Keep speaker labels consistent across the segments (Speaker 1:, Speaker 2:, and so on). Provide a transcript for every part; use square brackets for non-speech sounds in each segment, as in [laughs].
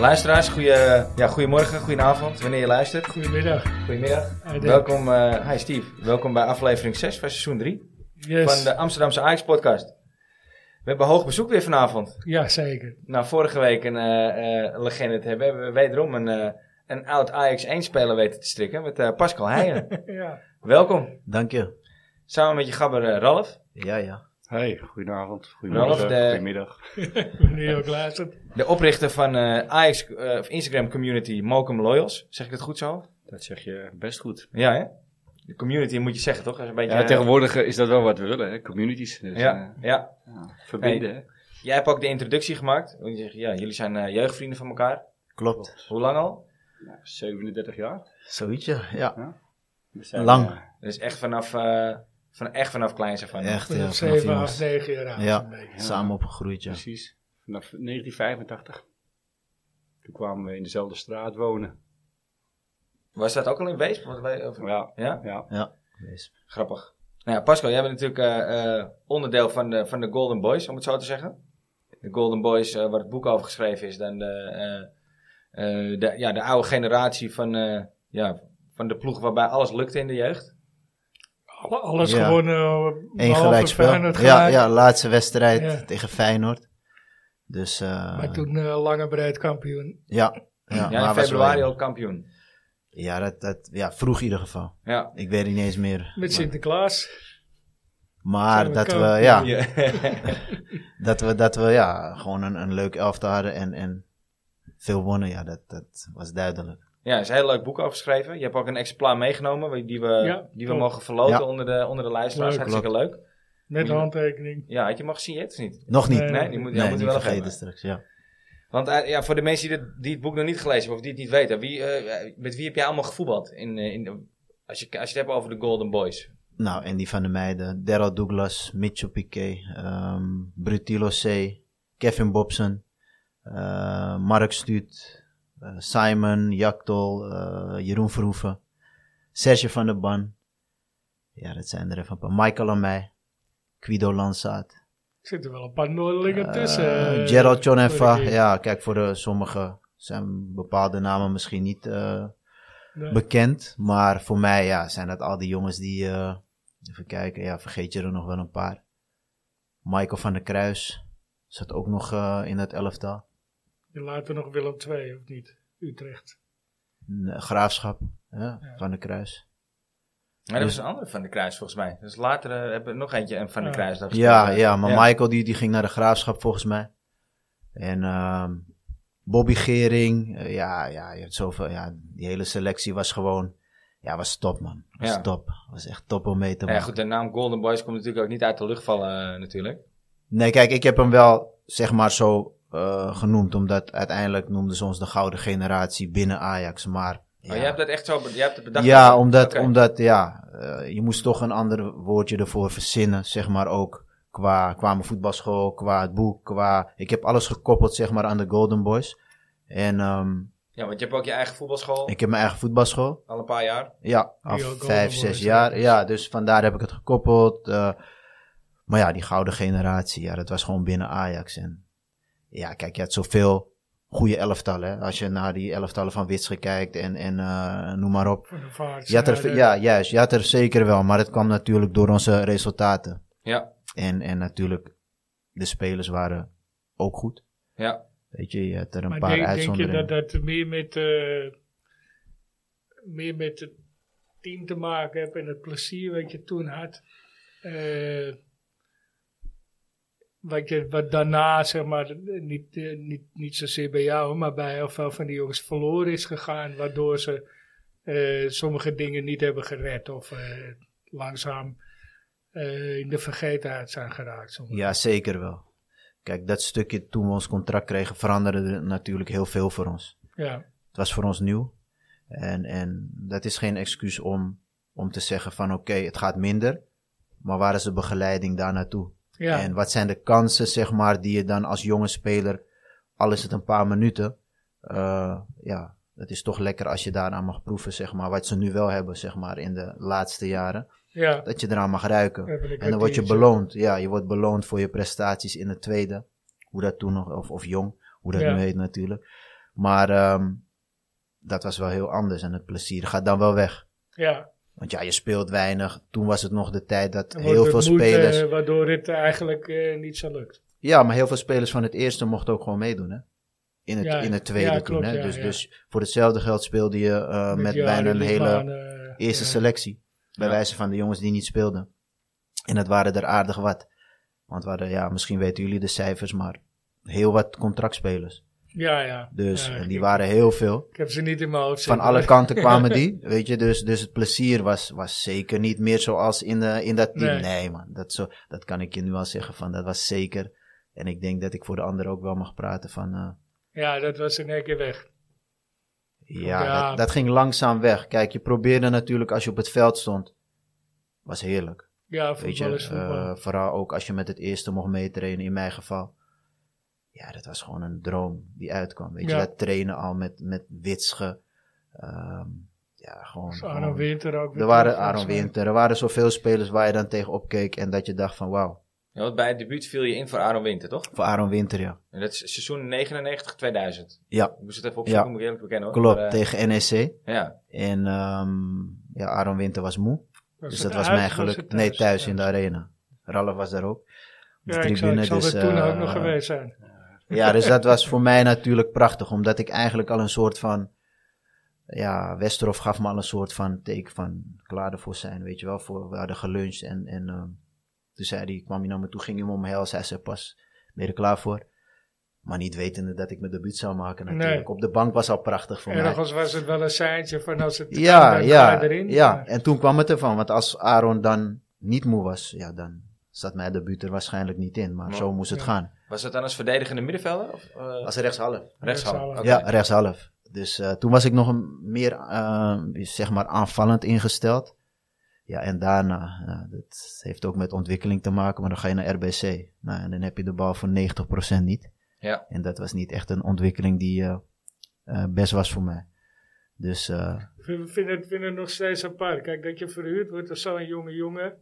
Speaker 1: Luisteraars, goeie, ja, goedemorgen, goedenavond, wanneer je luistert.
Speaker 2: Goedemiddag.
Speaker 1: Goedemiddag.
Speaker 2: Hi, Dave.
Speaker 1: Welkom, eh, hi Steve. Welkom bij aflevering 6 van seizoen 3
Speaker 2: Yes.
Speaker 1: van de Amsterdamse Ajax podcast. We hebben hoog bezoek weer vanavond.
Speaker 2: Ja, zeker. [laughs]
Speaker 1: Nou, vorige week een eh, eh, legende te hebben, hebben we wederom een, eh, een oud Ajax 1 speler weten te strikken met eh, Pascal Heijen.
Speaker 2: Ja.
Speaker 1: Welkom.
Speaker 3: Dank je.
Speaker 1: Samen met je gabber eh, Ralf.
Speaker 3: Ja, ja.
Speaker 4: Hey, goedenavond,
Speaker 1: Ralf,
Speaker 4: goedemorgen,
Speaker 3: eh,
Speaker 1: de-
Speaker 4: goedemiddag.
Speaker 2: Wanneer ook luistert.
Speaker 1: De oprichter van eh, Ajax eh, of Instagram community Malcolm Loyals. Zeg ik het goed zo?
Speaker 4: Dat zeg je best goed.
Speaker 1: Ja, hè? De community moet je zeggen, toch? Dat is een beetje,
Speaker 4: Ja,
Speaker 1: eh,
Speaker 4: tegenwoordig eh, is dat wel wat we willen, hè? communities. Dus,
Speaker 1: Ja,
Speaker 4: eh,
Speaker 1: ja.
Speaker 4: ja, verbinden. hè.
Speaker 1: Jij hebt ook de introductie gemaakt. Want je zegt, Ja, jullie zijn eh, jeugdvrienden van elkaar.
Speaker 3: Klopt.
Speaker 1: Hoe lang al?
Speaker 4: Nou, 37 jaar.
Speaker 3: Zoiets, ja. ja.
Speaker 4: We zijn,
Speaker 3: Lang.
Speaker 4: eh,
Speaker 1: Dus echt vanaf, eh, van, echt vanaf kleins af aan.
Speaker 3: Echt, ja.
Speaker 2: Vanaf
Speaker 3: vanaf
Speaker 2: 7,
Speaker 3: jongens.
Speaker 2: 8, 9 jaar oud.
Speaker 3: Ja.
Speaker 2: zo'n beetje.
Speaker 3: Samen opgegroeid, ja.
Speaker 4: Precies, vanaf 1985. Toen kwamen we in dezelfde straat wonen.
Speaker 1: Was dat ook al in Weesp? Want wij- of-
Speaker 4: Ja,
Speaker 1: Ja,
Speaker 4: ja.
Speaker 3: Wees-
Speaker 1: grappig. Nou ja, Pascal, jij bent natuurlijk eh, eh, onderdeel van de, van de Golden Boys, om het zo te zeggen. De Golden Boys, eh, waar het boek over geschreven is. Dan de, eh, eh, de, ja, de oude generatie van, eh, ja, van de ploeg waarbij alles lukte in de jeugd.
Speaker 2: Alle- Alles
Speaker 3: Ja.
Speaker 2: gewonnen.
Speaker 3: Eén
Speaker 2: behalve
Speaker 3: gelijkspel.
Speaker 2: Feyenoord
Speaker 3: Ja,
Speaker 2: gelijk.
Speaker 3: ja, laatste wedstrijd
Speaker 2: Ja.
Speaker 3: tegen Feyenoord. Dus, eh,
Speaker 2: Maar toen eh, lange breed kampioen.
Speaker 3: ja.
Speaker 1: Ja,
Speaker 3: Ja,
Speaker 1: in
Speaker 3: maar was
Speaker 1: februari
Speaker 3: wel-
Speaker 1: al kampioen.
Speaker 3: Ja, dat, dat, ja, vroeg in ieder geval.
Speaker 1: Ja.
Speaker 3: Ik weet het niet eens meer.
Speaker 2: Met
Speaker 3: maar
Speaker 2: Sinterklaas.
Speaker 3: maar
Speaker 2: Zijn we
Speaker 3: dat, we,
Speaker 2: kampioen?
Speaker 3: ja,
Speaker 1: Ja.
Speaker 3: dat we, dat we ja, gewoon een, een leuk elftal hadden en, en veel wonnen, ja, dat, dat was duidelijk.
Speaker 1: Ja, er is een heel leuk boek over geschreven. Je hebt ook een exemplaar meegenomen wa- die we,
Speaker 2: Ja,
Speaker 1: die we
Speaker 2: klopt.
Speaker 1: mogen verloten
Speaker 3: Ja.
Speaker 1: onder, de, onder de luisteraars.
Speaker 2: Leuk.
Speaker 1: Hartstikke leuk.
Speaker 2: Met
Speaker 1: Ja.
Speaker 2: handtekening.
Speaker 1: Ja, had je hem al gezien, Jit, of niet?
Speaker 3: Nog niet.
Speaker 2: Nee,
Speaker 1: Nee, die moet, ja,
Speaker 3: Nee,
Speaker 1: moet
Speaker 3: niet
Speaker 1: je wel nog
Speaker 3: vergeten
Speaker 1: hebben.
Speaker 3: straks, ja.
Speaker 1: Want eh, ja, voor de mensen die, dit, die het boek nog niet gelezen hebben of die het niet weten. Wie, eh, met wie heb jij allemaal gevoetbald? In, eh, in de- als, je, als je het hebt over de Golden Boys.
Speaker 3: Nou, en die van de meiden. Daryl Douglas, Mitchell Piquet, ehm Brutilo C, Kevin Bobson, eh, Mark Stuut, eh, Simon, Jaktol, eh, Jeroen Verhoeven, Serge van der Ban. Ja, dat zijn er even een paar. Michael aan mij, Guido Lansaat,
Speaker 2: Er zitten wel een paar Noordelingen tussen.
Speaker 3: eh,
Speaker 2: eh,
Speaker 3: Gerald John
Speaker 2: voor de-
Speaker 3: Ja, kijk, voor de sommigen zijn bepaalde namen misschien niet eh,
Speaker 2: Nee.
Speaker 3: bekend. Maar voor mij ja, zijn dat al die jongens die. eh, even kijken, ja, vergeet je er nog wel een paar. Michael van der Kruis zat ook nog eh, in het elftal.
Speaker 2: Je later nog Willem II, of niet? Utrecht.
Speaker 3: N- eh, Graafschap hè, van der Kruis.
Speaker 1: Maar dat
Speaker 3: Dus-
Speaker 1: was een andere van de Kruis volgens mij. Dus later eh, hebben we nog eentje een van de
Speaker 2: Ja.
Speaker 1: Kruis. dat
Speaker 3: Ja,
Speaker 1: gespeeld, eh.
Speaker 3: ja, maar Michael die, die ging naar de Graafschap volgens mij. En ehm, Bobby Gering, eh, ja, ja, je hebt zoveel, ja, die hele selectie was gewoon, ja, was top man. Was
Speaker 1: Ja.
Speaker 3: top. Was echt top om mee te
Speaker 1: Nou Ja,
Speaker 3: maken.
Speaker 1: goed, de naam Golden Boys komt natuurlijk ook niet uit de lucht vallen eh, natuurlijk.
Speaker 3: Nee, kijk, ik heb hem wel zeg maar zo eh, genoemd, omdat uiteindelijk noemden ze ons de gouden generatie binnen Ajax. Maar ja,
Speaker 1: Maar Oh, jij hebt dat echt zo be- jij hebt het bedacht.
Speaker 3: ja omdat,
Speaker 1: Oké.
Speaker 3: omdat ja, eh, je moest toch een ander woordje ervoor verzinnen, zeg maar ook qua, qua mijn voetbalschool, qua het boek, qua. Ik heb alles gekoppeld zeg maar aan de Golden Boys. En ehm,
Speaker 1: Ja, want je hebt ook je eigen voetbalschool.
Speaker 3: ik heb mijn eigen voetbalschool.
Speaker 1: Al een paar jaar.
Speaker 3: Ja,
Speaker 2: Die
Speaker 3: al
Speaker 2: ook Golden
Speaker 3: vijf,
Speaker 2: Boys
Speaker 3: zes
Speaker 2: zijn.
Speaker 3: jaar. Ja, dus vandaar heb ik het gekoppeld. eh. maar ja, die gouden generatie, ja, dat was gewoon binnen Ajax. En ja, kijk, je had zoveel goede elftallen. hè. Als je naar die elftallen van Witsche kijkt en, en eh, noem maar op.
Speaker 2: Van de vaart.
Speaker 3: Je had er, ja, juist. Je had er zeker wel, maar het kwam natuurlijk door onze resultaten.
Speaker 1: Ja,
Speaker 3: En, en natuurlijk, de spelers waren ook goed.
Speaker 1: ja.
Speaker 3: Weet je, je had er een
Speaker 2: maar
Speaker 3: paar
Speaker 2: denk, denk je
Speaker 3: uitzonderingen.
Speaker 2: dat dat meer met, eh, meer met het team te maken hebt en het plezier wat je toen had? eh, wat, je, wat daarna, zeg maar, niet, eh, niet, niet zozeer bij jou, maar bij heel veel van die jongens verloren is gegaan, waardoor ze eh, sommige dingen niet hebben gered of eh, langzaam eh, in de vergetenheid zijn geraakt. soms.
Speaker 3: Ja, zeker wel. Kijk, dat stukje toen we ons contract kregen veranderde er natuurlijk heel veel voor ons.
Speaker 2: ja.
Speaker 3: Het was voor ons nieuw. En, en dat is geen excuus om, om te zeggen van oké, het gaat minder. Maar waar is de begeleiding daar naartoe?
Speaker 2: ja.
Speaker 3: En wat zijn de kansen, zeg maar, die je dan als jonge speler, al is het een paar minuten, eh, ja, het is toch lekker als je daaraan mag proeven, zeg maar, wat ze nu wel hebben, zeg maar, in de laatste jaren.
Speaker 2: ja.
Speaker 3: Dat je eraan mag ruiken.
Speaker 2: Even een
Speaker 3: En dan word je
Speaker 2: kwartiertje.
Speaker 3: beloond. Ja, je wordt beloond voor je prestaties in de tweede. Hoe dat toen nog, of, of jong, hoe dat
Speaker 2: Ja.
Speaker 3: nu heet natuurlijk. Maar ehm, dat was wel heel anders en het plezier gaat dan wel weg.
Speaker 2: Ja,
Speaker 3: Want ja, je speelt weinig. Toen was het nog de tijd dat
Speaker 2: dan
Speaker 3: heel
Speaker 2: wordt
Speaker 3: veel
Speaker 2: het moed, eh,
Speaker 3: spelers...
Speaker 2: waardoor het eigenlijk eh, niet zo lukt.
Speaker 3: Ja, maar heel veel spelers van het eerste mochten ook gewoon meedoen, hè? In het,
Speaker 2: Ja,
Speaker 3: in het tweede
Speaker 2: ja,
Speaker 3: toen,
Speaker 2: klopt,
Speaker 3: hè?
Speaker 2: ja,
Speaker 3: dus,
Speaker 2: ja.
Speaker 3: dus voor hetzelfde geld speelde je eh, met
Speaker 2: die
Speaker 3: bijna een
Speaker 2: Arie
Speaker 3: hele
Speaker 2: Liebman, eh,
Speaker 3: eerste
Speaker 2: ja.
Speaker 3: selectie. Bij
Speaker 1: Ja.
Speaker 3: wijze van de jongens die niet speelden. En dat waren er aardig wat. Want we hadden, ja, misschien weten jullie de cijfers, maar heel wat contractspelers.
Speaker 2: Ja, ja.
Speaker 3: Dus,
Speaker 2: Ja,
Speaker 3: en
Speaker 2: ik-
Speaker 3: die waren heel veel.
Speaker 2: Ik heb ze niet in mijn hoofd
Speaker 3: Van
Speaker 2: zitten.
Speaker 3: alle kanten kwamen
Speaker 2: [laughs]
Speaker 3: die, weet je. Dus, dus het plezier was, was zeker niet meer zoals in, de, in dat team. Nee,
Speaker 2: Nee.
Speaker 3: man, dat, zo, dat kan ik je nu al zeggen van, dat was zeker. En ik denk dat ik voor de anderen ook wel mag praten van, eh,
Speaker 2: Ja, dat was in één keer weg.
Speaker 3: ja,
Speaker 2: Ja.
Speaker 3: Dat, dat ging langzaam weg. Kijk, je probeerde natuurlijk als je op het veld stond, was heerlijk.
Speaker 2: Ja,
Speaker 3: Weet je,
Speaker 2: voetbal is voetbal.
Speaker 3: eh, vooral ook als je met het eerste mocht meetrainen, in mijn geval. Ja, dat was gewoon een droom die uitkwam. Weet
Speaker 2: Ja.
Speaker 3: je, dat trainen al met, met Witsche. ehm, ja, gewoon.
Speaker 2: Dus
Speaker 3: gewoon-
Speaker 2: Aaron Winter ook. weer
Speaker 3: er waren
Speaker 2: terug,
Speaker 3: Aaron
Speaker 2: volgens mij.
Speaker 3: Winter, er waren zoveel spelers waar je dan tegen opkeek en dat je dacht van wauw,
Speaker 1: Ja, want bij het debuut viel je in voor Aaron Winter, toch?
Speaker 3: voor Aaron Winter ja.
Speaker 1: En dat is seizoen 99-2000.
Speaker 3: Ja.
Speaker 1: Ik moest het even opzoeken,
Speaker 3: Ja.
Speaker 1: moet ik eerlijk bekennen hoor.
Speaker 3: Klopt,
Speaker 1: Maar, eh,
Speaker 3: tegen NEC.
Speaker 1: ja.
Speaker 3: En ehm, ja, Aaron Winter was moe, dus
Speaker 2: het
Speaker 3: dat was
Speaker 2: uit
Speaker 3: mijn
Speaker 2: of
Speaker 3: geluk.
Speaker 2: het
Speaker 3: nee, thuis in de arena. Ralf was daar ook. De
Speaker 2: Ja, ik zal, ik zal er toen
Speaker 3: eh,
Speaker 2: ook nog geweest zijn.
Speaker 3: Ja, dus dat was voor mij natuurlijk prachtig, omdat ik eigenlijk al een soort van. Ja, Westerhof gaf me al een soort van teken van klaar ervoor zijn, weet je wel. Voor, we hadden geluncht en, en ehm, toen zei hij, kwam hij naar me toe, ging hij me omhelzen. Hij zei pas, ben je er klaar voor? Maar niet wetende dat ik mijn debuut zou maken natuurlijk.
Speaker 2: Nee.
Speaker 3: Op de bank was al prachtig voor mij.
Speaker 2: Ergens was het wel een seintje van als het kan,
Speaker 3: Ja,
Speaker 2: dan
Speaker 3: ja,
Speaker 2: ga je erin.
Speaker 3: ja.
Speaker 2: Maar
Speaker 3: En toen kwam het ervan, want als Aaron dan niet moe was, ja, dan zat mijn debuut er waarschijnlijk niet in. Maar
Speaker 1: Maar-
Speaker 3: zo moest het
Speaker 2: ja.
Speaker 3: gaan.
Speaker 1: Was dat dan als verdedigende middenvelder? Of, eh,
Speaker 3: Als rechtshalf.
Speaker 1: rechtshalve?
Speaker 2: rechtshalve.
Speaker 1: Oké.
Speaker 3: Ja, rechtshalf. Dus eh, toen was ik nog een meer eh, zeg maar aanvallend ingesteld. Ja, en daarna, eh, dat heeft ook met ontwikkeling te maken, maar dan ga je naar RBC. Nou, en dan heb je de bal voor 90% niet.
Speaker 1: Ja.
Speaker 3: En dat was niet echt een ontwikkeling die eh, eh, best was voor mij. Dus eh,
Speaker 2: Ik vind, vind het, vind het nog steeds apart. Kijk, dat je verhuurd wordt als zo'n jonge jongen,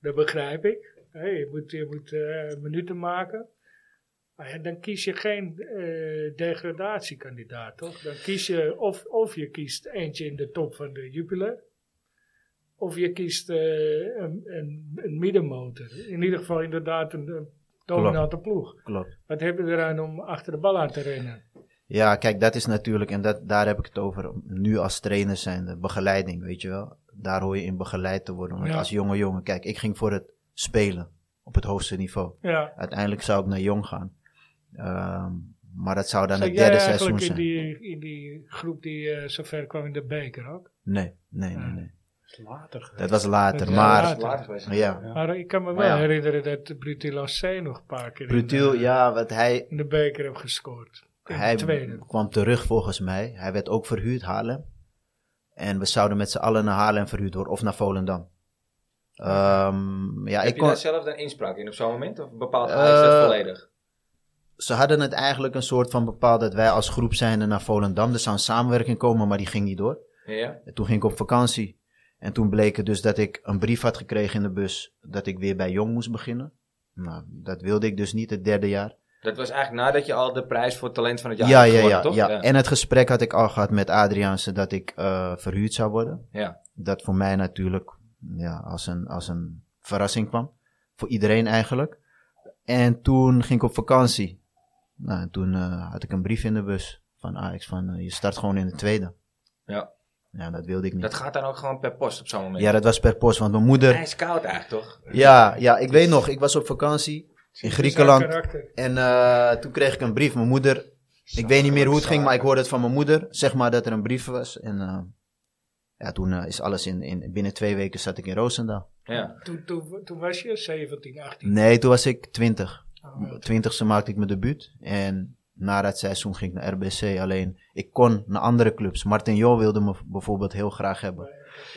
Speaker 2: dat begrijp ik. Hé, je moet, je moet eh, minuten maken. Maar ja, dan kies je geen eh, degradatiekandidaat, toch? Dan kies je, of, of je kiest eentje in de top van de Jupiler. Of je kiest eh, een, een, een middenmotor. In ieder geval inderdaad een, een dominante ploeg.
Speaker 3: klopt.
Speaker 2: Wat heb je eraan om achter de bal aan te rennen?
Speaker 3: Ja, kijk, dat is natuurlijk, en dat, daar heb ik het over nu als trainer zijnde, begeleiding, weet je wel. Daar hoor je in begeleid te worden. Want
Speaker 2: Ja.
Speaker 3: als jonge jongen, kijk, ik ging voor het spelen op het hoogste niveau.
Speaker 2: Ja.
Speaker 3: Uiteindelijk zou ik naar jong gaan. Ehm, maar dat zou dan
Speaker 2: Zat
Speaker 3: het
Speaker 2: jij
Speaker 3: derde seizoen
Speaker 2: eigenlijk in
Speaker 3: zijn.
Speaker 2: die, in die groep die eh zover kwam in de beker ook?
Speaker 3: Nee, nee, nee,
Speaker 2: Ja.
Speaker 3: nee.
Speaker 4: is later
Speaker 3: Dat
Speaker 4: geweest.
Speaker 3: was later.
Speaker 2: Ah. Ja,
Speaker 3: maar
Speaker 2: later.
Speaker 1: geweest.
Speaker 3: ja,
Speaker 4: Ja.
Speaker 2: Maar ik kan me wel
Speaker 3: Maar Oh ja.
Speaker 2: herinneren dat Brutilo C nog een paar keer
Speaker 3: Brutiel,
Speaker 2: in, de,
Speaker 3: ja, wat hij,
Speaker 2: in de beker heeft gescoord. In de
Speaker 3: hij
Speaker 2: tweede.
Speaker 3: kwam terug volgens mij. Hij werd ook verhuurd, Haarlem. En we zouden met z'n allen naar Haarlem verhuurd worden, of naar Volendam. Ehm, ja,
Speaker 1: Heb
Speaker 3: ik
Speaker 1: je
Speaker 3: kon,
Speaker 1: daar zelf dan inspraak in op zo'n moment? Of bepaalt
Speaker 3: Eh,
Speaker 1: hij dat volledig?
Speaker 3: ze hadden het eigenlijk een soort van bepaald dat wij als groep zijnde naar Volendam. Er zou een samenwerking komen, maar die ging niet door.
Speaker 1: Ja.
Speaker 3: En toen ging ik op vakantie. En toen bleek het dus dat ik een brief had gekregen in de bus dat ik weer bij Jong moest beginnen. Nou, dat wilde ik dus niet het derde jaar.
Speaker 1: Dat was eigenlijk nadat je al de prijs voor talent van het
Speaker 3: Ja,
Speaker 1: jaar had
Speaker 3: ja, ja,
Speaker 1: gewonnen,
Speaker 3: ja,
Speaker 1: toch?
Speaker 3: En het gesprek had ik al gehad met Adriaanse dat ik eh, verhuurd zou worden.
Speaker 1: Ja.
Speaker 3: Dat voor mij natuurlijk ja, als, een, als een verrassing kwam. Voor iedereen eigenlijk. En toen ging ik op vakantie. Nou, en toen eh, had ik een brief in de bus van Ajax van eh, je start gewoon in de tweede.
Speaker 1: Ja.
Speaker 3: Ja, dat wilde ik niet.
Speaker 1: Dat gaat dan ook gewoon per post op zo'n moment.
Speaker 3: ja, dat was per post, want mijn moeder...
Speaker 1: Hij is koud eigenlijk, toch?
Speaker 3: Ja, ja, ik weet nog, ik was op vakantie in
Speaker 2: Zijn
Speaker 3: Griekenland.
Speaker 2: karakter.
Speaker 3: En eh, toen kreeg ik een brief. Mijn moeder, ik weet niet meer hoe het ging, maar ik hoorde het van mijn moeder. Zeg maar dat er een brief was. En eh, ja, toen eh, is alles in, in, binnen twee weken zat ik in Roosendaal.
Speaker 1: Ja.
Speaker 2: Toen, toen, toen was je 17, 18.
Speaker 3: Nee, toen was ik twintig.
Speaker 2: Oh, ja.
Speaker 3: Twintigste maakte ik mijn debuut. En na dat seizoen ging ik naar RBC. Alleen, ik kon naar andere clubs. Martin Jo wilde me bijvoorbeeld heel graag hebben.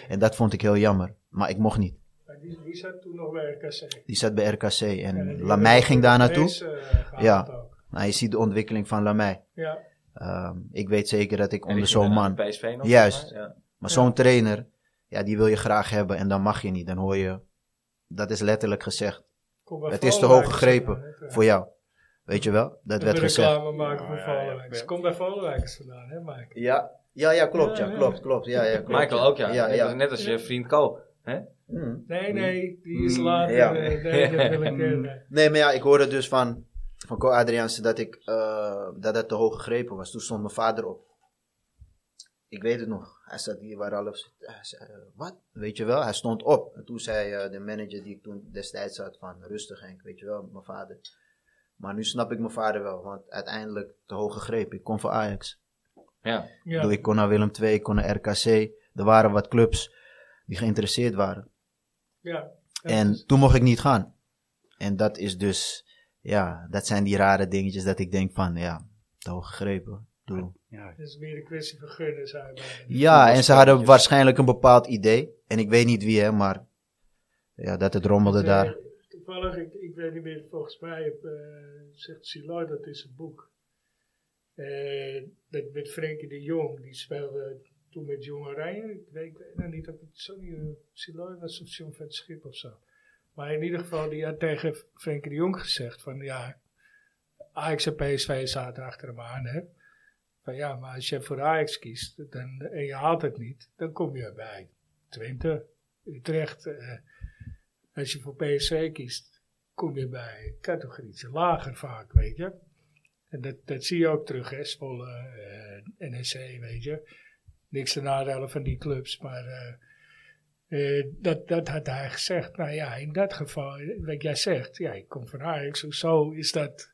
Speaker 3: En dat vond ik heel jammer. Maar ik mocht niet.
Speaker 2: Maar die, die zat toen nog bij RKC.
Speaker 3: Die zat bij RKC.
Speaker 2: Ja,
Speaker 3: En
Speaker 2: die
Speaker 3: Lamei
Speaker 2: had
Speaker 3: ging daar
Speaker 2: Europees,
Speaker 3: naartoe.
Speaker 2: eh, gehaald
Speaker 3: Ja.
Speaker 2: ook.
Speaker 3: Nou, je ziet de ontwikkeling van Lamei.
Speaker 2: Ja.
Speaker 3: Ehm, ik weet zeker dat ik
Speaker 1: En die
Speaker 3: onder
Speaker 1: ging
Speaker 3: zo'n
Speaker 1: dan
Speaker 3: man.
Speaker 1: naar PSV nog,
Speaker 3: Juist.
Speaker 1: zeg maar. Ja.
Speaker 3: Maar
Speaker 2: Ja.
Speaker 3: zo'n trainer, ja, die wil je graag hebben en dan mag je niet. Dan hoor je, dat is letterlijk gezegd
Speaker 2: Kom maar
Speaker 3: Het is te
Speaker 2: voorwaarts,
Speaker 3: hoog gegrepen
Speaker 2: zeg maar, hè.
Speaker 3: voor jou. Weet je wel, dat werd
Speaker 2: we
Speaker 3: gezegd.
Speaker 2: reclame maken voor
Speaker 4: Ja, ja, ja.
Speaker 2: Vollenwijkers. Kom bij Vollenwijkers vandaan, hè Mike?
Speaker 3: Ja, ja, ja, klopt,
Speaker 2: Ja,
Speaker 3: ja,
Speaker 2: ja.
Speaker 3: klopt, klopt. Ja, ja, klopt
Speaker 1: Michael ook, ja.
Speaker 3: ja,
Speaker 1: Net
Speaker 3: ja.
Speaker 1: als- Net als je vriend Ko. hè?
Speaker 3: Hmm.
Speaker 2: Nee, nee, die is later.
Speaker 3: Mm, ja.
Speaker 2: eh, nee, dat
Speaker 3: [laughs]
Speaker 2: wil ik eh, nee.
Speaker 3: Nee, maar ja, ik hoorde dus van, van Co Adriaanse dat ik eh, dat het te hoog gegrepen was. Toen stond mijn vader op. Ik weet het nog. Hij zat hier waar Ralf zit. Hij zei, eh, wat? Weet je wel, hij stond op. En toen zei eh, de manager die ik toen destijds had van, rustig Henk, weet je wel, mijn vader. Maar nu snap ik mijn vader wel, want uiteindelijk te hoog gegrepen. Ik kon voor Ajax.
Speaker 1: Ja.
Speaker 3: Ik
Speaker 2: Ja.
Speaker 3: bedoel, Ik kon naar Willem II, ik kon naar RKC. Er waren wat clubs die geïnteresseerd waren.
Speaker 2: ja.
Speaker 3: En toen mocht ik niet gaan. En dat is dus, ja, dat zijn die rare dingetjes dat ik denk van, ja, te hoog gegrepen. Doe.
Speaker 4: Ja,
Speaker 2: Het is weer een kwestie van gunnen, zou ik bijna.
Speaker 3: Ja, en ze hadden waarschijnlijk een bepaald idee. En ik weet niet wie, hè, maar ja, dat het rommelde
Speaker 2: Dus, eh,
Speaker 3: daar.
Speaker 2: Toevallig, ik, ik weet niet meer, volgens mij heb, eh, zegt Siloy dat is een boek. Eh, dat met Frenkie de Jong, die speelde toen met Jong Oranje. Ik weet, ik weet nou niet of het sorry, eh, Siloy was of John van het Schip of zo. Maar in ieder geval, die had tegen Frenkie de Jong gezegd van ja, Ajax en PSV zaten achter hem aan hè. Van ja, maar als je voor Ajax kiest dan, en je haalt het niet, dan kom je bij Twente, Utrecht, eh, als je voor PSV kiest, kom je bij categorieën lager vaak, weet je. En dat, dat zie je ook terug, hè. Zwolle, eh, NEC, weet je. Niks te nadelen van die clubs, maar eh, eh, dat, dat had hij gezegd. Nou ja, in dat geval, eh, wat jij zegt, ja, ik kom van Ajax, zo is dat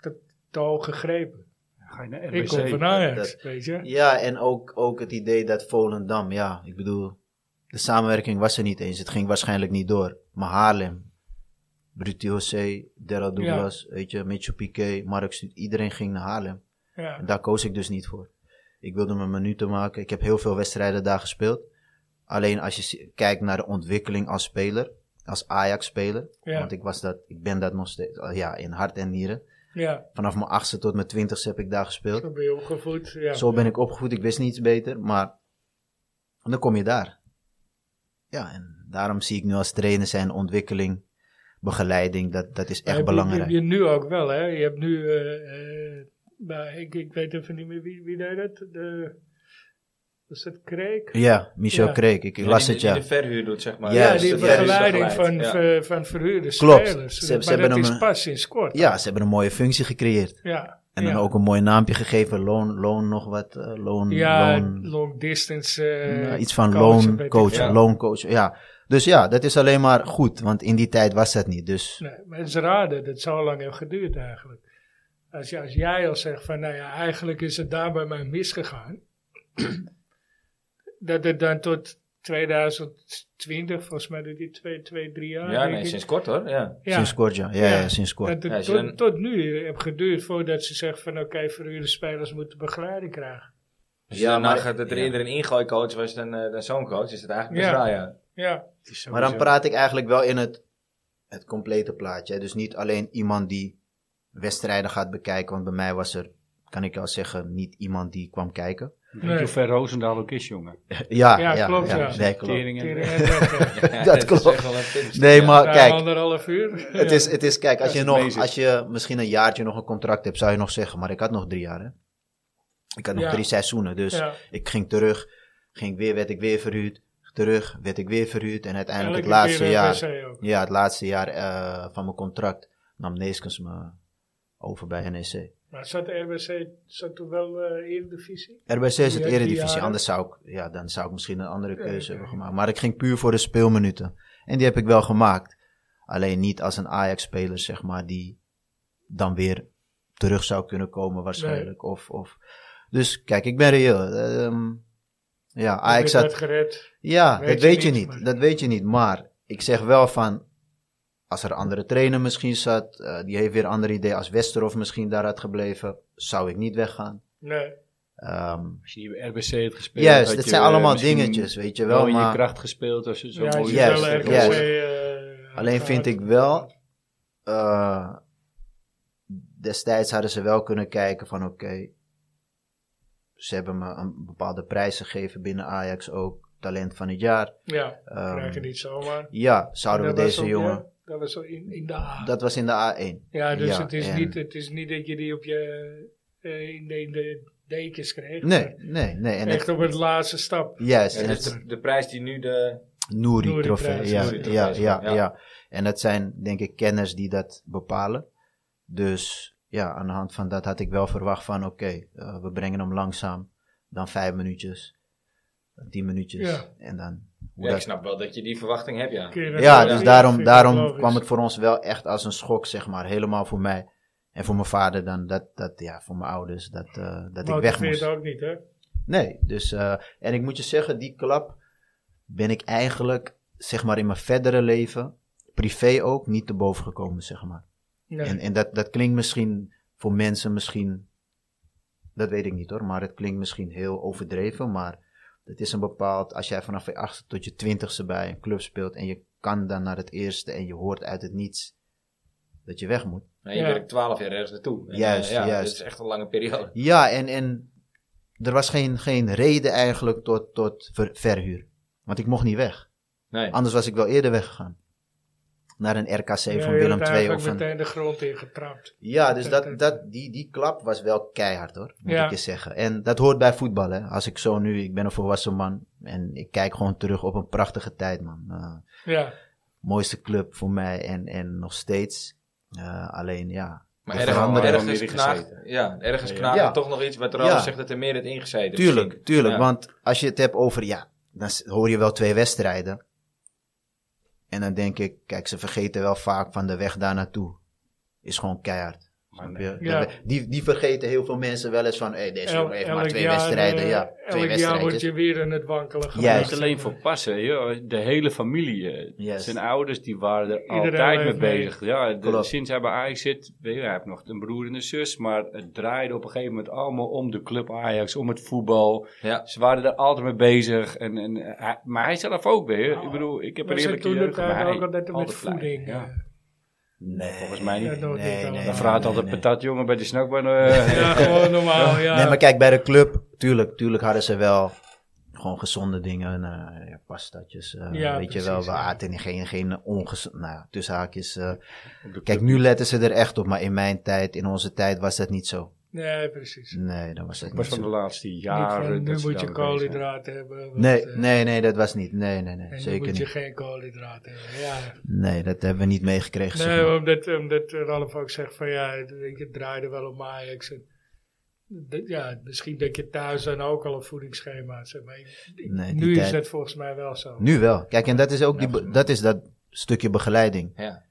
Speaker 2: te, te hoog gegrepen.
Speaker 4: ga je naar
Speaker 2: ik kom
Speaker 4: RBC.
Speaker 2: van Ajax,
Speaker 3: dat-
Speaker 2: weet je.
Speaker 3: Ja, en ook, ook het idee dat Volendam, ja, ik bedoel, de samenwerking was er niet eens. Het ging waarschijnlijk niet door. Maar Haarlem, Brutti José, Daryl Douglas, weet je, Mitchell Piquet, Mark Stuut, iedereen ging naar Haarlem.
Speaker 2: Ja,
Speaker 3: En daar koos ik dus niet voor. Ik wilde mijn minuten maken. Ik heb heel veel wedstrijden daar gespeeld. Alleen als je zi- kijkt naar de ontwikkeling als speler, als Ajax-speler.
Speaker 2: Ja.
Speaker 3: Want ik, was dat, ik ben dat nog steeds, eh, ja, in hart en nieren.
Speaker 2: ja.
Speaker 3: Vanaf mijn achtste tot mijn twintigste heb ik daar gespeeld.
Speaker 2: Zo ben je opgevoed, ja.
Speaker 3: Zo ben ik opgevoed, ik wist niets beter. Maar dan kom je daar. Ja, en daarom zie ik nu als trainer zijn ontwikkeling, begeleiding, dat, dat is echt
Speaker 2: Heb je-
Speaker 3: belangrijk.
Speaker 2: Heb je nu ook wel, hè? Je hebt nu, eh, eh, maar ik, ik weet even niet meer wie, wie deed dat. De, was dat Kreek?
Speaker 3: Ja, Michel
Speaker 2: Ja.
Speaker 3: Kreek, ik las
Speaker 1: Die-
Speaker 3: het
Speaker 1: die
Speaker 3: ja.
Speaker 1: de verhuur doet, zeg maar.
Speaker 3: Ja,
Speaker 2: Ja,
Speaker 1: Dus
Speaker 2: die
Speaker 1: de
Speaker 3: ja,
Speaker 2: begeleiding
Speaker 1: verhuur
Speaker 2: van,
Speaker 1: is begeleid,
Speaker 2: ver- van verhuurde
Speaker 3: Klopt.
Speaker 2: spelers.
Speaker 3: Ze- ze
Speaker 2: maar
Speaker 3: hebben
Speaker 2: dat
Speaker 3: hem,
Speaker 2: is
Speaker 3: eh,
Speaker 2: pas sinds kort.
Speaker 3: Ja, ze hebben een mooie functie gecreëerd.
Speaker 2: ja.
Speaker 3: En
Speaker 2: ja.
Speaker 3: dan ook een mooi naampje gegeven. Loon, loon nog wat. eh, loon,
Speaker 2: Ja,
Speaker 3: loon,
Speaker 2: long distance. eh,
Speaker 3: ja, iets van
Speaker 2: coach, weet
Speaker 3: looncoach.
Speaker 2: ik
Speaker 3: Coach,
Speaker 1: veel.
Speaker 3: Looncoach, ja. Dus ja, dat is alleen maar goed. Want in die tijd was dat niet. Dus
Speaker 2: Nee, maar het is raar dat het zo lang heeft geduurd eigenlijk. Als, je- als jij al zegt van, nou ja, eigenlijk is het daar bij mij misgegaan. [clears throat] dat het dan tot 2020, volgens mij, dat die twee, twee drie jaar.
Speaker 1: Ja, ja
Speaker 2: denk
Speaker 1: nee,
Speaker 2: ik.
Speaker 1: sinds kort hoor. Ja.
Speaker 2: Ja,
Speaker 3: sinds kort, ja. Ja, ja,
Speaker 2: Ja.
Speaker 3: sinds kort.
Speaker 2: Dat het
Speaker 1: Ja, als je
Speaker 2: tot,
Speaker 1: dan-
Speaker 2: tot nu heeft geduurd voordat ze zegt van, oké, verhuurde spelers moeten begeleiding krijgen.
Speaker 1: Als
Speaker 3: Ja,
Speaker 1: ja, maar
Speaker 3: maar-
Speaker 1: Dus, eh, nou gaat dat er
Speaker 3: ja.
Speaker 1: eerder een ingooicoach was dan, eh, dan zo'n coach, is het eigenlijk best
Speaker 2: Ja.
Speaker 1: raar,
Speaker 3: [laughs]
Speaker 1: ja.
Speaker 2: Ja,
Speaker 4: Het is
Speaker 3: maar dan
Speaker 4: sowieso-
Speaker 3: praat ik eigenlijk wel in het, het complete plaatje. hè. Dus niet alleen iemand die wedstrijden gaat bekijken. Want bij mij was er, kan ik al zeggen, niet iemand die kwam kijken. [laughs]
Speaker 4: Weet
Speaker 2: Nee.
Speaker 4: je hoe ver Roosendaal ook is, jongen?
Speaker 3: Ja,
Speaker 2: Ja,
Speaker 3: ja, ja,
Speaker 2: klopt, ja.
Speaker 3: nee, klopt.
Speaker 4: Tering en-
Speaker 2: Tering en Wetter.
Speaker 3: [laughs]
Speaker 1: Ja,
Speaker 3: Dat
Speaker 1: is
Speaker 3: klopt.
Speaker 1: echt wel een pittig
Speaker 3: Nee,
Speaker 1: stuk,
Speaker 3: maar
Speaker 2: Na
Speaker 3: Oh, kijk.
Speaker 2: anderhalf uur.
Speaker 3: Het
Speaker 2: ja.
Speaker 3: is, het is, kijk, als
Speaker 4: Dat
Speaker 3: je,
Speaker 4: is
Speaker 3: nog,
Speaker 4: amazing.
Speaker 3: als je misschien een jaartje nog een contract hebt, zou je nog zeggen, maar ik had nog drie jaar, hè? Ik had nog
Speaker 2: Ja.
Speaker 3: drie seizoenen, dus
Speaker 2: Ja.
Speaker 3: ik ging terug, ging weer, werd ik weer verhuurd, terug, werd ik weer verhuurd en uiteindelijk het
Speaker 2: Elke
Speaker 3: laatste
Speaker 2: keer
Speaker 3: jaar,
Speaker 2: een wc ook.
Speaker 3: ja, het laatste jaar eh, van mijn contract nam Neeskens me over bij E NEC.
Speaker 2: Maar zat RBC zat toen wel eh Eredivisie?
Speaker 3: RBC is het
Speaker 2: Ja, die
Speaker 3: eredivisie,
Speaker 2: jaren.
Speaker 3: anders zou ik, ja, dan zou ik misschien een andere keuze
Speaker 2: oké.
Speaker 3: hebben gemaakt. Maar ik ging puur voor de speelminuten. En die heb ik wel gemaakt. Alleen niet als een Ajax-speler, zeg maar, die dan weer terug zou kunnen komen waarschijnlijk. Of, of. Dus kijk, ik ben reëel. Ehm, ja, Ajax
Speaker 2: Werd
Speaker 3: had,
Speaker 2: gered.
Speaker 3: ja,
Speaker 2: weet
Speaker 3: dat
Speaker 2: je
Speaker 3: weet je
Speaker 2: niet,
Speaker 3: niet.
Speaker 2: maar-
Speaker 3: Dat weet je niet. Maar ik zeg wel van, als er een andere trainer misschien zat, eh, die heeft weer een ander idee. Als Westerhof misschien daar had gebleven, zou ik niet weggaan.
Speaker 2: Nee.
Speaker 3: Ehm
Speaker 4: Als je hier bij RBC hebt gespeeld.
Speaker 3: Juist,
Speaker 4: had
Speaker 3: dat
Speaker 4: je,
Speaker 3: zijn
Speaker 4: eh,
Speaker 3: allemaal
Speaker 4: misschien
Speaker 3: dingetjes, weet je
Speaker 4: wel
Speaker 3: wel.
Speaker 4: in je
Speaker 3: Maar
Speaker 4: kracht gespeeld. Als je zo
Speaker 2: Ja, als
Speaker 4: mooi
Speaker 2: je
Speaker 3: juist,
Speaker 2: wel RKC,
Speaker 3: juist.
Speaker 2: eh,
Speaker 3: Alleen
Speaker 2: had
Speaker 3: vind ik
Speaker 2: gehad.
Speaker 3: wel- eh, destijds hadden ze wel kunnen kijken van oké, ze hebben me een bepaalde prijs gegeven binnen Ajax ook, talent van het jaar.
Speaker 2: Ja,
Speaker 3: Ehm,
Speaker 2: krijg je niet zomaar.
Speaker 3: ja, zouden we
Speaker 2: Dat was
Speaker 3: deze
Speaker 2: ook,
Speaker 3: jongen,
Speaker 2: ja, Dat was zo in, in de A.
Speaker 3: Dat was in de A1.
Speaker 2: ja, dus
Speaker 3: ja,
Speaker 2: het, is
Speaker 3: en-
Speaker 2: niet, het is niet dat je die op je eh, in, de, in de dekens kreeg.
Speaker 3: Nee,
Speaker 2: maar
Speaker 3: nee, nee. En
Speaker 2: Echt
Speaker 3: het,
Speaker 2: op het laatste stap.
Speaker 3: juist,
Speaker 1: Ja,
Speaker 3: en
Speaker 1: dus
Speaker 3: het
Speaker 1: de, de prijs die nu de...
Speaker 3: Nouri
Speaker 2: Nouri
Speaker 3: trofee.
Speaker 2: prijs,
Speaker 3: Ja,
Speaker 1: Nouri
Speaker 3: ja,
Speaker 1: trofees,
Speaker 3: ja,
Speaker 1: ja.
Speaker 3: ja, En dat zijn denk ik kenners die dat bepalen. Dus ja, aan de hand van dat had ik wel verwacht van oké, eh, we brengen hem langzaam. Dan vijf minuutjes, dan tien minuutjes.
Speaker 2: Ja.
Speaker 3: En dan hoe
Speaker 1: Ja, ik
Speaker 3: dat-
Speaker 1: snap wel dat je die verwachting hebt, ja.
Speaker 2: Kun je dat
Speaker 3: ja,
Speaker 2: wel
Speaker 3: dus
Speaker 2: zien? Vind
Speaker 3: daarom,
Speaker 2: ik
Speaker 3: daarom
Speaker 2: logisch.
Speaker 3: kwam het voor ons wel echt als een schok, zeg maar. Helemaal voor mij en voor mijn vader dan. Dat, dat ja, voor mijn ouders, dat, eh, dat ik weg
Speaker 2: Motiveert
Speaker 3: moest.
Speaker 2: ook niet, hè?
Speaker 3: Nee, dus... eh, en ik moet je zeggen, die klap ben ik eigenlijk, zeg maar, in mijn verdere leven... privé ook niet te boven gekomen, zeg maar.
Speaker 2: Nee.
Speaker 3: En, en dat, dat klinkt misschien voor mensen misschien... Dat weet ik niet hoor, maar het klinkt misschien heel overdreven, maar... Het is een bepaald, als jij vanaf je achtste tot je twintigste bij een club speelt en je kan dan naar het eerste en je hoort uit het niets dat je weg moet.
Speaker 1: Nee, je
Speaker 2: Ja.
Speaker 1: werkt twaalf jaar ergens naartoe. En,
Speaker 3: Juist,
Speaker 1: eh, ja,
Speaker 3: juist.
Speaker 1: Dat is echt een lange periode.
Speaker 3: Ja, en, en er was geen, geen reden eigenlijk tot, tot ver- verhuur. Want ik mocht niet weg.
Speaker 1: Nee.
Speaker 3: Anders was ik wel eerder weggegaan. Naar een RKC
Speaker 2: Ja,
Speaker 3: van
Speaker 2: je
Speaker 3: Willem
Speaker 2: hebt
Speaker 3: II
Speaker 2: eigenlijk
Speaker 3: of een...
Speaker 2: meteen de grond ingetrapt.
Speaker 3: Ja, dus dat, dat, die, die klap was wel keihard hoor, moet
Speaker 2: Ja.
Speaker 3: ik je zeggen. En dat hoort bij voetbal hè. Als ik zo nu, ik ben een volwassen man en ik kijk gewoon terug op een prachtige tijd man. Eh,
Speaker 2: Ja,
Speaker 3: mooiste club voor mij en, en nog steeds. Eh, alleen ja,
Speaker 1: Maar
Speaker 3: We
Speaker 1: ergens,
Speaker 3: veranderen.
Speaker 1: ergens
Speaker 4: Weer
Speaker 1: knaagt,
Speaker 4: gezeten.
Speaker 1: ja, ergens
Speaker 4: Ja.
Speaker 1: knaagt
Speaker 3: Ja.
Speaker 1: er toch nog iets wat Ralf
Speaker 3: Ja.
Speaker 1: zegt dat er meer het ingezeten
Speaker 3: tuurlijk,
Speaker 1: misschien.
Speaker 3: tuurlijk.
Speaker 1: Ja.
Speaker 3: Want als je het hebt over, ja, dan s- hoor je wel twee wedstrijden. En dan denk ik, kijk, ze vergeten wel vaak van de weg daar naartoe. Is gewoon keihard.
Speaker 4: Maar
Speaker 3: Snap
Speaker 4: Ah, nee.
Speaker 3: je?
Speaker 2: Ja.
Speaker 3: Dat we- Die, die vergeten heel veel mensen wel eens van, hé, deze
Speaker 2: El-
Speaker 3: jongen heeft maar
Speaker 2: elk
Speaker 3: twee
Speaker 2: jaar,
Speaker 3: wedstrijden.
Speaker 2: eh,
Speaker 3: ja, twee
Speaker 2: elk jaar word
Speaker 3: wedstrijdjes.
Speaker 2: je weer in het wankelen
Speaker 3: Juist.
Speaker 4: Niet alleen voor passen, joh. de hele familie. eh,
Speaker 3: Yes.
Speaker 4: Zijn ouders die waren er
Speaker 2: Iedereen
Speaker 4: altijd mee
Speaker 2: leeft mee.
Speaker 4: bezig. Ja, de-
Speaker 3: Klopt.
Speaker 4: sinds hij bij Ajax zit, weet je, hij heeft nog een broer en een zus. Maar het draaide op een gegeven moment allemaal om de club Ajax, om het voetbal.
Speaker 1: Ja.
Speaker 4: Ze waren er altijd mee bezig. En, en, eh, hij- maar hij zelf ook weer.
Speaker 2: Oh.
Speaker 4: Ik bedoel, ik heb een
Speaker 2: We zijn
Speaker 4: eerlijke
Speaker 2: toen de
Speaker 4: jeugd. maar
Speaker 2: tijd
Speaker 4: hij-
Speaker 2: ook altijd met
Speaker 4: altijd blij.
Speaker 2: voeding.
Speaker 4: Ja.
Speaker 2: eh,
Speaker 3: Nee,
Speaker 4: Volgens mij niet.
Speaker 3: Nee,
Speaker 2: Dat nooit
Speaker 3: nee,
Speaker 2: niet
Speaker 3: nee,
Speaker 2: allemaal.
Speaker 4: Dan
Speaker 2: Ja,
Speaker 4: vraagt
Speaker 3: nee,
Speaker 4: altijd
Speaker 3: nee.
Speaker 4: patatjongen bij de
Speaker 3: [laughs]
Speaker 4: snackbar. eh,
Speaker 2: Ja, gewoon normaal, ja.
Speaker 3: Nee, maar kijk, bij de club, tuurlijk, tuurlijk hadden ze wel gewoon gezonde dingen. eh ja, pastatjes, eh,
Speaker 2: Ja,
Speaker 3: weet je
Speaker 2: precies,
Speaker 3: wel. We
Speaker 2: ja.
Speaker 3: aten geen, geen ongezonde, nou, ja, tussen haakjes. eh.
Speaker 4: op de
Speaker 3: Kijk, nu letten ze er echt op, maar in mijn tijd, in onze tijd was dat niet zo.
Speaker 2: Nee, precies.
Speaker 3: Nee, dat was dat
Speaker 4: Ik
Speaker 3: niet
Speaker 4: was van de
Speaker 3: zo.
Speaker 4: laatste
Speaker 2: Niet
Speaker 4: jaren.
Speaker 2: van,
Speaker 4: dat
Speaker 2: nu
Speaker 4: ze
Speaker 2: moet je
Speaker 4: daarmee bezig zijn.
Speaker 2: koolhydraten hebben. want,
Speaker 3: Nee,
Speaker 2: eh,
Speaker 3: nee, nee, dat was niet. Nee, nee,
Speaker 2: En
Speaker 3: nee,
Speaker 2: nu
Speaker 3: zeker
Speaker 2: moet je
Speaker 3: niet.
Speaker 2: geen koolhydraten hebben. Ja.
Speaker 3: Nee, dat hebben we niet meegekregen. zeg
Speaker 2: Nee,
Speaker 3: maar.
Speaker 2: omdat, omdat Ralf ook zegt van ja, het- weet je, het draaide wel om Ajax. En, dat- ja, misschien dat je thuis dan ook al een voedingsschema hebt. zeg Maar ik- ik-
Speaker 3: Nee, die
Speaker 2: nu is
Speaker 3: tijd-
Speaker 2: het volgens mij wel zo.
Speaker 3: Nu wel. Kijk, en dat is ook die,
Speaker 1: Ja,
Speaker 3: be-
Speaker 1: goed.
Speaker 3: dat, is dat stukje begeleiding.
Speaker 1: Ja.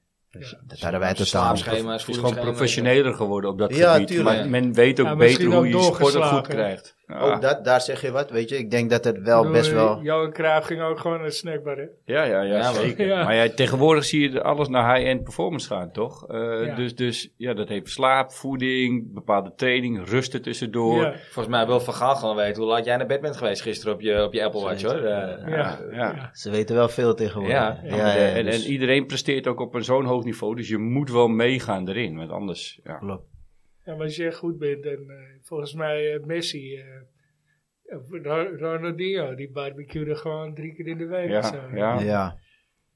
Speaker 3: Dat hadden wij totaal niet.
Speaker 1: Slaapschema's,
Speaker 4: Het is gewoon
Speaker 1: voedingsschema's.
Speaker 4: professioneler geworden op dat
Speaker 3: Ja,
Speaker 4: gebied.
Speaker 3: tuurlijk.
Speaker 4: Maar men weet ook
Speaker 2: Ja, misschien
Speaker 4: beter hoe
Speaker 2: ook
Speaker 4: je je sport ook goed
Speaker 2: doorgeslagen.
Speaker 4: krijgt. Ja,
Speaker 3: Ook dat, daar zeg je wat, weet je. Ik denk dat het
Speaker 2: Ik
Speaker 3: wel
Speaker 2: bedoel, eh,
Speaker 3: best wel...
Speaker 2: Johan Cruijff ging ook gewoon naar de snackbar, hè?
Speaker 4: ja, ja, ja,
Speaker 1: Ja, maar-
Speaker 4: zeker.
Speaker 2: Ja.
Speaker 4: Maar ja, tegenwoordig zie je alles naar high-end performance gaan, toch? Eh,
Speaker 2: Ja.
Speaker 4: Dus, dus ja, dat heeft slaap, voeding, bepaalde training, rust er tussendoor.
Speaker 2: Ja.
Speaker 1: Volgens mij wil Van Gaal gewoon weten hoe laat jij naar bed bent geweest gisteren op je, op je Apple Watch hoor. Eh,
Speaker 4: Ja,
Speaker 2: Ja.
Speaker 4: ja.
Speaker 3: Ze weten wel veel tegenwoordig.
Speaker 1: Ja.
Speaker 3: ja,
Speaker 4: En, eh, en,
Speaker 3: dus-
Speaker 4: en iedereen presteert ook op een zo'n hoog niveau, dus je moet wel meegaan erin, want anders... Ja.
Speaker 3: Klopt.
Speaker 2: Ja, maar als je goed bent, dan eh, volgens mij eh, Messi, eh, Ro- Ronaldinho, die barbecueerde gewoon drie keer in de week. of
Speaker 4: Ja,
Speaker 2: zo.
Speaker 4: ja.
Speaker 3: Ja.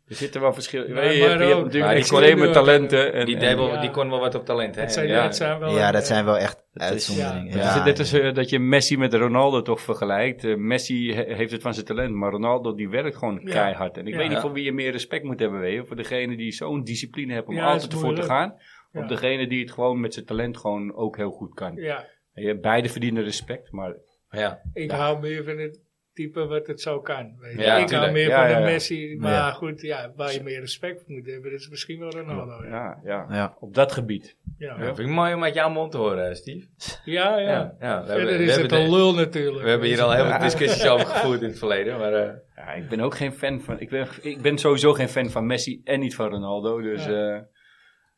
Speaker 4: Er zitten wel verschillen.
Speaker 2: eh, Maar-
Speaker 4: Weet je, je, hebt-
Speaker 2: maar
Speaker 4: je hebt
Speaker 2: ook-
Speaker 4: natuurlijk
Speaker 1: Maar
Speaker 4: echt
Speaker 1: die
Speaker 4: alleen
Speaker 2: kon-
Speaker 4: maar talenten. En,
Speaker 1: Die,
Speaker 4: en-
Speaker 1: Dable,
Speaker 2: Ja.
Speaker 1: die kon wel wat op talent. Hè?
Speaker 2: Het zijn,
Speaker 1: ja.
Speaker 2: het zijn wel...
Speaker 3: ja, dat
Speaker 2: eh,
Speaker 3: zijn wel echt
Speaker 4: is-
Speaker 3: uitzonderingen.
Speaker 4: Het
Speaker 3: Ja,
Speaker 4: is net
Speaker 3: ja.
Speaker 4: als eh, dat je Messi met Ronaldo toch vergelijkt. Eh, Messi he- heeft het van zijn talent, maar Ronaldo die werkt gewoon
Speaker 2: Ja.
Speaker 4: keihard. En ik
Speaker 2: Ja.
Speaker 4: weet niet
Speaker 1: Ja.
Speaker 4: voor wie je meer respect moet hebben, weet je. Voor degene die zo'n discipline heeft om
Speaker 2: Ja,
Speaker 4: altijd
Speaker 2: is
Speaker 4: ervoor te
Speaker 2: moeilijk.
Speaker 4: gaan.
Speaker 2: Ja.
Speaker 4: Op degene die het gewoon met zijn talent gewoon ook heel goed kan.
Speaker 2: Ja,
Speaker 4: Weet je, beide verdienen respect, maar
Speaker 1: Ja.
Speaker 2: ik
Speaker 4: Ja.
Speaker 2: hou meer van het type wat het zo kan. Weet je.
Speaker 1: Ja,
Speaker 2: ik
Speaker 1: tuurlijk.
Speaker 2: hou meer
Speaker 4: Ja,
Speaker 2: van
Speaker 4: ja,
Speaker 2: de
Speaker 4: ja.
Speaker 2: Messi, maar
Speaker 3: Ja.
Speaker 2: goed, ja, waar je meer respect voor moet hebben, dat is misschien wel Ronaldo. Ja,
Speaker 4: ja, ja.
Speaker 3: Ja.
Speaker 4: op dat gebied.
Speaker 2: ja.
Speaker 1: Ja, Vind ik mooi om uit jouw mond te horen, eh, Steve.
Speaker 2: ja, ja.
Speaker 1: ja we
Speaker 2: Verder
Speaker 1: hebben, we
Speaker 2: is
Speaker 1: hebben
Speaker 2: het een
Speaker 1: de-
Speaker 2: lul natuurlijk.
Speaker 1: we hebben hier al heel wat discussies over gevoerd in het verleden. Maar, eh,
Speaker 4: Ja, ik ben ook geen fan van... Ik ben, ik ben sowieso geen fan van Messi en niet van Ronaldo. Dus eh,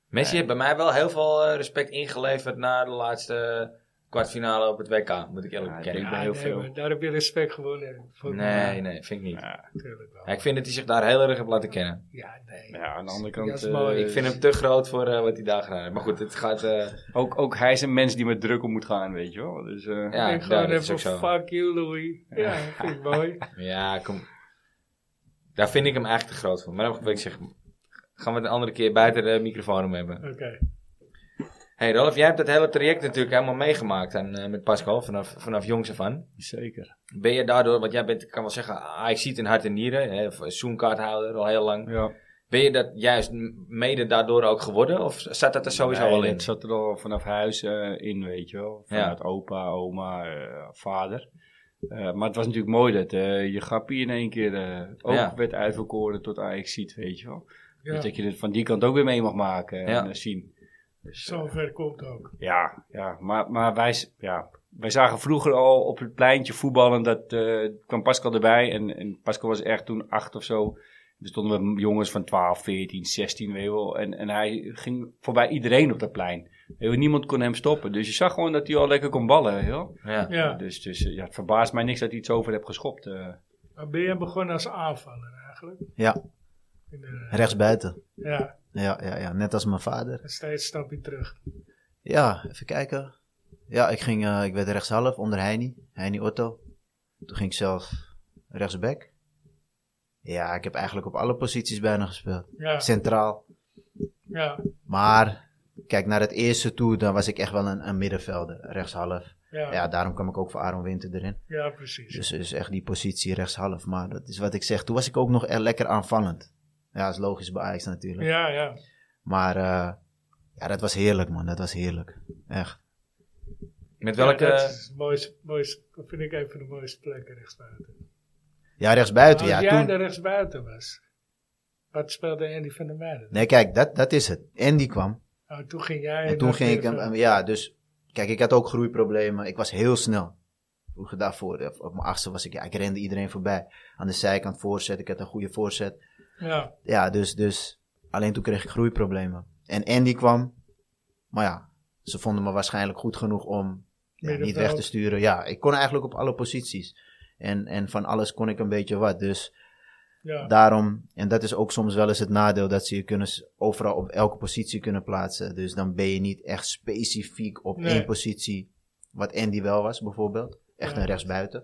Speaker 1: Messi heeft bij mij wel heel veel eh, respect ingeleverd na de laatste eh, kwartfinale op het WK, moet ik eerlijk
Speaker 4: Ja,
Speaker 1: bekennen.
Speaker 4: ik
Speaker 2: Ja,
Speaker 4: ben heel
Speaker 2: nee,
Speaker 4: veel.
Speaker 2: maar daar heb je respect gewonnen. Voor
Speaker 1: Nee, nee, vind ik niet.
Speaker 4: ja,
Speaker 2: Natuurlijk wel.
Speaker 1: Ja, ik vind dat hij zich daar heel erg heeft laten kennen.
Speaker 2: Ja, nee.
Speaker 4: ja, aan de andere
Speaker 2: Dat
Speaker 4: kant...
Speaker 2: is mooi.
Speaker 4: eh,
Speaker 1: Ik vind hem te groot voor eh, wat hij daar gedaan heeft. Maar goed, het gaat... eh,
Speaker 4: Ook, ook hij is een mens die met druk om moet gaan, weet je wel. Dus, eh,
Speaker 1: ja,
Speaker 2: ik
Speaker 1: ja,
Speaker 2: gewoon
Speaker 1: dat is ook
Speaker 2: even,
Speaker 1: zo.
Speaker 2: fuck you Louis. Ja, vind
Speaker 1: [laughs]
Speaker 2: ik mooi.
Speaker 1: Ja, kom. Daar vind ik hem eigenlijk te groot voor. Maar dan wil ik zeg, Gaan we het een andere keer buiten de microfoon om hebben.
Speaker 2: Oké.
Speaker 1: hey Rolf, jij hebt dat hele traject natuurlijk helemaal meegemaakt en, eh, met Pascal vanaf, vanaf jongs af aan.
Speaker 4: Zeker.
Speaker 1: Ben je daardoor, want jij bent, ik kan wel zeggen, ik ziet in hart en nieren, hè, of zoomkaarthouder al heel lang.
Speaker 4: Ja.
Speaker 1: Ben je dat juist m- mede daardoor ook geworden? Of zat dat er sowieso
Speaker 4: Nee,
Speaker 1: al in?
Speaker 4: dat zat er al vanaf huis eh, in, weet je wel. Vanuit opa, oma, eh, vader. Eh, maar het was natuurlijk mooi dat eh, je grappie in één keer eh, ook
Speaker 1: Ja.
Speaker 4: werd uitverkoren tot ajax ziet, weet je wel. Dus
Speaker 2: Ja,
Speaker 4: dat je het van die kant ook weer mee mag maken en
Speaker 1: Ja.
Speaker 4: eh, zien. Dus, eh,
Speaker 2: zover komt ook.
Speaker 4: ja, ja, maar, maar wij, s- ja, wij zagen vroeger al op het pleintje voetballen. Dat eh, kwam Pascal erbij en, en Pascal was echt toen acht of zo. Er stonden we jongens van 12, 14, 16, weet je wel. En, en hij ging voorbij iedereen op dat plein. Weet je wel, niemand kon hem stoppen. Dus je zag gewoon dat hij al lekker kon ballen, weet je wel.
Speaker 1: Ja.
Speaker 2: Ja,
Speaker 4: Dus, dus eh, ja, het verbaast mij niks dat hij iets over hebt geschopt. eh.
Speaker 2: maar ben je begonnen als aanvaller eigenlijk?
Speaker 3: Ja,
Speaker 2: In de-
Speaker 3: rechtsbuiten.
Speaker 2: ja,
Speaker 3: Ja, ja, ja, net als mijn vader.
Speaker 2: steeds een stapje terug.
Speaker 3: Ja, even kijken. Ja, ik, ging, eh, ik werd rechtshalf onder Heini, Heini Otto. Toen ging ik zelf rechtsback. Ja, ik heb eigenlijk op alle posities bijna gespeeld.
Speaker 2: Ja,
Speaker 3: Centraal.
Speaker 2: ja,
Speaker 3: Maar kijk, naar het eerste toe, dan was ik echt wel een, een middenvelder, rechtshalf.
Speaker 2: ja, ja.
Speaker 3: Ja, daarom kwam ik ook voor Aaron Winter erin.
Speaker 2: precies.
Speaker 3: Dus, dus echt die positie rechtshalf. Maar dat is wat ik zeg. Toen was ik ook nog er lekker aanvallend. Ja, dat is logisch bij Ajax natuurlijk.
Speaker 2: Ja, ja.
Speaker 3: Maar eh, ja, dat was heerlijk, man. Dat was heerlijk. Echt.
Speaker 1: Met welke...
Speaker 2: Welke... Ja, dat is het mooiste, mooiste, dat vind ik een van de mooiste plekken rechtsbuiten.
Speaker 3: Ja, rechtsbuiten,
Speaker 2: Als
Speaker 3: ja.
Speaker 2: jij
Speaker 3: toen-
Speaker 2: er rechtsbuiten was, wat speelde Andy van der Meijden?
Speaker 3: Nee, kijk, dat, dat is het. En die kwam.
Speaker 2: Nou, toen ging jij...
Speaker 3: En toen
Speaker 2: dat
Speaker 3: ging ik hem,
Speaker 2: even-
Speaker 3: hem- ja, dus, kijk, ik had ook groeiproblemen. Ik was heel snel. Vroeger daarvoor, eh, op mijn achtste was ik, ja, ik rende iedereen voorbij. Aan de zijkant voorzet, ik had een goede voorzet.
Speaker 2: Ja,
Speaker 3: Ja, dus, dus, alleen toen kreeg ik groeiproblemen. En Andy kwam, maar ja, ze vonden me waarschijnlijk goed genoeg om ja, niet
Speaker 2: Middenveld.
Speaker 3: weg te sturen. Ja, ik kon eigenlijk op alle posities. En, en van alles kon ik een beetje wat. Dus
Speaker 2: ja.
Speaker 3: Daarom, en dat is ook soms wel eens het nadeel, dat ze je kunnen, s- overal op elke positie kunnen plaatsen. Dus dan ben je niet echt specifiek op
Speaker 2: Nee.
Speaker 3: één positie, wat Andy wel was bijvoorbeeld. Echt
Speaker 2: Ja.
Speaker 3: een rechtsbuiten.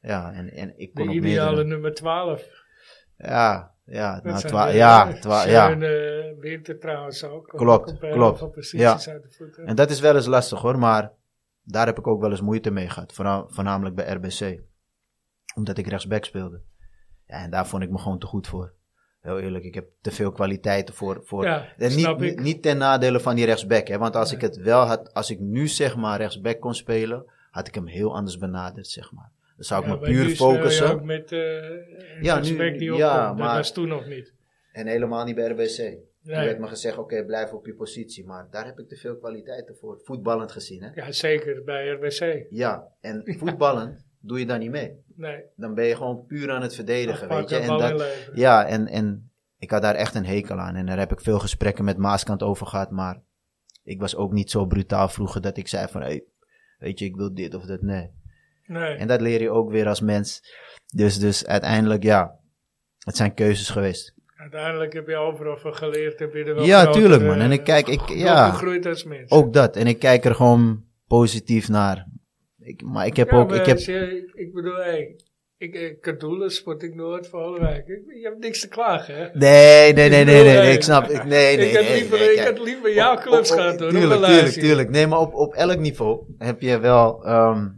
Speaker 3: Ja, en, en ik
Speaker 2: de
Speaker 3: kon op
Speaker 2: ideale
Speaker 3: meerdere.
Speaker 2: nummer 12.
Speaker 3: Ja, ja,
Speaker 2: Dat
Speaker 3: nou,
Speaker 2: zijn
Speaker 3: twa-
Speaker 2: de- [laughs]
Speaker 3: ja, twa- ja.
Speaker 2: Schöne winter trouwens ook.
Speaker 3: Klopt,
Speaker 2: Ook op heel
Speaker 3: klopt.
Speaker 2: veel posities uit de voeten.
Speaker 3: En dat is wel eens lastig hoor, maar daar heb ik ook wel eens moeite mee gehad. voorna- Voornamelijk bij RBC. Omdat ik rechtsback speelde. Ja, en daar vond ik me gewoon te goed voor. Heel eerlijk, ik heb te veel kwaliteiten voor, voor,
Speaker 2: ja,
Speaker 3: En
Speaker 2: snap
Speaker 3: niet, niet-
Speaker 2: ik.
Speaker 3: niet ten nadele van die rechtsback. Hè? Want als
Speaker 2: Nee.
Speaker 3: ik het wel had, als ik nu zeg maar rechtsback kon spelen, had ik hem heel anders benaderd, zeg maar. Dan zou ik
Speaker 2: Ja,
Speaker 3: me
Speaker 2: maar
Speaker 3: puur
Speaker 2: nu speel je
Speaker 3: focussen.
Speaker 2: ook met eh
Speaker 3: Ja,
Speaker 2: ja, nu,
Speaker 3: nu-
Speaker 2: die
Speaker 3: ja,
Speaker 2: opkomt. Dat
Speaker 3: maar-
Speaker 2: was toen nog niet.
Speaker 3: En helemaal niet bij RBC. Toen
Speaker 2: Nee.
Speaker 3: werd me gezegd, oké, blijf op je positie. Maar daar heb ik te veel kwaliteiten voor. Voetballend gezien, hè.
Speaker 2: Ja, zeker bij RBC.
Speaker 3: Ja, en voetballend doe je daar niet mee.
Speaker 2: Nee,
Speaker 3: Dan ben je gewoon puur aan het verdedigen, weet je.
Speaker 2: afpakken,
Speaker 3: En
Speaker 2: bal
Speaker 3: dat,
Speaker 2: inleveren.
Speaker 3: ja, en, en ik had daar echt een hekel aan. En daar heb ik veel gesprekken met Maaskant over gehad. Maar ik was ook niet zo brutaal vroeger dat ik zei van... Hey, weet je, ik wil dit of dat. Nee.
Speaker 2: Nee,
Speaker 3: En dat leer je ook weer als mens. Dus, dus uiteindelijk, ja... Het zijn keuzes geweest.
Speaker 2: uiteindelijk heb je overal van geleerd. Heb je er wel
Speaker 3: Ja,
Speaker 2: groter,
Speaker 3: tuurlijk, man.
Speaker 2: eh,
Speaker 3: En ik kijk, ik-
Speaker 2: gro-
Speaker 3: ja.
Speaker 2: Gegroeid als mens.
Speaker 3: Ook dat. En ik kijk er gewoon positief naar. Ik, maar ik heb
Speaker 2: Ja,
Speaker 3: ook...
Speaker 2: maar
Speaker 3: Ik heb,
Speaker 2: als je- ik bedoel, hey, ik, eh, ik kan doelen, Sporting Noord, van Hollewijk. Ik- Je hebt niks te klagen, hè?
Speaker 3: nee, nee, nee, nee, nee,
Speaker 2: bedoel,
Speaker 3: nee.
Speaker 2: eh,
Speaker 3: Ik snap... Ik, nee, nee,
Speaker 2: ik had
Speaker 3: nee,
Speaker 2: liever,
Speaker 3: nee,
Speaker 2: ik
Speaker 3: kijk.
Speaker 2: had liever [laughs] jouw clubs
Speaker 3: Op- op-
Speaker 2: gehad door
Speaker 3: Tuurlijk, tuurlijk, tuurlijk. Nee, maar op, op elk niveau heb je wel ehm,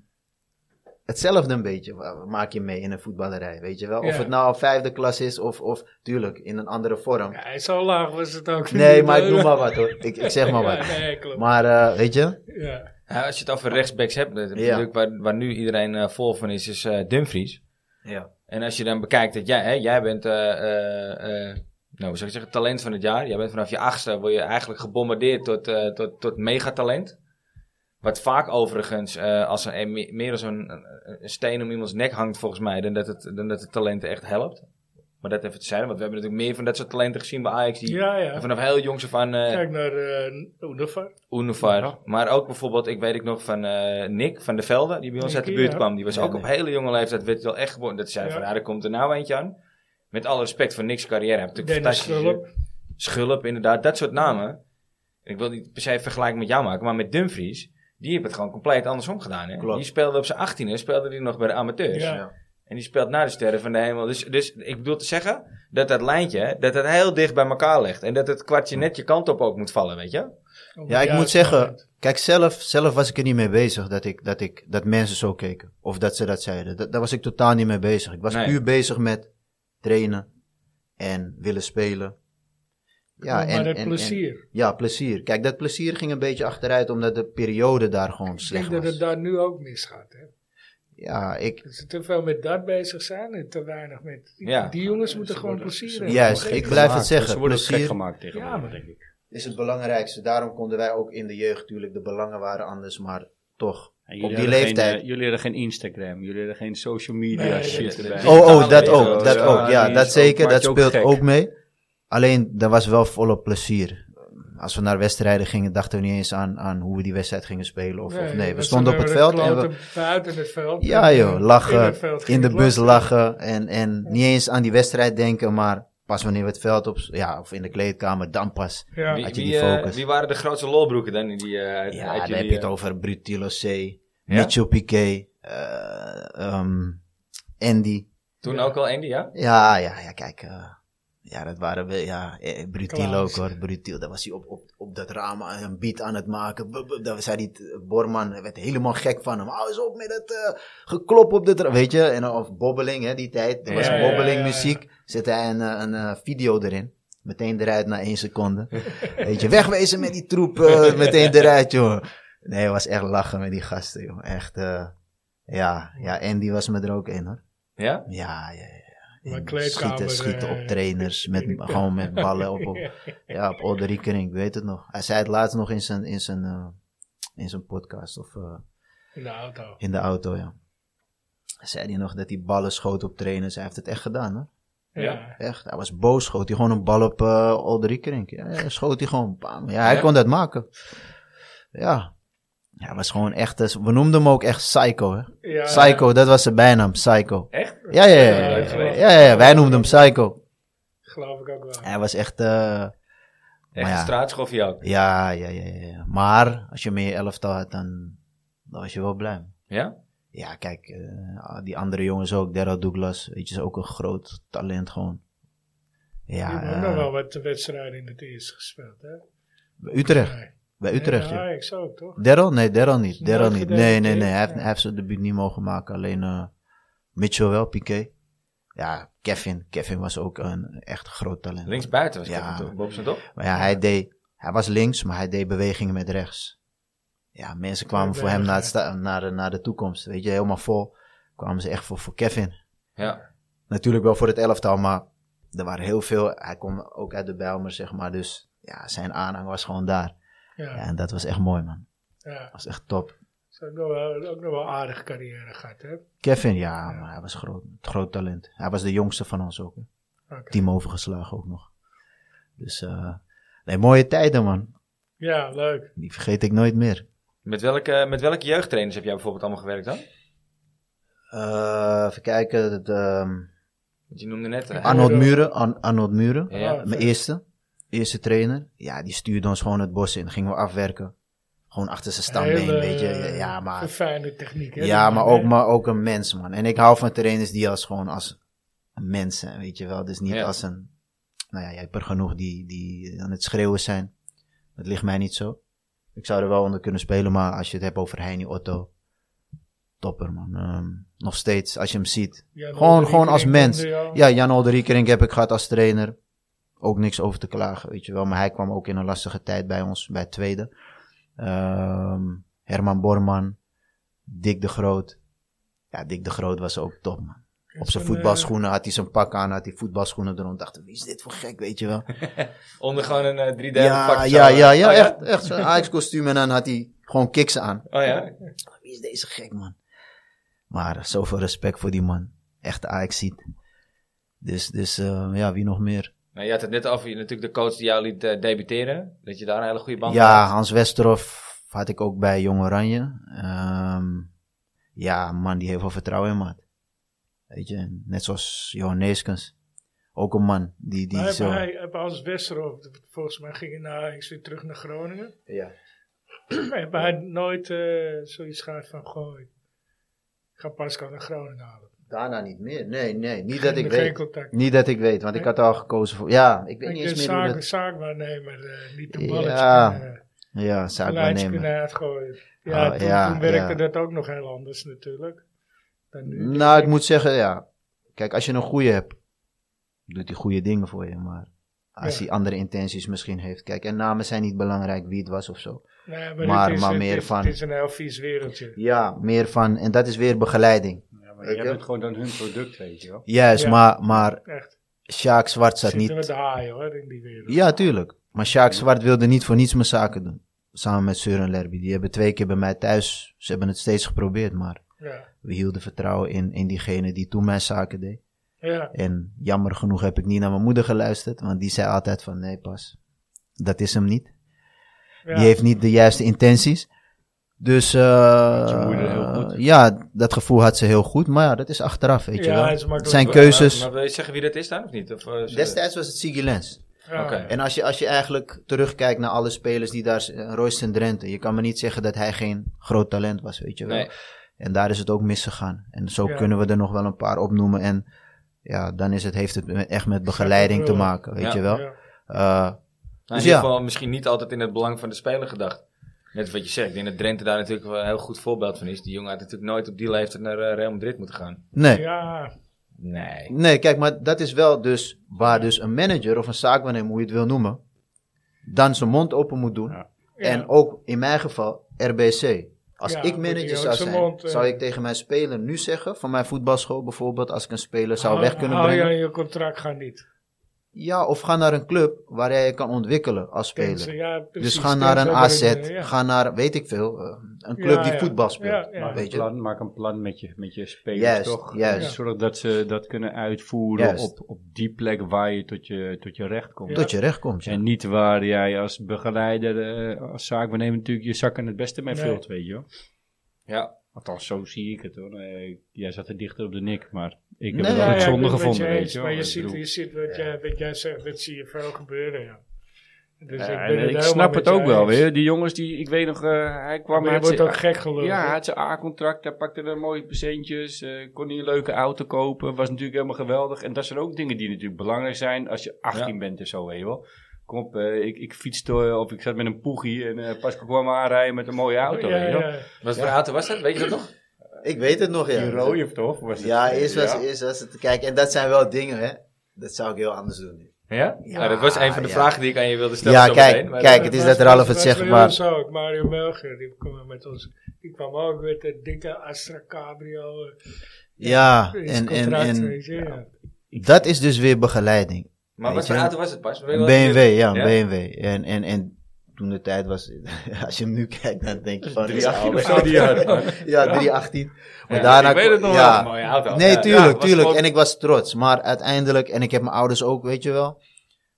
Speaker 3: hetzelfde een beetje. wa- Maak je mee in een voetballerij, weet je wel. Of
Speaker 2: Ja.
Speaker 3: het nou vijfde klas is of, of tuurlijk, in een andere vorm.
Speaker 2: Ja, zo laag was het ook [laughs]
Speaker 3: nee,
Speaker 2: niet,
Speaker 3: maar ik
Speaker 2: hoor.
Speaker 3: noem maar wat hoor. Ik, ik zeg
Speaker 2: [laughs]
Speaker 3: maar
Speaker 2: Ja,
Speaker 3: wat.
Speaker 2: nee, klopt.
Speaker 3: Maar eh, weet je,
Speaker 2: ja.
Speaker 1: Ja, eh, als je het over rechtsbacks hebt, dat-
Speaker 3: Ja.
Speaker 1: natuurlijk waar, waar nu iedereen eh, vol van is, is eh, Dumfries.
Speaker 3: ja.
Speaker 1: En als je dan bekijkt dat jij, hè, jij bent, eh, eh, eh, nou, hoe zou ik zeggen, talent van het jaar. Jij bent vanaf je achtste, word je eigenlijk gebombardeerd tot, eh, tot, tot megatalent. Wat vaak overigens eh, als er een- meer dan zo'n eh, een steen om iemands nek hangt, volgens mij, dan dat het, dan dat het talent echt helpt. Maar dat even te zijn, want we hebben natuurlijk meer van dat soort talenten gezien bij Ajax. Die
Speaker 2: ja, ja.
Speaker 1: vanaf heel jongs af aan eh,
Speaker 2: Kijk naar eh Oenevar.
Speaker 1: Unifar.
Speaker 4: Ja.
Speaker 1: Maar ook bijvoorbeeld, ik weet ik nog van eh, Nick van de Velde, die bij ons
Speaker 2: Nick,
Speaker 1: uit de buurt
Speaker 2: ja.
Speaker 1: kwam. Die was
Speaker 3: Ja,
Speaker 1: ook op
Speaker 3: Nick.
Speaker 1: hele jonge leeftijd, werd wel echt gewoon. Dat zei
Speaker 2: Ja.
Speaker 1: van, ja, er komt er nou eentje aan. Met alle respect voor Nick's carrière. Hij heeft natuurlijk
Speaker 2: Dennis
Speaker 1: fantastische-
Speaker 2: Schulp.
Speaker 1: Schulp, inderdaad. Dat soort namen. Ik wil niet per se vergelijken met jou maken, maar met Dumfries. Die heeft het gewoon compleet andersom gedaan. Hè?
Speaker 3: Klopt.
Speaker 1: Die speelde op zijn 18e, speelde die nog bij de amateurs.
Speaker 2: Ja.
Speaker 3: eh, Ja.
Speaker 1: En die speelt naar de sterren van de hemel. Dus, dus ik bedoel te zeggen dat dat lijntje, dat het heel dicht bij elkaar ligt. En dat het kwartje net je kant op ook moet vallen, weet je?
Speaker 2: Op
Speaker 3: Ja,
Speaker 2: het
Speaker 3: ik moet
Speaker 2: juiste
Speaker 3: zeggen,
Speaker 2: moment.
Speaker 3: kijk, zelf, zelf was ik er niet mee bezig dat, ik, dat, ik, dat mensen zo keken. Of dat ze dat zeiden. Dat, daar was ik totaal niet mee bezig. Ik was
Speaker 1: Nee.
Speaker 3: puur bezig met trainen en willen spelen. Ja,
Speaker 2: maar
Speaker 3: en,
Speaker 2: het
Speaker 3: en- en-
Speaker 2: plezier.
Speaker 3: ja, plezier. Kijk, dat plezier ging een beetje achteruit omdat de periode daar gewoon
Speaker 2: ik
Speaker 3: slecht
Speaker 2: denk
Speaker 3: was.
Speaker 2: dat het daar nu ook misgaat. Hè?
Speaker 3: Ja, ik,
Speaker 2: Dat ze te veel met dat bezig zijn en te weinig met...
Speaker 1: Ja.
Speaker 2: Die jongens moeten
Speaker 4: Ze
Speaker 2: gewoon
Speaker 4: worden-
Speaker 2: plezier
Speaker 4: ze
Speaker 2: hebben.
Speaker 3: juist,
Speaker 2: Vergeet
Speaker 3: ik
Speaker 2: het.
Speaker 3: blijf het
Speaker 4: Gemaakt. Ze
Speaker 3: zeggen.
Speaker 4: worden gek
Speaker 3: Plezier
Speaker 4: gemaakt tegenwoordig,
Speaker 2: Ja, maar-
Speaker 4: denk ik.
Speaker 3: is het belangrijkste. Daarom konden wij ook in de jeugd, natuurlijk, de belangen waren anders, maar toch.
Speaker 4: En
Speaker 3: Op
Speaker 4: jullie
Speaker 3: die
Speaker 4: hadden geen,
Speaker 3: leeftijd.
Speaker 4: eh, jullie hadden geen Instagram, jullie hadden geen social media
Speaker 2: Nee,
Speaker 4: shit
Speaker 1: dat-
Speaker 4: erbij.
Speaker 1: dat-
Speaker 3: Oh,
Speaker 1: Digitale
Speaker 3: oh, dat
Speaker 1: wereld,
Speaker 3: ook. Dat
Speaker 1: ja,
Speaker 3: ook. Ja,
Speaker 4: die
Speaker 3: dat
Speaker 4: is
Speaker 3: zeekt
Speaker 4: ook-
Speaker 3: zeker.
Speaker 4: maakt
Speaker 3: Dat
Speaker 4: je ook
Speaker 3: speelt
Speaker 4: gek.
Speaker 3: ook mee. Alleen, er was wel volop plezier. Als we naar wedstrijden gingen, dachten we niet eens aan, aan hoe we die wedstrijd gingen spelen. Of, of nee, we
Speaker 2: dat
Speaker 3: stonden op
Speaker 2: zijn
Speaker 3: het
Speaker 2: er
Speaker 3: veld en we,
Speaker 2: kloten Buiten het veld.
Speaker 3: ja joh,
Speaker 2: In
Speaker 3: lachen,
Speaker 2: het veld
Speaker 3: in
Speaker 2: ging
Speaker 3: de
Speaker 2: ik
Speaker 3: bus lachen en, en niet eens aan die wedstrijd denken, maar pas wanneer we het veld op, ja, of in de kleedkamer, dan pas.
Speaker 2: Ja.
Speaker 1: Wie,
Speaker 3: Had je
Speaker 1: wie,
Speaker 3: die
Speaker 1: eh,
Speaker 3: focus?
Speaker 1: wie waren de grootste lolbroeken dan? in Die, eh, uit-
Speaker 3: Ja,
Speaker 1: uit
Speaker 3: daar
Speaker 1: jullie,
Speaker 3: heb je het
Speaker 1: eh,
Speaker 3: over Brutilo C, Mitchell Piquet, eh, ehm, Andy.
Speaker 1: Toen ook al Andy, ja?
Speaker 3: Ja, ja, ja, kijk. eh, ja, dat waren we. Ja, eh, Brutiel ook
Speaker 2: Klaas.
Speaker 3: hoor. Brutiel, daar was hij op, op, op dat raam aan- een beat aan het maken. Bub, bub, daar zei die eh, Borman, werd helemaal gek van hem. Hou eens op met dat eh, geklop op de raam. Weet je, en, of bobbeling, hè, die tijd. Er was
Speaker 2: Ja, ja,
Speaker 3: bobbeling
Speaker 2: ja, ja.
Speaker 3: muziek. Zette hij een, eh, een eh, video erin. Meteen eruit na één seconde. Weet je, wegwezen met die
Speaker 2: [laughs]
Speaker 3: troep. eh, meteen eruit, joh. Nee, het was echt lachen met die gasten, joh. Echt, eh, ja. Ja, Andy was me er ook in, hoor.
Speaker 1: Ja?
Speaker 3: Ja, ja, ja.
Speaker 2: Maar
Speaker 3: En
Speaker 2: kleedkamer,
Speaker 3: schieten, schieten
Speaker 2: eh,
Speaker 3: op
Speaker 2: [laughs]
Speaker 3: trainers, met,
Speaker 2: weet ik wel.
Speaker 3: gewoon met ballen op,
Speaker 2: [laughs]
Speaker 3: op,
Speaker 2: Ja.
Speaker 3: ja, op Olde Riekering, ik weet het nog. Hij zei het laatst nog in zijn, in zijn, eh, in zijn podcast of eh,
Speaker 2: In de auto.
Speaker 3: in de auto, ja. Zei hij nog dat hij ballen schoot op trainers. Hij heeft het echt gedaan, hoor.
Speaker 2: Ja.
Speaker 3: Echt, hij was boos, schoot hij gewoon een bal op eh Olde Riekering. Ja, ja, schoot hij gewoon, bam. Ja, hij
Speaker 1: Ja?
Speaker 3: kon dat maken. Ja. Ja, Hij was gewoon echt, eh, we noemden hem ook echt Psycho, hè.
Speaker 2: Ja.
Speaker 3: Psycho, dat was zijn bijnaam, Psycho.
Speaker 1: Echt?
Speaker 3: Ja, ja, ja.
Speaker 2: Ja,
Speaker 3: Ja,
Speaker 2: leuk
Speaker 3: ja,
Speaker 2: geweest.
Speaker 3: ja, ja, wij noemden hem Psycho.
Speaker 2: Geloof ik ook wel.
Speaker 3: Hij was echt, eh,
Speaker 1: Echt
Speaker 3: ja.
Speaker 1: een straatschoffie ook.
Speaker 3: ja, ja, ja, ja, ja. Maar als je meer elftal had, dan, dan was je wel blij.
Speaker 1: Ja?
Speaker 3: Ja, kijk, eh, die andere jongens ook, Daryl Douglas, weet je, is ook een groot talent gewoon.
Speaker 2: Die
Speaker 3: Ja,
Speaker 2: hebben nog
Speaker 3: eh,
Speaker 2: wel wat wedstrijden in het eerste gespeeld. Hè?
Speaker 3: bij Utrecht,
Speaker 2: Nee.
Speaker 3: bij Utrecht,
Speaker 2: Ja,
Speaker 3: ja.
Speaker 2: ik zou toch?
Speaker 3: Daryl? Nee, Daryl niet,
Speaker 2: Nooit
Speaker 3: Daryl niet. Nee, nee, nee, hij heeft,
Speaker 2: gedebuteerd,
Speaker 3: hij heeft zijn debuut niet mogen maken, alleen eh Mitchell wel, Piqué. Ja, Kevin, Kevin was ook een echt groot talent.
Speaker 1: Linksbuiten was
Speaker 3: Ja.
Speaker 1: ja. het Bob zijn top.
Speaker 3: Maar ja, hij, deed, hij was links, maar hij deed bewegingen met rechts. Ja, mensen kwamen
Speaker 2: Ja,
Speaker 3: voor hem
Speaker 2: ja.
Speaker 3: naar, het sta- naar, de, naar de toekomst. Weet je, helemaal vol. Kwamen ze echt voor, voor Kevin.
Speaker 1: Ja.
Speaker 3: Natuurlijk wel voor het elftal, maar er waren heel veel. Hij kwam ook uit de Bijlmer, zeg maar. Dus ja, zijn aanhang was gewoon daar. Ja,
Speaker 2: Ja.
Speaker 3: en dat was echt mooi, man.
Speaker 2: ja.
Speaker 3: Dat was echt top.
Speaker 2: Ze hebben ook nog wel- ook nog wel een aardige carrière gehad. Hè?
Speaker 3: Kevin, ja, maar hij was groot. Groot talent. Hij was de jongste van ons ook. hè.
Speaker 2: Oké.
Speaker 3: Team overgeslagen ook nog. Dus, eh, nee, mooie tijden, man.
Speaker 2: Ja, leuk.
Speaker 3: Die vergeet ik nooit meer.
Speaker 1: Met welke, met welke jeugdtrainers heb jij bijvoorbeeld allemaal gewerkt dan?
Speaker 3: Eh, even kijken. dat, ehm,
Speaker 1: Want je noemde net... eh,
Speaker 3: Arnold Muren. An- Arnold Muren.
Speaker 1: Ja.
Speaker 3: Mijn eerste. Eerste trainer. Ja, die stuurde ons gewoon het bos in. Gingen we afwerken. Gewoon achter zijn stambeen,
Speaker 2: Hele,
Speaker 3: weet je. Ja, maar,
Speaker 2: Verfijnde techniek. Hè?
Speaker 3: ja,
Speaker 2: Die
Speaker 3: maar,
Speaker 2: man,
Speaker 3: ook,
Speaker 2: hè?
Speaker 3: maar ook een mens, man. En ik hou van trainers die als gewoon als een mens zijn, weet je wel. Dus niet
Speaker 1: Ja.
Speaker 3: als een... Nou ja, je hebt er genoeg die, die aan het schreeuwen zijn. Dat ligt mij niet zo. Ik zou er wel onder kunnen spelen, maar als je het hebt over Heini Otto... Topper, man. Ehm, nog steeds, als je hem ziet...
Speaker 2: Ja,
Speaker 3: gewoon-
Speaker 2: Roderick
Speaker 3: gewoon als
Speaker 2: Ring
Speaker 3: mens.
Speaker 2: noemde je al.
Speaker 3: Ja, Jan Olderiekerink heb ik gehad als trainer. Ook niks over te klagen, weet je wel. Maar hij kwam ook in een lastige tijd bij ons, bij het tweede. Ehm, Herman Borman, Dick de Groot. Ja, Dick de Groot was ook top, man. Op zijn
Speaker 2: eh,
Speaker 3: voetbalschoenen had hij zijn pak aan, had hij voetbalschoenen eronder. Dacht, wie is dit voor gek, weet je wel.
Speaker 1: [laughs] Onder gewoon een eh, driedelig pak.
Speaker 3: Ja,
Speaker 1: zo,
Speaker 3: ja,
Speaker 1: eh.
Speaker 3: ja, ja,
Speaker 1: Oh,
Speaker 3: echt, echt zo'n Ajax-kostuum. En dan had hij gewoon kicks aan.
Speaker 1: Oh ja?
Speaker 3: Wie is deze gek, man? Maar eh, zoveel respect voor die man. Echte Ajax-ziet. Dus, dus eh, ja, wie nog meer?
Speaker 1: Nou, je had het net over je- natuurlijk de coach die jou liet eh, debuteren. Dat je daar een hele goede band mee
Speaker 3: Ja,
Speaker 1: had.
Speaker 3: Hans Westerhof had ik ook bij Jong Oranje. Ehm, ja, man, die heeft wel vertrouwen in man. Weet je, net zoals Johan Neeskens. Ook een man die, die
Speaker 2: Maar
Speaker 3: zo...
Speaker 2: hij, hij, als Westerhof, volgens mij ging hij naar Ajax weer terug naar Groningen. [clears throat]
Speaker 3: Ja.
Speaker 2: Hebben hij nooit eh, zoiets gehad van, goh, ik ga Pascal naar Groningen halen.
Speaker 3: Daarna niet meer. Nee, nee. Niet dat
Speaker 2: Geen-
Speaker 3: ik
Speaker 2: Geen
Speaker 3: weet.
Speaker 2: contact.
Speaker 3: Niet dat ik weet, want ik had al gekozen voor. Ja, ik weet
Speaker 2: Ik
Speaker 3: niet eens
Speaker 2: ben
Speaker 3: meer hoe
Speaker 2: zaak,
Speaker 3: dat.
Speaker 2: zaakwaarnemer, eh, niet de
Speaker 3: Ja,
Speaker 2: balletje. eh.
Speaker 3: Ja, zaak
Speaker 2: Lijntje
Speaker 3: waarnemen.
Speaker 2: kunnen uitgooien. Ja,
Speaker 3: Oh,
Speaker 2: toen,
Speaker 3: ja,
Speaker 2: toen werkte
Speaker 3: ja.
Speaker 2: dat ook nog heel anders natuurlijk. Dan nu.
Speaker 3: Nou, ik moet zeggen, ja. Kijk, als je een goede hebt, doet hij goede dingen voor je. Maar als
Speaker 2: Ja.
Speaker 3: hij andere intenties misschien heeft. Kijk, en namen zijn niet belangrijk wie het was of zo.
Speaker 2: Nee,
Speaker 3: maar-
Speaker 2: het is,
Speaker 3: maar
Speaker 2: het
Speaker 3: meer
Speaker 2: is-
Speaker 3: van-
Speaker 2: Het is een heel vies wereldje.
Speaker 3: Ja, meer van. En dat is weer begeleiding.
Speaker 4: Ja,
Speaker 3: Weet
Speaker 4: maar jij
Speaker 3: je?
Speaker 4: bent gewoon dan hun product, weet je wel.
Speaker 3: Juist,
Speaker 2: Ja.
Speaker 3: maar, maar
Speaker 2: Echt.
Speaker 3: Sjaak Zwart zat
Speaker 2: Zitten
Speaker 3: niet.
Speaker 2: we te haaien hoor, in die wereld.
Speaker 3: Ja, tuurlijk. Maar Sjaak Zwart wilde niet voor niets mijn zaken doen. Samen met Seur en Lerby. Die hebben twee keer bij mij thuis. Ze hebben het steeds geprobeerd, maar
Speaker 2: Ja.
Speaker 3: we hielden vertrouwen in, in diegene die toen mijn zaken deed.
Speaker 2: ja.
Speaker 3: En jammer genoeg heb ik niet naar mijn moeder geluisterd, want die zei altijd van nee pas, dat is hem niet.
Speaker 2: ja.
Speaker 3: Die heeft niet de juiste intenties. Dus eh,
Speaker 4: je moeder heel goed.
Speaker 3: ja, dat gevoel had ze heel goed, maar ja, dat is achteraf, weet
Speaker 2: Ja,
Speaker 3: je wel.
Speaker 2: het is makkelijk.
Speaker 3: Het zijn
Speaker 2: Maar-
Speaker 3: keuzes.
Speaker 1: Maar, maar wil je zeggen wie dat is dan of niet? Of, eh, zullen we-
Speaker 3: Destijds was het Siggy Lens.
Speaker 2: Ja.
Speaker 1: Oké.
Speaker 3: En als je, als je eigenlijk terugkijkt naar alle spelers die daar... eh, Royce en Drenthe, je kan me niet zeggen dat hij geen groot talent was, weet je wel.
Speaker 1: Nee.
Speaker 3: En daar is het ook misgegaan. En zo
Speaker 2: Ja.
Speaker 3: kunnen we er nog wel een paar opnoemen. En ja, dan is het, heeft het met- echt met begeleiding te
Speaker 2: brullen.
Speaker 3: maken, weet
Speaker 1: Ja.
Speaker 3: je wel.
Speaker 2: Ja.
Speaker 3: Eh,
Speaker 1: Nou, in
Speaker 3: Dus ja.
Speaker 1: ieder geval misschien niet altijd in het belang van de speler gedacht. Net wat je zegt. Ik denk dat Drenthe daar natuurlijk wel een heel goed voorbeeld van is. Die jongen had natuurlijk nooit op die leeftijd naar eh, Real Madrid moeten gaan.
Speaker 3: nee.
Speaker 2: Ja.
Speaker 1: Nee.
Speaker 3: nee, kijk, maar dat is wel dus waar dus een manager of een zaakwaarnemer, hoe je het wil noemen, dan zijn mond open moet doen.
Speaker 4: Ja.
Speaker 3: En ook in mijn geval RBC. Als
Speaker 2: Ja,
Speaker 3: ik
Speaker 2: moet hij
Speaker 3: manager
Speaker 2: ook
Speaker 3: zou
Speaker 2: zijn
Speaker 3: zijn,
Speaker 2: mond, eh,
Speaker 3: zou ik tegen mijn speler nu zeggen, van mijn voetbalschool bijvoorbeeld, als ik een speler
Speaker 2: Ah,
Speaker 3: zou weg kunnen
Speaker 2: hou
Speaker 3: brengen.
Speaker 2: je aan je contract gaat niet.
Speaker 3: Ja, of ga naar een club waar jij je kan ontwikkelen als
Speaker 2: Ken
Speaker 3: speler.
Speaker 2: ze, ja, precies.
Speaker 3: Dus ga
Speaker 2: Ken
Speaker 3: naar
Speaker 2: ze
Speaker 3: een
Speaker 2: hebben
Speaker 3: AZ,
Speaker 2: eh, ja.
Speaker 3: ga naar, weet ik veel, eh, een club
Speaker 2: Ja,
Speaker 3: die
Speaker 2: ja.
Speaker 3: voetbal speelt.
Speaker 2: Ja, ja.
Speaker 4: Maak,
Speaker 3: Weet je?
Speaker 4: een plan, maak een plan met je, met je spelers,
Speaker 3: Juist,
Speaker 4: toch?
Speaker 3: juist.
Speaker 4: Zorg dat ze dat kunnen uitvoeren
Speaker 3: Juist.
Speaker 4: op, op die plek waar je tot je, tot je recht komt.
Speaker 3: Tot je recht komt. Ja.
Speaker 4: En niet waar jij als begeleider, eh, als zaakbenemer natuurlijk je zakken het beste mee
Speaker 2: Nee.
Speaker 4: vult, weet je wel.
Speaker 1: Ja.
Speaker 4: Althans, zo zie ik het hoor. Eh, jij zat er dichter op de nik, maar ik heb
Speaker 3: Nee,
Speaker 4: het
Speaker 3: ja,
Speaker 4: altijd
Speaker 3: ja,
Speaker 4: zonde
Speaker 2: ik ben het met je
Speaker 4: gevonden, weet
Speaker 2: eens,
Speaker 4: je wel.
Speaker 2: Maar je
Speaker 4: Ik
Speaker 2: ziet,
Speaker 4: bedoel-
Speaker 2: je ziet wat, jij, wat jij zegt, dat zie je veel gebeuren, ja. Dus
Speaker 4: Ja, en
Speaker 2: ben
Speaker 4: ik
Speaker 2: helemaal
Speaker 4: snap
Speaker 2: met
Speaker 4: het
Speaker 2: je
Speaker 4: ook wel
Speaker 2: eens.
Speaker 4: weer. Die jongens die, ik weet nog, eh, hij kwam...
Speaker 2: Maar je
Speaker 4: hij
Speaker 2: wordt
Speaker 4: had
Speaker 2: ook
Speaker 4: zijn-
Speaker 2: gek geluld.
Speaker 4: Ja,
Speaker 2: hè?
Speaker 4: hij had zijn A-contract, hij pakte er mooie percentjes, eh, kon hij een leuke auto kopen, was natuurlijk helemaal geweldig. En dat zijn ook dingen die natuurlijk belangrijk zijn als je 18 bent en zo, weet je wel. Kom op, eh, ik, ik fietste eh, of ik zat met een poegie en eh Pascal kwam aanrijden met een mooie auto,
Speaker 2: Ja,
Speaker 4: weet je wel.
Speaker 2: ja.
Speaker 1: Wat voor auto was dat? Weet je dat nog?
Speaker 3: Ik weet het nog, ja.
Speaker 4: Die rode of toch? Was het? eh,
Speaker 3: Ja, eerst was,
Speaker 4: Ja.
Speaker 3: eerst was het. Kijk, en dat zijn wel dingen, hè. Dat zou ik heel anders doen. nu.
Speaker 1: Ja?
Speaker 3: Ja,
Speaker 1: Nou, dat was een van de
Speaker 3: ja.
Speaker 1: vragen die ik aan je wilde stellen.
Speaker 3: Ja,
Speaker 1: zometeen,
Speaker 3: kijk,
Speaker 1: maar,
Speaker 3: kijk,
Speaker 1: eh,
Speaker 3: het is
Speaker 2: was-
Speaker 3: dat Ralf het
Speaker 2: was
Speaker 3: zegt,
Speaker 2: bij
Speaker 3: maar-
Speaker 2: ons ook. Mario Melger, die kwam met ons. Die kwam ook met een dikke Astra Cabrio. eh,
Speaker 3: Ja,
Speaker 2: in
Speaker 3: en,
Speaker 2: zijn
Speaker 3: en,
Speaker 2: contract,
Speaker 3: en
Speaker 2: weet je, ja.
Speaker 3: dat is dus weer begeleiding.
Speaker 1: maar wat
Speaker 3: weet
Speaker 1: voor
Speaker 3: je?
Speaker 1: auto was het pas? Wil je
Speaker 3: Een
Speaker 1: wel-
Speaker 3: BMW, ja, een
Speaker 1: Ja?
Speaker 3: BMW. En, en, en toen de tijd was, [laughs] als je hem nu kijkt, dan denk je van...
Speaker 4: 318
Speaker 3: is
Speaker 4: of zo die
Speaker 3: oude.
Speaker 4: jaar.
Speaker 3: [laughs] Ja, 318. Maar
Speaker 1: Ja,
Speaker 3: daarna...
Speaker 1: ik weet het nog wel.
Speaker 3: ja.
Speaker 1: Een mooie auto.
Speaker 3: Nee,
Speaker 1: Ja, ja,
Speaker 3: tuurlijk,
Speaker 1: was
Speaker 3: tuurlijk.
Speaker 1: gewoon-
Speaker 3: En ik was trots. Maar uiteindelijk, en ik heb mijn ouders ook, weet je wel,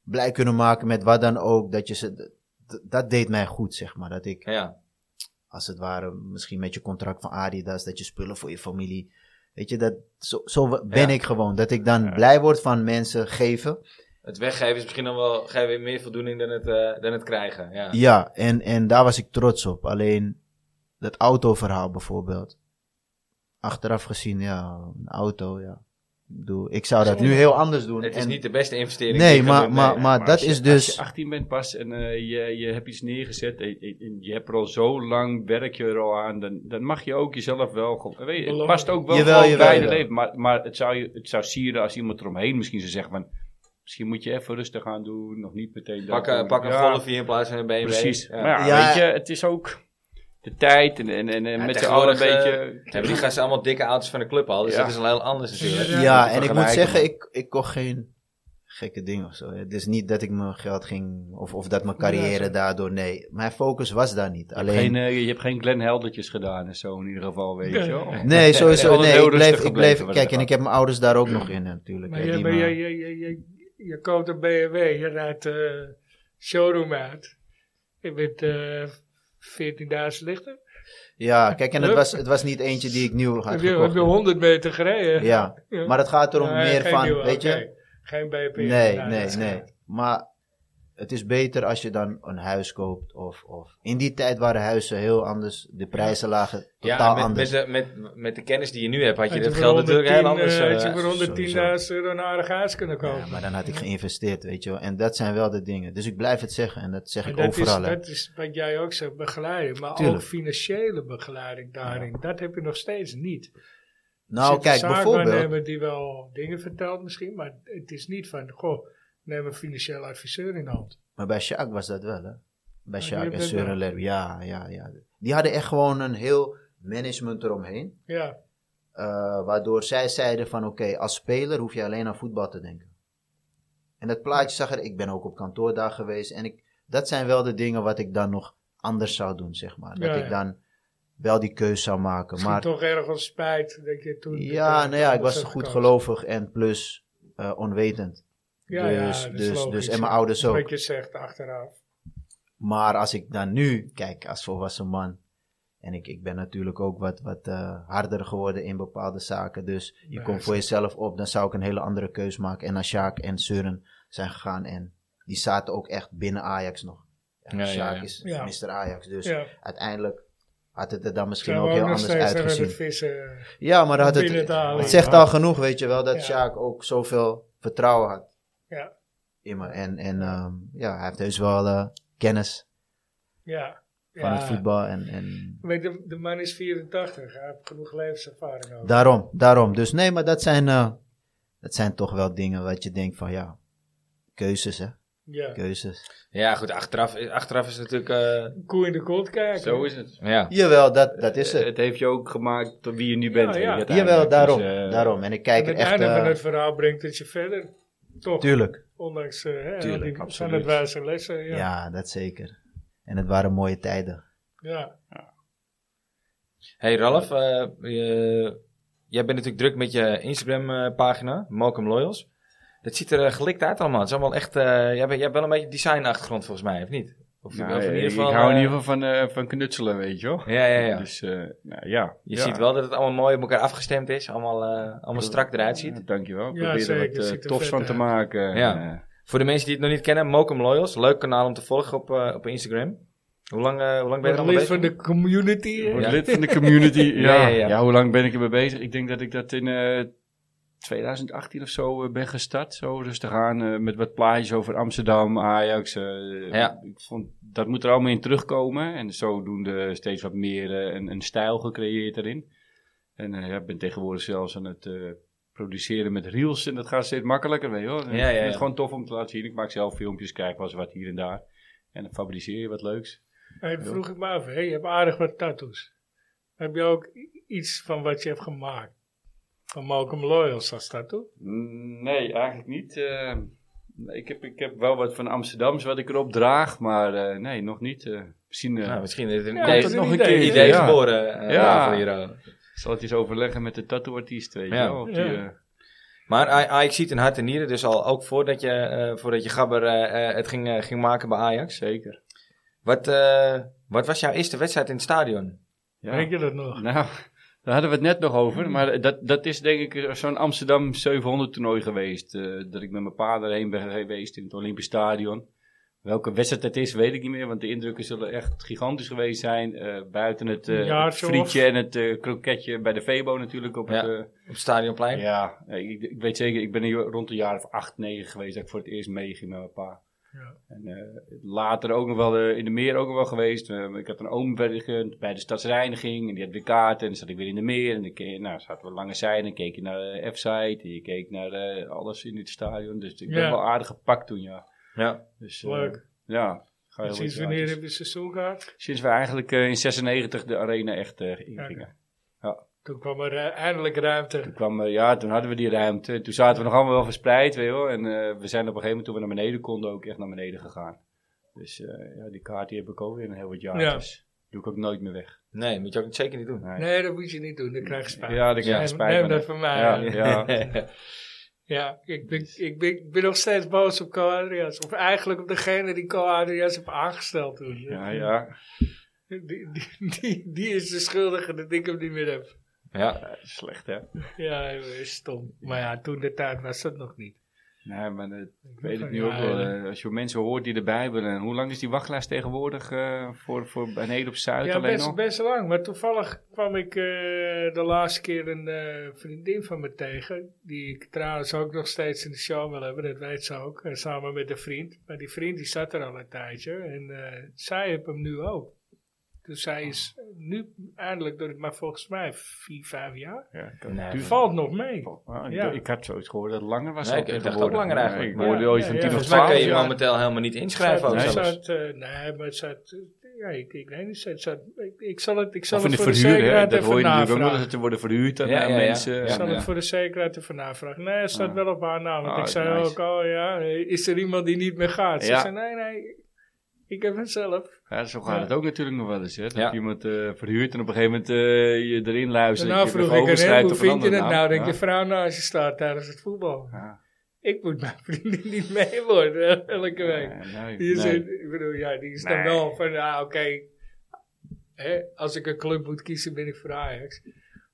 Speaker 3: blij kunnen maken met wat dan ook. Dat, je ze, dat, dat deed mij goed, zeg maar. Dat ik,
Speaker 1: Ja.
Speaker 3: als het ware, misschien met je contract van Adidas, dat je spullen voor je familie. Weet je, dat, zo, zo ben
Speaker 1: Ja.
Speaker 3: ik gewoon. Dat ik dan blij word van mensen geven.
Speaker 1: Het weggeven is misschien nog wel geven we meer voldoening dan het, eh, dan het krijgen. Ja.
Speaker 3: Ja, en, en daar was ik trots op. Alleen dat autoverhaal bijvoorbeeld. Achteraf gezien, ja, een auto, ja. Ik, bedoel, ik zou dat nu heel anders doen.
Speaker 1: Het is
Speaker 3: En-
Speaker 1: niet de beste investering.
Speaker 3: Nee,
Speaker 1: die je kan
Speaker 3: maar,
Speaker 1: doen,
Speaker 3: maar,
Speaker 1: nee.
Speaker 3: maar dat
Speaker 4: als je-
Speaker 3: is dus...
Speaker 4: Als je 18 bent pas en eh, je, je hebt iets neergezet en, en- en je hebt er al zo lang, werk je er al aan, dan, dan mag je ook jezelf wel... gewoon- Weet je, het
Speaker 2: Belangrijk.
Speaker 4: past ook wel
Speaker 3: Jawel,
Speaker 4: gewoon
Speaker 3: jawel,
Speaker 4: bij de
Speaker 3: jawel.
Speaker 4: leven. Maar, maar het, zou je, het zou sieren als iemand eromheen misschien zou zeggen van... Misschien moet je even rustig aan doen, nog niet meteen... dat
Speaker 1: Pak, eh,
Speaker 4: doen.
Speaker 1: pak een
Speaker 4: Ja,
Speaker 1: golfje in plaats van een BMW.
Speaker 4: Precies.
Speaker 1: Ja.
Speaker 4: Maar ja,
Speaker 3: Ja.
Speaker 4: weet je, het is ook de tijd en, en, en, en met z'n allen een
Speaker 1: tegenwoordig,
Speaker 4: beetje...
Speaker 1: Hebben die gasten allemaal dikke auto's van de club al. Dus
Speaker 4: Ja.
Speaker 1: dat is al heel anders natuurlijk.
Speaker 2: Ja,
Speaker 3: ja,
Speaker 4: te
Speaker 3: en ik moet
Speaker 4: vergelijken,
Speaker 3: zeggen,
Speaker 4: man.
Speaker 3: ik, ik kocht geen gekke dingen of zo. hè. Het is niet dat ik mijn geld ging, of, of dat mijn carrière
Speaker 2: Ja, zo.
Speaker 3: daardoor, nee. Mijn focus was daar niet.
Speaker 4: Je hebt
Speaker 3: Alleen,
Speaker 4: geen, eh, je hebt geen Glenn Heldertjes gedaan en zo in ieder geval, weet je wel.
Speaker 3: nee,
Speaker 4: Ik
Speaker 3: sowieso,
Speaker 4: ben
Speaker 3: nee.
Speaker 4: heel
Speaker 3: Ik bleef,
Speaker 4: rustig
Speaker 3: ik bleef,
Speaker 4: gebleven wat
Speaker 3: kijk,
Speaker 4: dat
Speaker 3: en ik heb mijn ouders daar ook nog in natuurlijk.
Speaker 2: Maar,
Speaker 3: hè,
Speaker 2: je,
Speaker 3: die
Speaker 2: maar
Speaker 3: me-
Speaker 2: je, je, je, je, je koopt een BMW, je rijdt eh showroom uit. Je bent eh 14.000 lichter.
Speaker 3: ja, kijk, en het
Speaker 2: Hup.
Speaker 3: was, het was niet eentje die ik nieuw had
Speaker 2: Heb je, heb je
Speaker 3: gekocht.
Speaker 2: 100 meter gereden?
Speaker 3: Ja,
Speaker 2: Ja.
Speaker 3: maar het gaat erom
Speaker 2: Nee,
Speaker 3: meer
Speaker 2: geen
Speaker 3: van,
Speaker 2: nieuwe,
Speaker 3: weet je...
Speaker 2: oké. Geen BPR.
Speaker 3: Nee,
Speaker 2: nou,
Speaker 3: nee,
Speaker 2: dat is
Speaker 3: nee.
Speaker 2: goed.
Speaker 3: Maar het is beter als je dan een huis koopt. Of, of. In die tijd waren huizen heel anders. De prijzen lagen totaal
Speaker 1: ja, met,
Speaker 3: anders.
Speaker 1: met, de, met, met de kennis die je nu hebt, had je
Speaker 2: Had
Speaker 1: dat
Speaker 2: voor
Speaker 1: geld natuurlijk
Speaker 2: 110,
Speaker 1: heel anders.
Speaker 2: eh,
Speaker 1: eh,
Speaker 2: Had je voor
Speaker 3: sowieso.
Speaker 2: 110.000 euro een aardig huis kunnen kopen.
Speaker 3: Ja, maar dan had ik geïnvesteerd, weet je wel. En dat zijn wel de dingen. Dus ik blijf het zeggen. En dat zeg
Speaker 2: En
Speaker 3: ik
Speaker 2: dat,
Speaker 3: overal.
Speaker 2: is,
Speaker 3: hè.
Speaker 2: dat is wat jij ook zegt, begeleiding. Maar
Speaker 3: Tuurlijk.
Speaker 2: ook financiële begeleiding daarin. Dat heb je nog steeds niet.
Speaker 3: nou, kijk, bijvoorbeeld.
Speaker 2: hebben die wel dingen vertelt misschien, maar het is niet van, goh, neem een financieel adviseur in de hand.
Speaker 3: Maar bij Sjaak was dat wel, hè? Bij
Speaker 2: Oh, die
Speaker 3: Sjaak en
Speaker 2: hebben dat
Speaker 3: Søren
Speaker 2: wel.
Speaker 3: Lerby. Ja, ja, ja. Die hadden echt gewoon een heel management eromheen.
Speaker 2: Ja,
Speaker 3: Eh, waardoor zij zeiden van oké, als speler hoef je alleen aan voetbal te denken. En dat plaatje zag er, ik ben ook op kantoor daar geweest. En ik, dat zijn wel de dingen wat ik dan nog anders zou doen, zeg maar. Dat
Speaker 2: Ja,
Speaker 3: ik
Speaker 2: ja.
Speaker 3: dan wel die keuze zou maken.
Speaker 2: misschien
Speaker 3: Maar
Speaker 2: toch ergens spijt dat je toen...
Speaker 3: ja,
Speaker 2: eh,
Speaker 3: nou ja, ik
Speaker 2: anders
Speaker 3: was
Speaker 2: had
Speaker 3: goed
Speaker 2: gekozen.
Speaker 3: gelovig en plus eh, onwetend.
Speaker 2: Ja, ja,
Speaker 3: dus,
Speaker 2: dat is
Speaker 3: dus, dus,
Speaker 2: logisch,
Speaker 3: en mijn
Speaker 2: ja.
Speaker 3: ouders ook.
Speaker 2: Wat je zegt achteraf.
Speaker 3: Maar als ik dan nu, kijk, als volwassen man. En ik, ik ben natuurlijk ook wat, wat eh, harder geworden in bepaalde zaken. Dus je
Speaker 2: Ja,
Speaker 3: komt voor jezelf op, dan zou ik een hele andere keus maken. En naar Sjaak en Søren zijn gegaan. En die zaten ook echt binnen Ajax nog. En
Speaker 1: Ja, ja,
Speaker 3: Sjaak
Speaker 1: ja.
Speaker 3: is
Speaker 2: Ja.
Speaker 3: Mr. Ajax. Dus
Speaker 2: Ja,
Speaker 3: uiteindelijk had het er dan misschien
Speaker 2: zijn we
Speaker 3: ook
Speaker 2: ook
Speaker 3: heel
Speaker 2: nog
Speaker 3: anders
Speaker 2: steeds aan
Speaker 3: uitgezien.
Speaker 2: het vissen.
Speaker 3: Ja, maar had
Speaker 2: binnen
Speaker 3: het,
Speaker 2: te halen.
Speaker 3: het zegt al genoeg, weet je wel, dat
Speaker 2: Ja.
Speaker 3: Sjaak ook zoveel vertrouwen had
Speaker 2: Ja,
Speaker 3: in me. En, en ehm, ja, hij heeft heus wel eh, kennis
Speaker 2: ja.
Speaker 3: van
Speaker 2: ja.
Speaker 3: het voetbal. En, en
Speaker 2: Weet je, de man is 84, hij heeft genoeg levenservaring over.
Speaker 3: Daarom, daarom. Dus nee, maar dat zijn, eh, dat zijn toch wel dingen wat je denkt van ja, keuzes hè,
Speaker 2: ja.
Speaker 3: keuzes.
Speaker 1: ja, goed, achteraf, is- achteraf is natuurlijk. eh,
Speaker 2: Koe in de kont kijken.
Speaker 4: Zo is het.
Speaker 1: ja.
Speaker 3: Jawel, dat, dat is
Speaker 1: Eh,
Speaker 3: het.
Speaker 4: Eh, Het heeft je ook gemaakt tot wie je nu
Speaker 2: Ja, ja.
Speaker 4: bent. weet je, uiteindelijk.
Speaker 3: Jawel, daarom,
Speaker 4: Dus, eh,
Speaker 3: daarom. En ik
Speaker 2: En
Speaker 3: kijk er
Speaker 2: het
Speaker 3: echt,
Speaker 2: einde van
Speaker 3: eh,
Speaker 2: het verhaal brengt het je verder. Toch?
Speaker 3: tuurlijk.
Speaker 2: Ondanks eh, hè,
Speaker 4: Tuurlijk,
Speaker 2: die, van
Speaker 4: absoluut.
Speaker 2: het wijze lessen. Ja.
Speaker 3: Ja.
Speaker 2: Ja.
Speaker 3: dat zeker. En het waren mooie tijden.
Speaker 1: Hey Ralf, eh, eh, jij bent natuurlijk druk met je Instagram-pagina, Malcolm Loyals. Dat ziet er eh, gelikt uit allemaal. Het is allemaal echt. eh, jij, bent, jij hebt wel een beetje design-achtergrond volgens mij, of niet? Of,
Speaker 4: nou,
Speaker 1: of
Speaker 4: ik- ik hou in
Speaker 1: eh,
Speaker 4: ieder geval van, eh, van knutselen, weet je wel.
Speaker 1: Ja, ja, ja.
Speaker 4: Dus eh, nou, ja.
Speaker 1: Je
Speaker 4: Ja.
Speaker 1: ziet wel dat het allemaal mooi op elkaar afgestemd is. Allemaal, eh, allemaal strak eruit ziet.
Speaker 4: Ja, dankjewel. Ik
Speaker 2: Ja,
Speaker 4: probeer er
Speaker 2: zeker.
Speaker 4: wat eh,
Speaker 2: Ziet er
Speaker 4: tofs
Speaker 2: vet
Speaker 4: van
Speaker 2: uit.
Speaker 4: te maken.
Speaker 1: Ja.
Speaker 4: En, eh,
Speaker 1: Voor de mensen die het nog niet kennen, Mokum Loyals. Leuk kanaal om te volgen op, eh, op Instagram. Hoe lang, eh, hoe lang ben je er
Speaker 2: Het
Speaker 1: al mee
Speaker 2: lid
Speaker 1: bezig?
Speaker 2: van de community. hè?
Speaker 4: Word
Speaker 1: Ja.
Speaker 4: lid van de
Speaker 1: [laughs]
Speaker 4: community. ja.
Speaker 1: ja,
Speaker 4: Ja,
Speaker 1: ja.
Speaker 4: hoe lang ben ik ermee bezig? Ik denk dat ik dat in eh, 2018 of zo eh, ben gestart. Zo rustig aan eh, met wat plaatjes over Amsterdam, Ajax. eh,
Speaker 1: Ja.
Speaker 4: Ik vond, dat moet er allemaal in terugkomen. En zodoende steeds wat meer eh, een, een stijl gecreëerd erin. En eh, ja, ik ben tegenwoordig zelfs aan het... eh, Produceren met reels en dat gaat steeds makkelijker, weet je wel. En
Speaker 1: Ja, ja,
Speaker 4: Ik vind het
Speaker 1: ja.
Speaker 4: gewoon tof om te laten zien. Ik maak zelf filmpjes, kijk wel eens wat hier en daar. En dan fabriceer je wat leuks.
Speaker 2: Hey, dat vroeg ik me af, hè? je hebt aardig wat tattoos. Heb je ook i- iets van wat je hebt gemaakt? Van Malcolm Loyals als tattoo?
Speaker 4: Mm, Nee, eigenlijk niet. Eh, ik, heb, ik heb wel wat van Amsterdams wat ik erop draag, maar eh, nee, nog niet. Eh, misschien eh,
Speaker 1: Nou, misschien is het een
Speaker 2: Ja,
Speaker 1: idee,
Speaker 2: dat is
Speaker 1: nog
Speaker 2: een
Speaker 1: een
Speaker 2: idee.
Speaker 1: keer idee
Speaker 4: Ja.
Speaker 1: geboren. eh,
Speaker 4: Ja.
Speaker 1: later hier al.
Speaker 4: zal het eens overleggen met de tattooartiest, weet je
Speaker 1: Ja.
Speaker 4: wel. of die,
Speaker 2: Ja.
Speaker 4: eh,
Speaker 1: Maar Aj- Ajax ziet in hart en nieren dus al, ook voordat je, eh, voordat je Gabber eh, eh, het ging, eh, ging maken bij Ajax.
Speaker 4: zeker.
Speaker 1: Wat, eh, wat was jouw eerste wedstrijd in het stadion?
Speaker 4: Ja.
Speaker 2: Weet je dat nog?
Speaker 4: Nou, daar hadden we het net nog over. Maar dat, dat is denk ik zo'n Amsterdam 700 toernooi geweest. eh, dat ik met mijn pa erheen ben geweest in het Olympisch Stadion. Welke wedstrijd het is, weet ik niet meer. Want de indrukken zullen echt gigantisch geweest zijn. eh, buiten het, eh,
Speaker 2: Een jaartje
Speaker 4: het frietje en het eh, kroketje bij de Febo natuurlijk. Op
Speaker 1: Ja.
Speaker 4: het, eh,
Speaker 1: Op het stadionplein?
Speaker 4: Ja, nee, ik, ik weet zeker, ik ben hier rond een jaar of acht, negen geweest dat ik voor het eerst meeging met mijn pa.
Speaker 2: Ja.
Speaker 4: En eh, later ook nog wel eh, in de meer ook nog wel geweest. Eh, ik had een oom bij de, bij de stadsreiniging en die had weer kaarten. En dan zat ik weer in de meer en dan ke- nou, zaten we lange zijden. En keek je naar de F-site en je keek naar eh, alles in het stadion. Dus ik ben
Speaker 2: Ja.
Speaker 4: wel aardig gepakt toen, ja.
Speaker 1: Ja.
Speaker 4: Dus, eh,
Speaker 2: Leuk.
Speaker 4: Ja. Ga heel
Speaker 2: Sinds
Speaker 4: wat
Speaker 2: wanneer
Speaker 4: jaartjes.
Speaker 2: heb je seizoen gehad?
Speaker 4: Sinds we eigenlijk eh, in 96 de arena echt eh ingingen.
Speaker 2: Toen kwam er eh, eindelijk ruimte.
Speaker 4: Toen, kwam, eh, ja, toen hadden we die ruimte. Toen zaten we nog allemaal wel verspreid. Weet je wel. En eh, we zijn op een gegeven moment, toen we naar beneden konden, ook echt naar beneden gegaan. Dus eh, ja, die kaart die heb ik alweer een heel wat jaartjes. Doe ik ook nooit meer weg.
Speaker 1: Nee, moet je ook zeker niet doen.
Speaker 4: Nee.
Speaker 2: Nee, dat moet je niet doen, dan krijg je spijt.
Speaker 4: Ja, dat
Speaker 1: Ja,
Speaker 4: krijg je spijt
Speaker 2: neem
Speaker 4: van.
Speaker 2: dat van mij.
Speaker 4: Ja,
Speaker 2: Ja.
Speaker 4: ja.
Speaker 2: [laughs] Ja, ik ben, ik, ben, ik ben nog steeds boos op Carl Adriaans. Of eigenlijk op degene die Carl Adriaans heeft aangesteld toen.
Speaker 4: ja, ja.
Speaker 2: Die, die, die, die is de schuldige dat ik hem niet meer heb.
Speaker 1: ja.
Speaker 4: Ja, Slecht hè.
Speaker 2: Ja, hij is stom. Maar ja, toen de tijd was dat nog niet.
Speaker 4: Nee, maar dat
Speaker 2: Ik
Speaker 4: weet ik
Speaker 2: van,
Speaker 4: nu
Speaker 2: ja,
Speaker 4: ook wel.
Speaker 2: ja.
Speaker 4: eh, Als je mensen hoort die erbij willen. Hoe lang is die wachtlijst tegenwoordig eh, voor, voor beneden op Zuid
Speaker 2: Ja,
Speaker 4: alleen
Speaker 2: best,
Speaker 4: nog?
Speaker 2: best lang. Maar toevallig kwam ik eh, de laatste keer een eh, vriendin van me tegen. Die ik trouwens ook nog steeds in de show wil hebben. Dat weet ze ook. eh, samen met een vriend. Maar die vriend die zat er al een tijdje. En eh, zij heeft hem nu ook. Dus zij is nu eindelijk door het, maar volgens mij vier, vijf jaar.
Speaker 4: Ja, ik-
Speaker 1: Nee,
Speaker 2: Die valt nog mee.
Speaker 4: Ah, ik
Speaker 2: Ja.
Speaker 4: d- Ik had zoiets gehoord dat het langer was.
Speaker 1: Nee, ik
Speaker 4: dan
Speaker 1: dacht ook
Speaker 4: tegenwoordig.
Speaker 1: langer eigenlijk,
Speaker 4: Ik
Speaker 1: maar-
Speaker 4: hoorde
Speaker 2: Ja,
Speaker 4: ooit
Speaker 2: ja,
Speaker 4: van
Speaker 2: ja.
Speaker 4: 10 tot
Speaker 1: Volgens mij kun
Speaker 4: 12
Speaker 1: je
Speaker 4: jaar.
Speaker 1: momenteel helemaal niet inschrijven. ook
Speaker 2: nee,
Speaker 1: zelfs.
Speaker 2: zat, eh, nee, maar het zat, eh, ja, ik, ik weet niet, het zat, ik, ik zal het, ik zal
Speaker 4: Of in
Speaker 2: het
Speaker 4: de
Speaker 2: voor de
Speaker 4: verhuur, hè,
Speaker 2: zekerheid
Speaker 4: dat hoor
Speaker 2: even
Speaker 4: je natuurlijk ook nog
Speaker 2: navragen.
Speaker 4: dat het worden verhuurd aan
Speaker 1: Ja,
Speaker 4: aan
Speaker 1: ja, ja.
Speaker 4: mensen.
Speaker 1: Ja,
Speaker 2: Ik zal
Speaker 1: ja.
Speaker 2: het voor de zekerheid ervan navragen. Nee, het staat
Speaker 4: Ah.
Speaker 2: wel op haar naam. Want
Speaker 4: Ah,
Speaker 2: ik zei
Speaker 4: nice.
Speaker 2: ook, oh ja, is er iemand die niet meer gaat? Ze
Speaker 4: Ja.
Speaker 2: zei, nee, nee, ik heb het zelf.
Speaker 4: Ja, zo gaat
Speaker 2: Ja.
Speaker 4: het ook natuurlijk nog wel eens. Hè? Dat
Speaker 1: Ja.
Speaker 4: je iemand eh, verhuurt en op een gegeven moment eh, je erin luistert.
Speaker 2: Daarna
Speaker 4: je
Speaker 2: nou vroeg
Speaker 4: even
Speaker 2: ik aan hem,
Speaker 4: overschrijdt
Speaker 2: hoe
Speaker 4: op een
Speaker 2: vind je
Speaker 4: andere
Speaker 2: het
Speaker 4: naam.
Speaker 2: nou? dat
Speaker 4: Ja.
Speaker 2: je vrouw naast je staat tijdens het voetbal.
Speaker 4: Ja.
Speaker 2: Ik moet mijn [laughs] vriendin niet mee worden, [laughs] elke week.
Speaker 4: Ja, nee,
Speaker 2: Die is,
Speaker 4: nee.
Speaker 2: ik bedoel, ja, die is dan
Speaker 4: Nee.
Speaker 2: wel van, ja, oké. Hè, Als ik een club moet kiezen, ben ik voor Ajax.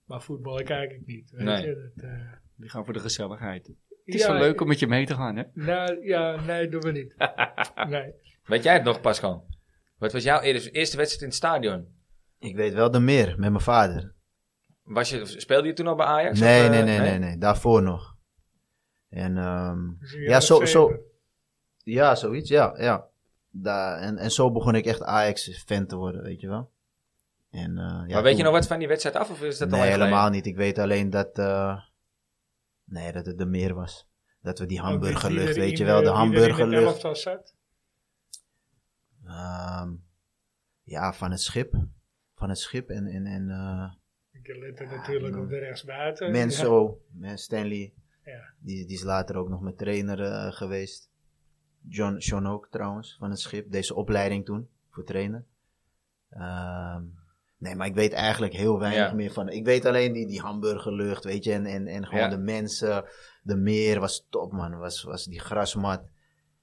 Speaker 2: Maar voetbal kijk ik niet. Weet
Speaker 1: Nee.
Speaker 2: je, dat, eh,
Speaker 4: Die gaan voor de gezelligheid. Het is
Speaker 2: ja, eh,
Speaker 4: wel leuk om met je mee te gaan, hè?
Speaker 2: Nou, ja, nee, doen we
Speaker 4: [laughs]
Speaker 2: niet. Nee.
Speaker 1: Weet jij het nog, Pascal? Wat was jouw eerste eerste wedstrijd in het stadion?
Speaker 3: Ik weet wel de meer met mijn vader.
Speaker 1: Was je, speelde je toen al bij Ajax?
Speaker 3: nee,
Speaker 1: Of, eh,
Speaker 3: nee, nee, nee, nee, daarvoor nog. En ehm,
Speaker 2: Dus
Speaker 3: Ja, zo- zo-
Speaker 2: zeven.
Speaker 3: ja, zoiets, ja, ja. Da en, en zo begon ik echt Ajax-fan te worden, weet je wel. En, eh, ja,
Speaker 1: maar weet je
Speaker 3: toen-
Speaker 1: nog wat van die wedstrijd af? Of is dat al
Speaker 3: nee,
Speaker 1: lang geleden?
Speaker 3: helemaal niet. Ik weet alleen dat, eh, nee, dat het de meer was. Dat we
Speaker 1: Oh,
Speaker 3: die
Speaker 2: Ook die-
Speaker 3: hamburgerlucht,
Speaker 2: die
Speaker 3: weet je
Speaker 2: erin,
Speaker 3: wel, de
Speaker 2: eh, die erin in het
Speaker 3: hamburgerlucht.
Speaker 2: elftal zat.
Speaker 3: Ehm, ja, van het schip. Van het schip en, en, en eh,
Speaker 2: Ik lette natuurlijk
Speaker 3: man.
Speaker 2: op de rechtsbuiten. Ja.
Speaker 3: Menso, eh, Stanley.
Speaker 2: Ja.
Speaker 3: Die, die is later ook nog mijn trainer eh, geweest. John, John ook trouwens, van het schip. Deze opleiding toen, voor trainer. Ehm, nee, maar ik weet eigenlijk heel weinig
Speaker 1: Ja.
Speaker 3: meer van. Ik weet alleen die, die hamburgerlucht, weet je. En, en, en gewoon
Speaker 1: Ja.
Speaker 3: de mensen. De meer was top, man. Was, was die grasmat.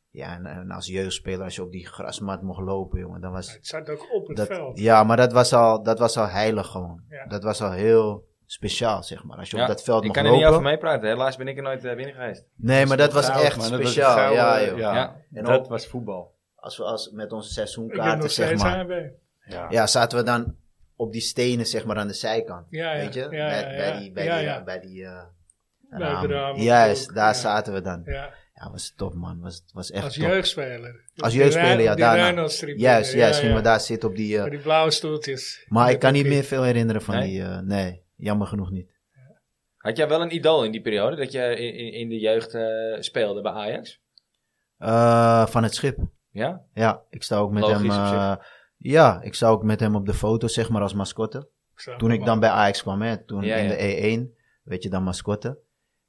Speaker 3: Ja, en, en als jeugdspeler, als je op die grasmat mocht lopen, jongen, dan was...
Speaker 2: Het zat ook op het
Speaker 3: Dat,
Speaker 2: veld.
Speaker 3: ja, maar dat was, al, dat was al heilig gewoon.
Speaker 2: Ja.
Speaker 3: Dat was al heel speciaal, zeg maar. Als je
Speaker 1: Ja,
Speaker 3: op dat veld
Speaker 1: Ik
Speaker 3: mocht
Speaker 1: kan
Speaker 3: lopen.
Speaker 1: er niet over meepraten. Helaas ben ik er nooit eh, binnen geweest.
Speaker 3: Nee, maar dat
Speaker 4: Goud,
Speaker 3: was echt
Speaker 4: man, dat was
Speaker 3: speciaal.
Speaker 4: gouden,
Speaker 3: ja, joh.
Speaker 4: ja.
Speaker 1: Ja.
Speaker 3: En
Speaker 4: dat
Speaker 3: ook
Speaker 4: was voetbal.
Speaker 3: als we als met onze
Speaker 2: Ik ben
Speaker 3: seizoenkaarten,
Speaker 2: nog
Speaker 3: zeg
Speaker 2: steeds
Speaker 3: maar.
Speaker 2: HB.
Speaker 4: Ja.
Speaker 3: Ja, zaten we dan op die stenen, zeg maar, aan de zijkant.
Speaker 2: Ja, ja.
Speaker 3: Weet je?
Speaker 2: Ja,
Speaker 3: bij,
Speaker 2: ja,
Speaker 3: bij
Speaker 2: ja.
Speaker 3: die, bij
Speaker 2: Ja,
Speaker 3: die,
Speaker 2: ja.
Speaker 3: bij die eh,
Speaker 2: Bij
Speaker 3: ramen.
Speaker 2: de ramen
Speaker 3: Juist,
Speaker 2: ook,
Speaker 3: daar
Speaker 2: ja.
Speaker 3: zaten we dan.
Speaker 2: Ja,
Speaker 3: Ja, was top, man. Was, was echt
Speaker 2: als
Speaker 3: top.
Speaker 2: jeugdspeler.
Speaker 3: Als
Speaker 2: Die
Speaker 3: jeugdspeler,
Speaker 2: Rijn-
Speaker 3: ja,
Speaker 2: die
Speaker 3: daarna.
Speaker 2: Rijnaldstribune,
Speaker 3: Juist,
Speaker 2: ja,
Speaker 3: juist.
Speaker 2: ja.
Speaker 3: Gingen we daar zitten op die... eh,
Speaker 2: Met die blauwe stoeltjes.
Speaker 3: maar ik
Speaker 2: Met
Speaker 3: kan niet
Speaker 2: die-
Speaker 3: meer veel herinneren van
Speaker 1: Nee?
Speaker 3: die... eh, nee, jammer genoeg niet.
Speaker 1: Had jij wel een idool in die periode? Dat je in, in, in de jeugd eh, speelde bij Ajax?
Speaker 3: Eh, van het schip.
Speaker 1: Ja?
Speaker 3: Ja, ik sta ook met
Speaker 1: Logisch
Speaker 3: hem...
Speaker 1: op zich.
Speaker 3: eh, ja, ik sta ook met hem op de foto, zeg maar, als mascotte.
Speaker 2: Zo,
Speaker 3: Toen ik dan
Speaker 2: man.
Speaker 3: bij Ajax kwam, hè, toen
Speaker 1: Ja,
Speaker 3: in
Speaker 1: ja.
Speaker 3: de E1, weet je dan mascotte.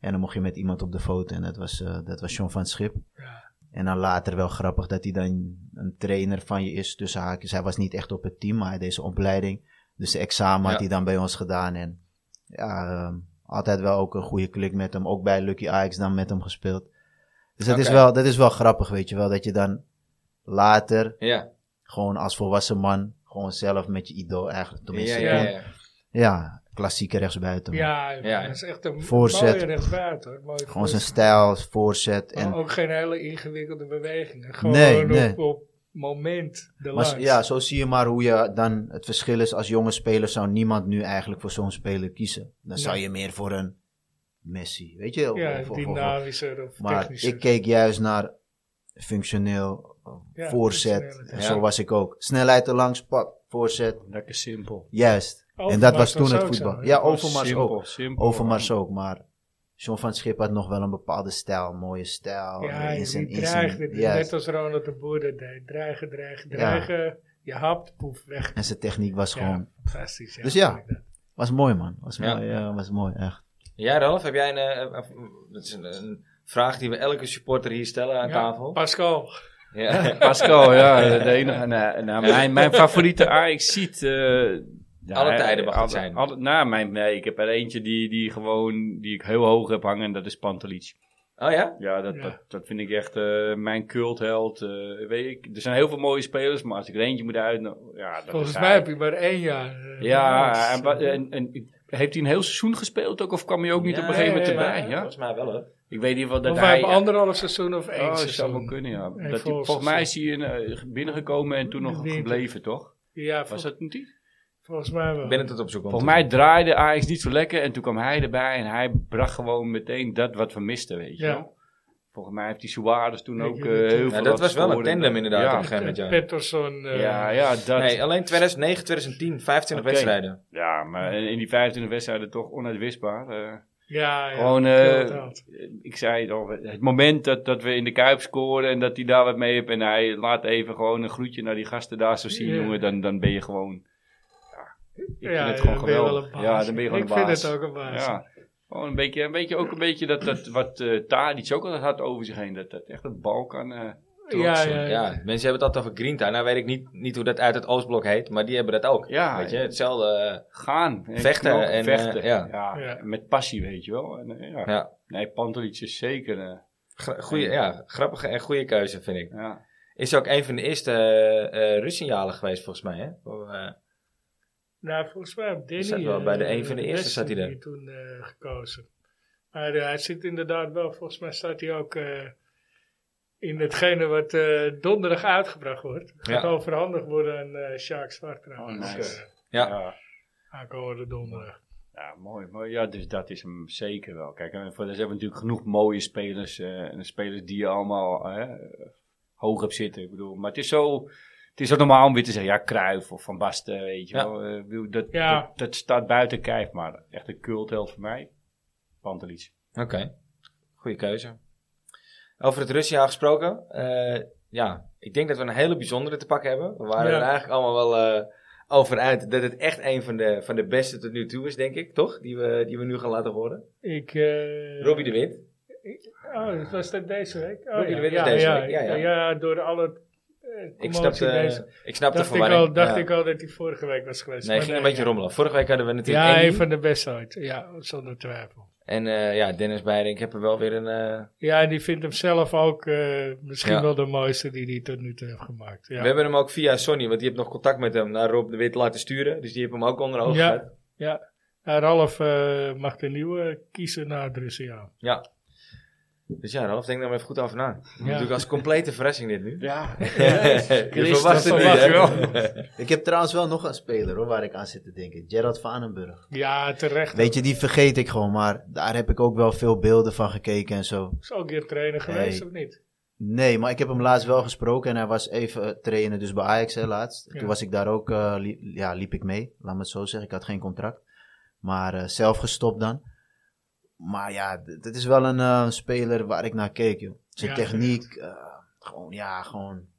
Speaker 3: En dan mocht je met iemand op de foto en dat was, eh, dat was John van het Schip.
Speaker 2: Ja.
Speaker 3: En dan later wel grappig dat hij dan een trainer van je is tussen haakjes. Hij was niet echt op het team, maar hij deed zijn opleiding. Dus de examen
Speaker 1: Ja.
Speaker 3: had hij dan bij ons gedaan. En ja, ehm, altijd wel ook een goede klik met hem. Ook bij Lucky Ajax dan met hem gespeeld. Dus dat, is
Speaker 1: Oké.
Speaker 3: wel, dat is wel grappig, weet je wel. Dat je dan later
Speaker 1: Ja.
Speaker 3: gewoon als volwassen man, gewoon zelf met je idool eigenlijk. Tenminste,
Speaker 1: Ja,
Speaker 3: toen-
Speaker 1: ja, ja, ja.
Speaker 3: ja, klassieke rechtsbuiten. man.
Speaker 2: Ja,
Speaker 1: Ja.
Speaker 2: dat is echt een
Speaker 3: Voorzet.
Speaker 2: mooie rechtsbuiten. hoor. Mooie
Speaker 3: Gewoon
Speaker 2: voorzet.
Speaker 3: zijn stijl, voorzet.
Speaker 2: Maar
Speaker 3: En,
Speaker 2: ook geen hele ingewikkelde bewegingen. Gewoon
Speaker 3: Nee,
Speaker 2: op,
Speaker 3: nee.
Speaker 2: op moment de
Speaker 3: maar,
Speaker 2: lans.
Speaker 3: s- ja, zo zie je maar hoe je dan het verschil is. Als jonge speler zou niemand nu eigenlijk voor zo'n speler kiezen. Dan zou
Speaker 2: Nee.
Speaker 3: je meer voor een Messi, weet je? of-
Speaker 2: ja, nou
Speaker 3: of- of- of-
Speaker 2: dynamischer of
Speaker 3: eh, Maar
Speaker 2: technischer.
Speaker 3: ik keek juist naar functioneel, eh,
Speaker 2: Ja,
Speaker 3: voorzet.
Speaker 2: functioneel,
Speaker 3: En
Speaker 1: ja.
Speaker 3: zo was ik ook. Snelheid erlangs, pak, voorzet.
Speaker 4: Lekker simpel.
Speaker 3: Juist. en dat
Speaker 2: Overmars
Speaker 3: was toen
Speaker 2: was
Speaker 3: het
Speaker 2: ook
Speaker 3: voetbal.
Speaker 2: zo, hè?
Speaker 3: ja,
Speaker 4: Gewoon
Speaker 3: Overmars
Speaker 4: simpel,
Speaker 3: ook.
Speaker 4: simpel.
Speaker 3: Overmars ook, maar... John van Schip had nog wel een bepaalde stijl, mooie stijl.
Speaker 2: Ja,
Speaker 3: in zijn-
Speaker 2: die
Speaker 3: in zijn-
Speaker 2: dreigde.
Speaker 3: juist.
Speaker 2: Net als Ronald de Boer dat deed. Dreigen, dreigen,
Speaker 3: Ja.
Speaker 2: dreigen. Je hapt, poef, weg.
Speaker 3: En zijn techniek was
Speaker 2: Ja.
Speaker 3: gewoon...
Speaker 2: Fantastisch.
Speaker 3: Dus ja.
Speaker 2: vind ik dat.
Speaker 3: Was mooi, man. Was
Speaker 1: Ja.
Speaker 3: mooi, ja, was mooi, echt.
Speaker 1: Ja, Ralf, heb jij een, eh, eh, dat is een, een vraag die we elke supporter hier stellen aan
Speaker 2: Ja,
Speaker 1: tafel? [laughs]
Speaker 2: Pascal.
Speaker 4: [laughs]
Speaker 1: Ja.
Speaker 4: Pascal, ja. De enige, nou, nou, mijn, mijn favoriete ajax ziet. eh,
Speaker 1: Alle tijden mag het zijn.
Speaker 4: nou, mijn, nee, ik heb er eentje die, die, gewoon, die ik heel hoog heb hangen en dat is Pantelic.
Speaker 1: Oh ja?
Speaker 4: Ja, dat,
Speaker 2: Ja.
Speaker 4: Dat, dat vind ik echt eh, mijn cultheld. eh, weet ik. Er zijn heel veel mooie spelers, maar als ik er eentje moet uit... nou, ja, dat
Speaker 2: Volgens
Speaker 4: is
Speaker 2: mij
Speaker 4: hij.
Speaker 2: heb je maar één jaar. eh,
Speaker 4: Ja,
Speaker 2: naast.
Speaker 4: en, wa- en, en heeft hij een heel seizoen gespeeld ook? Of kwam hij ook niet
Speaker 1: Ja,
Speaker 4: op een gegeven
Speaker 1: ja,
Speaker 4: moment
Speaker 1: ja,
Speaker 4: erbij? Ja?
Speaker 1: Volgens mij wel hoor.
Speaker 4: Ik weet in ieder geval
Speaker 2: Of
Speaker 4: dat
Speaker 2: wij
Speaker 4: hij...
Speaker 2: hebben anderhalf seizoen of één
Speaker 4: Oh, dat zou wel
Speaker 2: seizoen.
Speaker 4: kunnen, ja.
Speaker 2: Nee,
Speaker 4: dat hij,
Speaker 2: volgens
Speaker 4: volgens mij is hij in, eh, binnengekomen en toen nog
Speaker 2: Winter.
Speaker 4: gebleven, toch?
Speaker 2: Ja, vol-
Speaker 4: Was dat niet die?
Speaker 2: volgens mij wel.
Speaker 1: Ik ben het aan het opzoeken.
Speaker 4: Volgens mij draaide Ajax niet zo lekker en toen kwam hij erbij en hij bracht gewoon meteen dat wat we misten, weet je
Speaker 2: Ja.
Speaker 4: wel. Volgens mij heeft die Suarez toen
Speaker 2: Ik
Speaker 4: ook
Speaker 2: weet
Speaker 4: eh,
Speaker 2: het niet.
Speaker 4: heel
Speaker 2: Ja,
Speaker 4: veel
Speaker 1: Ja, dat
Speaker 4: laten
Speaker 1: was wel een
Speaker 4: scoren.
Speaker 1: tandem inderdaad op een
Speaker 4: Ja,
Speaker 1: gegeven moment. Ja.
Speaker 2: Pettersson. eh,
Speaker 4: ja, ja dat.
Speaker 1: Nee, alleen 2009, 2010, 25
Speaker 4: Oké.
Speaker 1: wedstrijden.
Speaker 4: Ja, maar in in die 25 wedstrijden toch onuitwisbaar. eh.
Speaker 2: ja, ja,
Speaker 4: Gewoon,
Speaker 2: veel
Speaker 4: eh,
Speaker 2: betaald.
Speaker 4: ik zei het al, het moment dat, dat we in de Kuip scoren en dat hij daar wat mee heeft en hij laat even gewoon een groetje naar die gasten daar zo zien,
Speaker 2: Ja.
Speaker 4: jongen, dan, dan ben je gewoon... Ja, ik
Speaker 2: Ja,
Speaker 4: vind het gewoon
Speaker 2: dan ben je wel
Speaker 4: geweldig.
Speaker 2: een baas.
Speaker 4: Ja, dan ben je gewoon
Speaker 2: Ik
Speaker 4: een baas.
Speaker 2: vind het ook een baas.
Speaker 4: Ja, gewoon een beetje, een beetje, ook een beetje dat, dat wat eh Tadic ook al had over zich heen, dat, dat echt het bal kan... eh,
Speaker 2: ja, ja,
Speaker 4: trots,
Speaker 1: Ja,
Speaker 2: ja.
Speaker 1: mensen hebben het altijd over Greentown. Nou weet ik niet, niet hoe dat uit het Oostblok heet, maar die hebben dat ook.
Speaker 4: Ja,
Speaker 1: weet je, hetzelfde. eh,
Speaker 4: gaan. en
Speaker 1: Vechten
Speaker 4: knokken,
Speaker 1: en,
Speaker 4: vechten.
Speaker 1: eh, ja.
Speaker 2: Ja.
Speaker 4: Met passie, weet je wel. En, eh, ja.
Speaker 1: ja.
Speaker 4: Nee, Pantelits is zeker... eh,
Speaker 1: Gra- goeie- ja, grappige en goede keuze vind ik.
Speaker 4: ja.
Speaker 1: Is ook een van de eerste eh eh, Russianjalen geweest volgens mij. Hè? Voor, eh,
Speaker 2: Nou, volgens mij op Danny.
Speaker 1: Zat wel
Speaker 2: eh,
Speaker 1: bij de een van de eerste
Speaker 2: Westen
Speaker 1: zat hij er.
Speaker 2: die toen eh, gekozen. Maar eh, hij zit inderdaad wel, volgens mij staat hij ook eh, in hetgene wat eh, donderdag uitgebracht wordt. Gaat
Speaker 1: Ja.
Speaker 2: overhandigd worden aan eh Sjaak Zwart trouwens.
Speaker 4: Oh, nice.
Speaker 1: ja.
Speaker 4: ja.
Speaker 2: Aankomende donderdag.
Speaker 4: Ja, mooi, mooi. Ja, dus dat is hem zeker wel. Kijk, en voor de rest hebben we natuurlijk genoeg mooie spelers. eh, en spelers die je allemaal eh, hoog hebt zitten. Ik bedoel, maar het is zo... Het is ook normaal om weer te zeggen, ja, Kruif of Van Basten, weet je
Speaker 1: Ja.
Speaker 4: wel. Eh, ik bedoel, dat,
Speaker 2: Ja.
Speaker 4: dat, dat staat buiten kijf, maar echt een cultheld voor mij. Pantelits.
Speaker 1: Oké, goede keuze. Over het Russiaal gesproken. eh, ja, ik denk dat we een hele bijzondere te pakken hebben. We waren
Speaker 2: Ja.
Speaker 1: er eigenlijk allemaal wel eh, over uit dat het echt een van de, van de beste tot nu toe is, denk ik, toch? Die we, die we nu gaan laten horen.
Speaker 2: Ik, eh,
Speaker 1: Robbie de Wit.
Speaker 2: Oh, dat was dat deze week? Oh,
Speaker 1: Robbie
Speaker 2: ja.
Speaker 1: de Wit is
Speaker 2: ja,
Speaker 1: deze
Speaker 2: ja,
Speaker 1: week, ja, ja.
Speaker 2: ja. door alle eh
Speaker 1: Ik
Speaker 2: commotie deze.
Speaker 1: snapte, ik snapte de
Speaker 2: Dacht, ik
Speaker 1: verwarring.
Speaker 2: al, dacht
Speaker 1: Ja.
Speaker 2: ik al dat hij vorige week was geweest.
Speaker 1: Nee,
Speaker 2: Maar
Speaker 1: ging een beetje
Speaker 2: ja.
Speaker 1: rommelen. Vorige week hadden we natuurlijk
Speaker 2: Ja,
Speaker 1: Andy.
Speaker 2: een van de beste ooit. Ja, zonder twijfel.
Speaker 1: En eh, ja, Dennis Beiding, heb er wel weer een... eh,
Speaker 2: Ja, en die vindt hem zelf ook eh, misschien
Speaker 1: Ja.
Speaker 2: wel de mooiste die hij tot nu toe heeft gemaakt. Ja,
Speaker 1: We hebben hem ook via Sony, want die heeft nog contact met hem, naar Rob de Wit laten sturen. Dus die heeft hem ook onder ogen
Speaker 2: Ja.
Speaker 1: gehad.
Speaker 2: ja. Nou, Ralf eh, mag de nieuwe kiezen naar Drusiaan.
Speaker 1: Ja. Dus ja, Ralf, denk daar maar even goed over na. Natuurlijk
Speaker 2: Ja.
Speaker 1: als complete verrassing dit
Speaker 2: [laughs]
Speaker 1: nu.
Speaker 4: [laughs] Ja,
Speaker 1: [laughs] Je verwacht het
Speaker 4: dat
Speaker 1: niet, hè?
Speaker 4: verwacht je
Speaker 3: Ik heb trouwens wel nog een speler hoor, waar ik aan zit te denken. Gerard Vanenburg.
Speaker 2: ja, terecht.
Speaker 3: Weet je, die vergeet ik gewoon, maar daar heb ik ook wel veel beelden van gekeken en zo.
Speaker 2: Is ook weer trainer geweest
Speaker 3: Nee.
Speaker 2: of niet?
Speaker 3: Nee, maar ik heb hem laatst wel gesproken en hij was even eh, trainen, dus bij Ajax hè, laatst.
Speaker 2: Ja.
Speaker 3: Toen was ik daar ook, eh, li- ja, liep ik mee, laat me het zo zeggen. Ik had geen contract, maar eh, zelf gestopt dan. Maar ja, d- dat is wel een eh, speler waar ik naar keek, joh. Zijn
Speaker 2: Ja,
Speaker 3: techniek, eh, gewoon, ja, gewoon.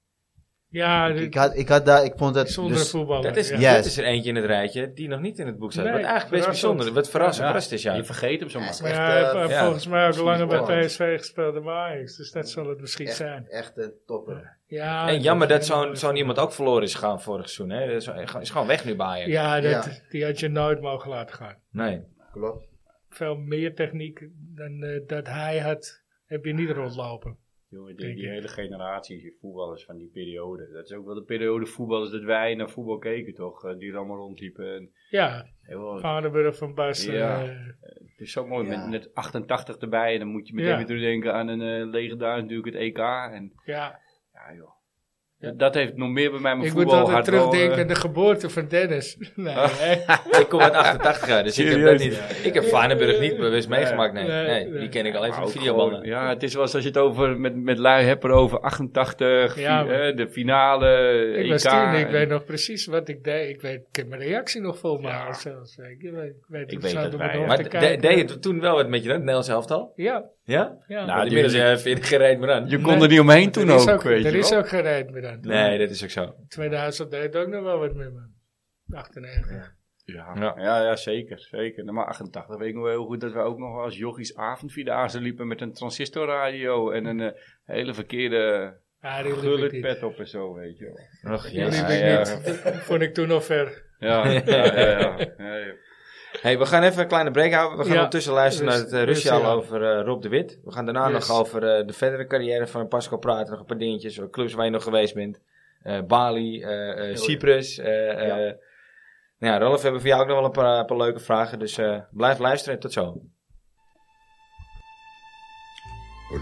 Speaker 2: Ja,
Speaker 3: Ik,
Speaker 2: dit-
Speaker 3: ik had, ik had daar, ik vond dat,
Speaker 2: zonder
Speaker 3: dus,
Speaker 2: voetballer.
Speaker 1: [laughs] Dat is,
Speaker 2: ja.
Speaker 3: Ja.
Speaker 1: dit is er eentje in het rijtje die nog niet in het boek staat.
Speaker 2: Nee,
Speaker 1: wat eigenlijk best
Speaker 2: verrassend.
Speaker 1: bijzonder. Wat verrassend
Speaker 4: Ja.
Speaker 1: verrast is, ja.
Speaker 4: Je vergeet hem zo maar.
Speaker 2: Maar
Speaker 3: echt,
Speaker 2: ja, hij heeft,
Speaker 3: eh,
Speaker 2: eh,
Speaker 1: ja,
Speaker 2: volgens mij ook
Speaker 3: misschien
Speaker 2: langer bij
Speaker 3: wel.
Speaker 2: PSV gespeeld dan bij Ajax. Dus dat zal het misschien zijn.
Speaker 3: echt een topper.
Speaker 2: Ja,
Speaker 1: En jammer dat zo'n
Speaker 2: is-
Speaker 1: zo'n iemand ook verloren is gegaan vorig seizoen. Hè. Dat Is, is gewoon weg nu bij Ajax.
Speaker 2: Ja, dat,
Speaker 3: Ja.
Speaker 2: die had je nooit mogen laten gaan.
Speaker 1: Nee.
Speaker 3: Klopt.
Speaker 2: veel meer techniek dan eh, dat hij had, heb je niet rondlopen.
Speaker 4: Jongen, die, die
Speaker 2: Denk ik.
Speaker 4: hele generatie die voetballers van die periode. Dat is ook wel de periode voetballers dat wij naar voetbal keken, toch? Eh, Die er allemaal rondliepen. En,
Speaker 2: Ja,
Speaker 4: heel,
Speaker 2: Vaneburg van Basten.
Speaker 4: Ja.
Speaker 2: eh,
Speaker 4: Het is zo mooi,
Speaker 3: Ja.
Speaker 4: met, met 88 erbij. En dan moet je meteen
Speaker 2: Ja.
Speaker 4: weer terugdenken aan een eh legendarisch natuurlijk het EK. En
Speaker 2: ja.
Speaker 4: ja, joh. Dat- Dat heeft nog meer bij mij mijn
Speaker 2: Ik moet
Speaker 4: voetbal eh,
Speaker 2: altijd terugdenken aan de geboorte van Dennis. [laughs] Nee,
Speaker 4: Ah,
Speaker 2: hè?
Speaker 1: [laughs] Ik kom uit 88 jaar, dus ik heb dat
Speaker 4: Serieus?
Speaker 1: niet. Ik heb Vaneburg niet bewust
Speaker 4: Nee.
Speaker 1: meegemaakt. Nee.
Speaker 2: Nee,
Speaker 1: nee,
Speaker 2: nee.
Speaker 1: die ken ik alleen van
Speaker 4: ook
Speaker 1: videobanden.
Speaker 4: gewoon- Ja, het is wel zoals je het over met, met lui hebt over 88,
Speaker 2: Ja,
Speaker 4: fi-
Speaker 2: maar-
Speaker 4: eh, de finale,
Speaker 2: ik
Speaker 4: EK.
Speaker 2: was tien, ik
Speaker 4: en-
Speaker 2: weet nog precies wat ik deed. Ik, weet, ik heb mijn reactie nog vol me
Speaker 4: Ja.
Speaker 2: halen zelfs. Ik weet, ik weet,
Speaker 4: weet dat wij-
Speaker 1: Maar
Speaker 2: te
Speaker 1: de- de-
Speaker 2: kijken.
Speaker 1: deed je het toen wel wat met je, dat Nederlands elftal?
Speaker 2: Ja,
Speaker 1: Ja?
Speaker 2: ja.
Speaker 4: Nou,
Speaker 1: Want inmiddels
Speaker 4: die-
Speaker 1: eh, vind ik geen reet meer aan.
Speaker 4: Je kon
Speaker 2: Nee.
Speaker 4: er niet omheen toen
Speaker 2: er is
Speaker 4: ook,
Speaker 2: ook,
Speaker 4: weet
Speaker 2: er
Speaker 4: je
Speaker 2: is
Speaker 4: wel.
Speaker 2: ook geen rijd meer aan.
Speaker 1: Nee, dat is ook zo.
Speaker 2: Tweede huisop deed ook nog wel wat met me. 98.
Speaker 4: Ja,
Speaker 1: Ja.
Speaker 4: ja. ja, zeker. zeker. Nou, Maar 88 weet ik nog wel heel goed dat we ook nog wel als jochies avondvierdaagse liepen met een transistorradio en een eh, hele verkeerde
Speaker 2: Ja, die liep ik niet.
Speaker 4: gulletpet op en zo, weet je wel.
Speaker 1: Och,
Speaker 2: Die
Speaker 1: jezus.
Speaker 2: liep
Speaker 4: Ja,
Speaker 2: ik
Speaker 4: ja.
Speaker 2: niet. [laughs] Vond ik toen nog ver.
Speaker 4: Ja, ja, ja. ja,
Speaker 2: [laughs]
Speaker 4: ja, ja.
Speaker 1: Hey, we gaan even een kleine break houden. We gaan
Speaker 2: Ja.
Speaker 1: ondertussen luisteren naar
Speaker 2: Rust-
Speaker 1: het eh, Russiaal
Speaker 2: Russiaal.
Speaker 1: over eh, Rob de Wit. We gaan daarna
Speaker 2: Yes.
Speaker 1: nog over eh, de verdere carrière van Pascal praten. Nog een paar dingetjes, eh, clubs waar je nog geweest bent. Eh, Bali, eh, eh, Cyprus. eh eh, nou ja, Rolf, we hebben voor jou ook nog wel een paar, een paar leuke vragen. Dus eh, blijf luisteren en tot zo.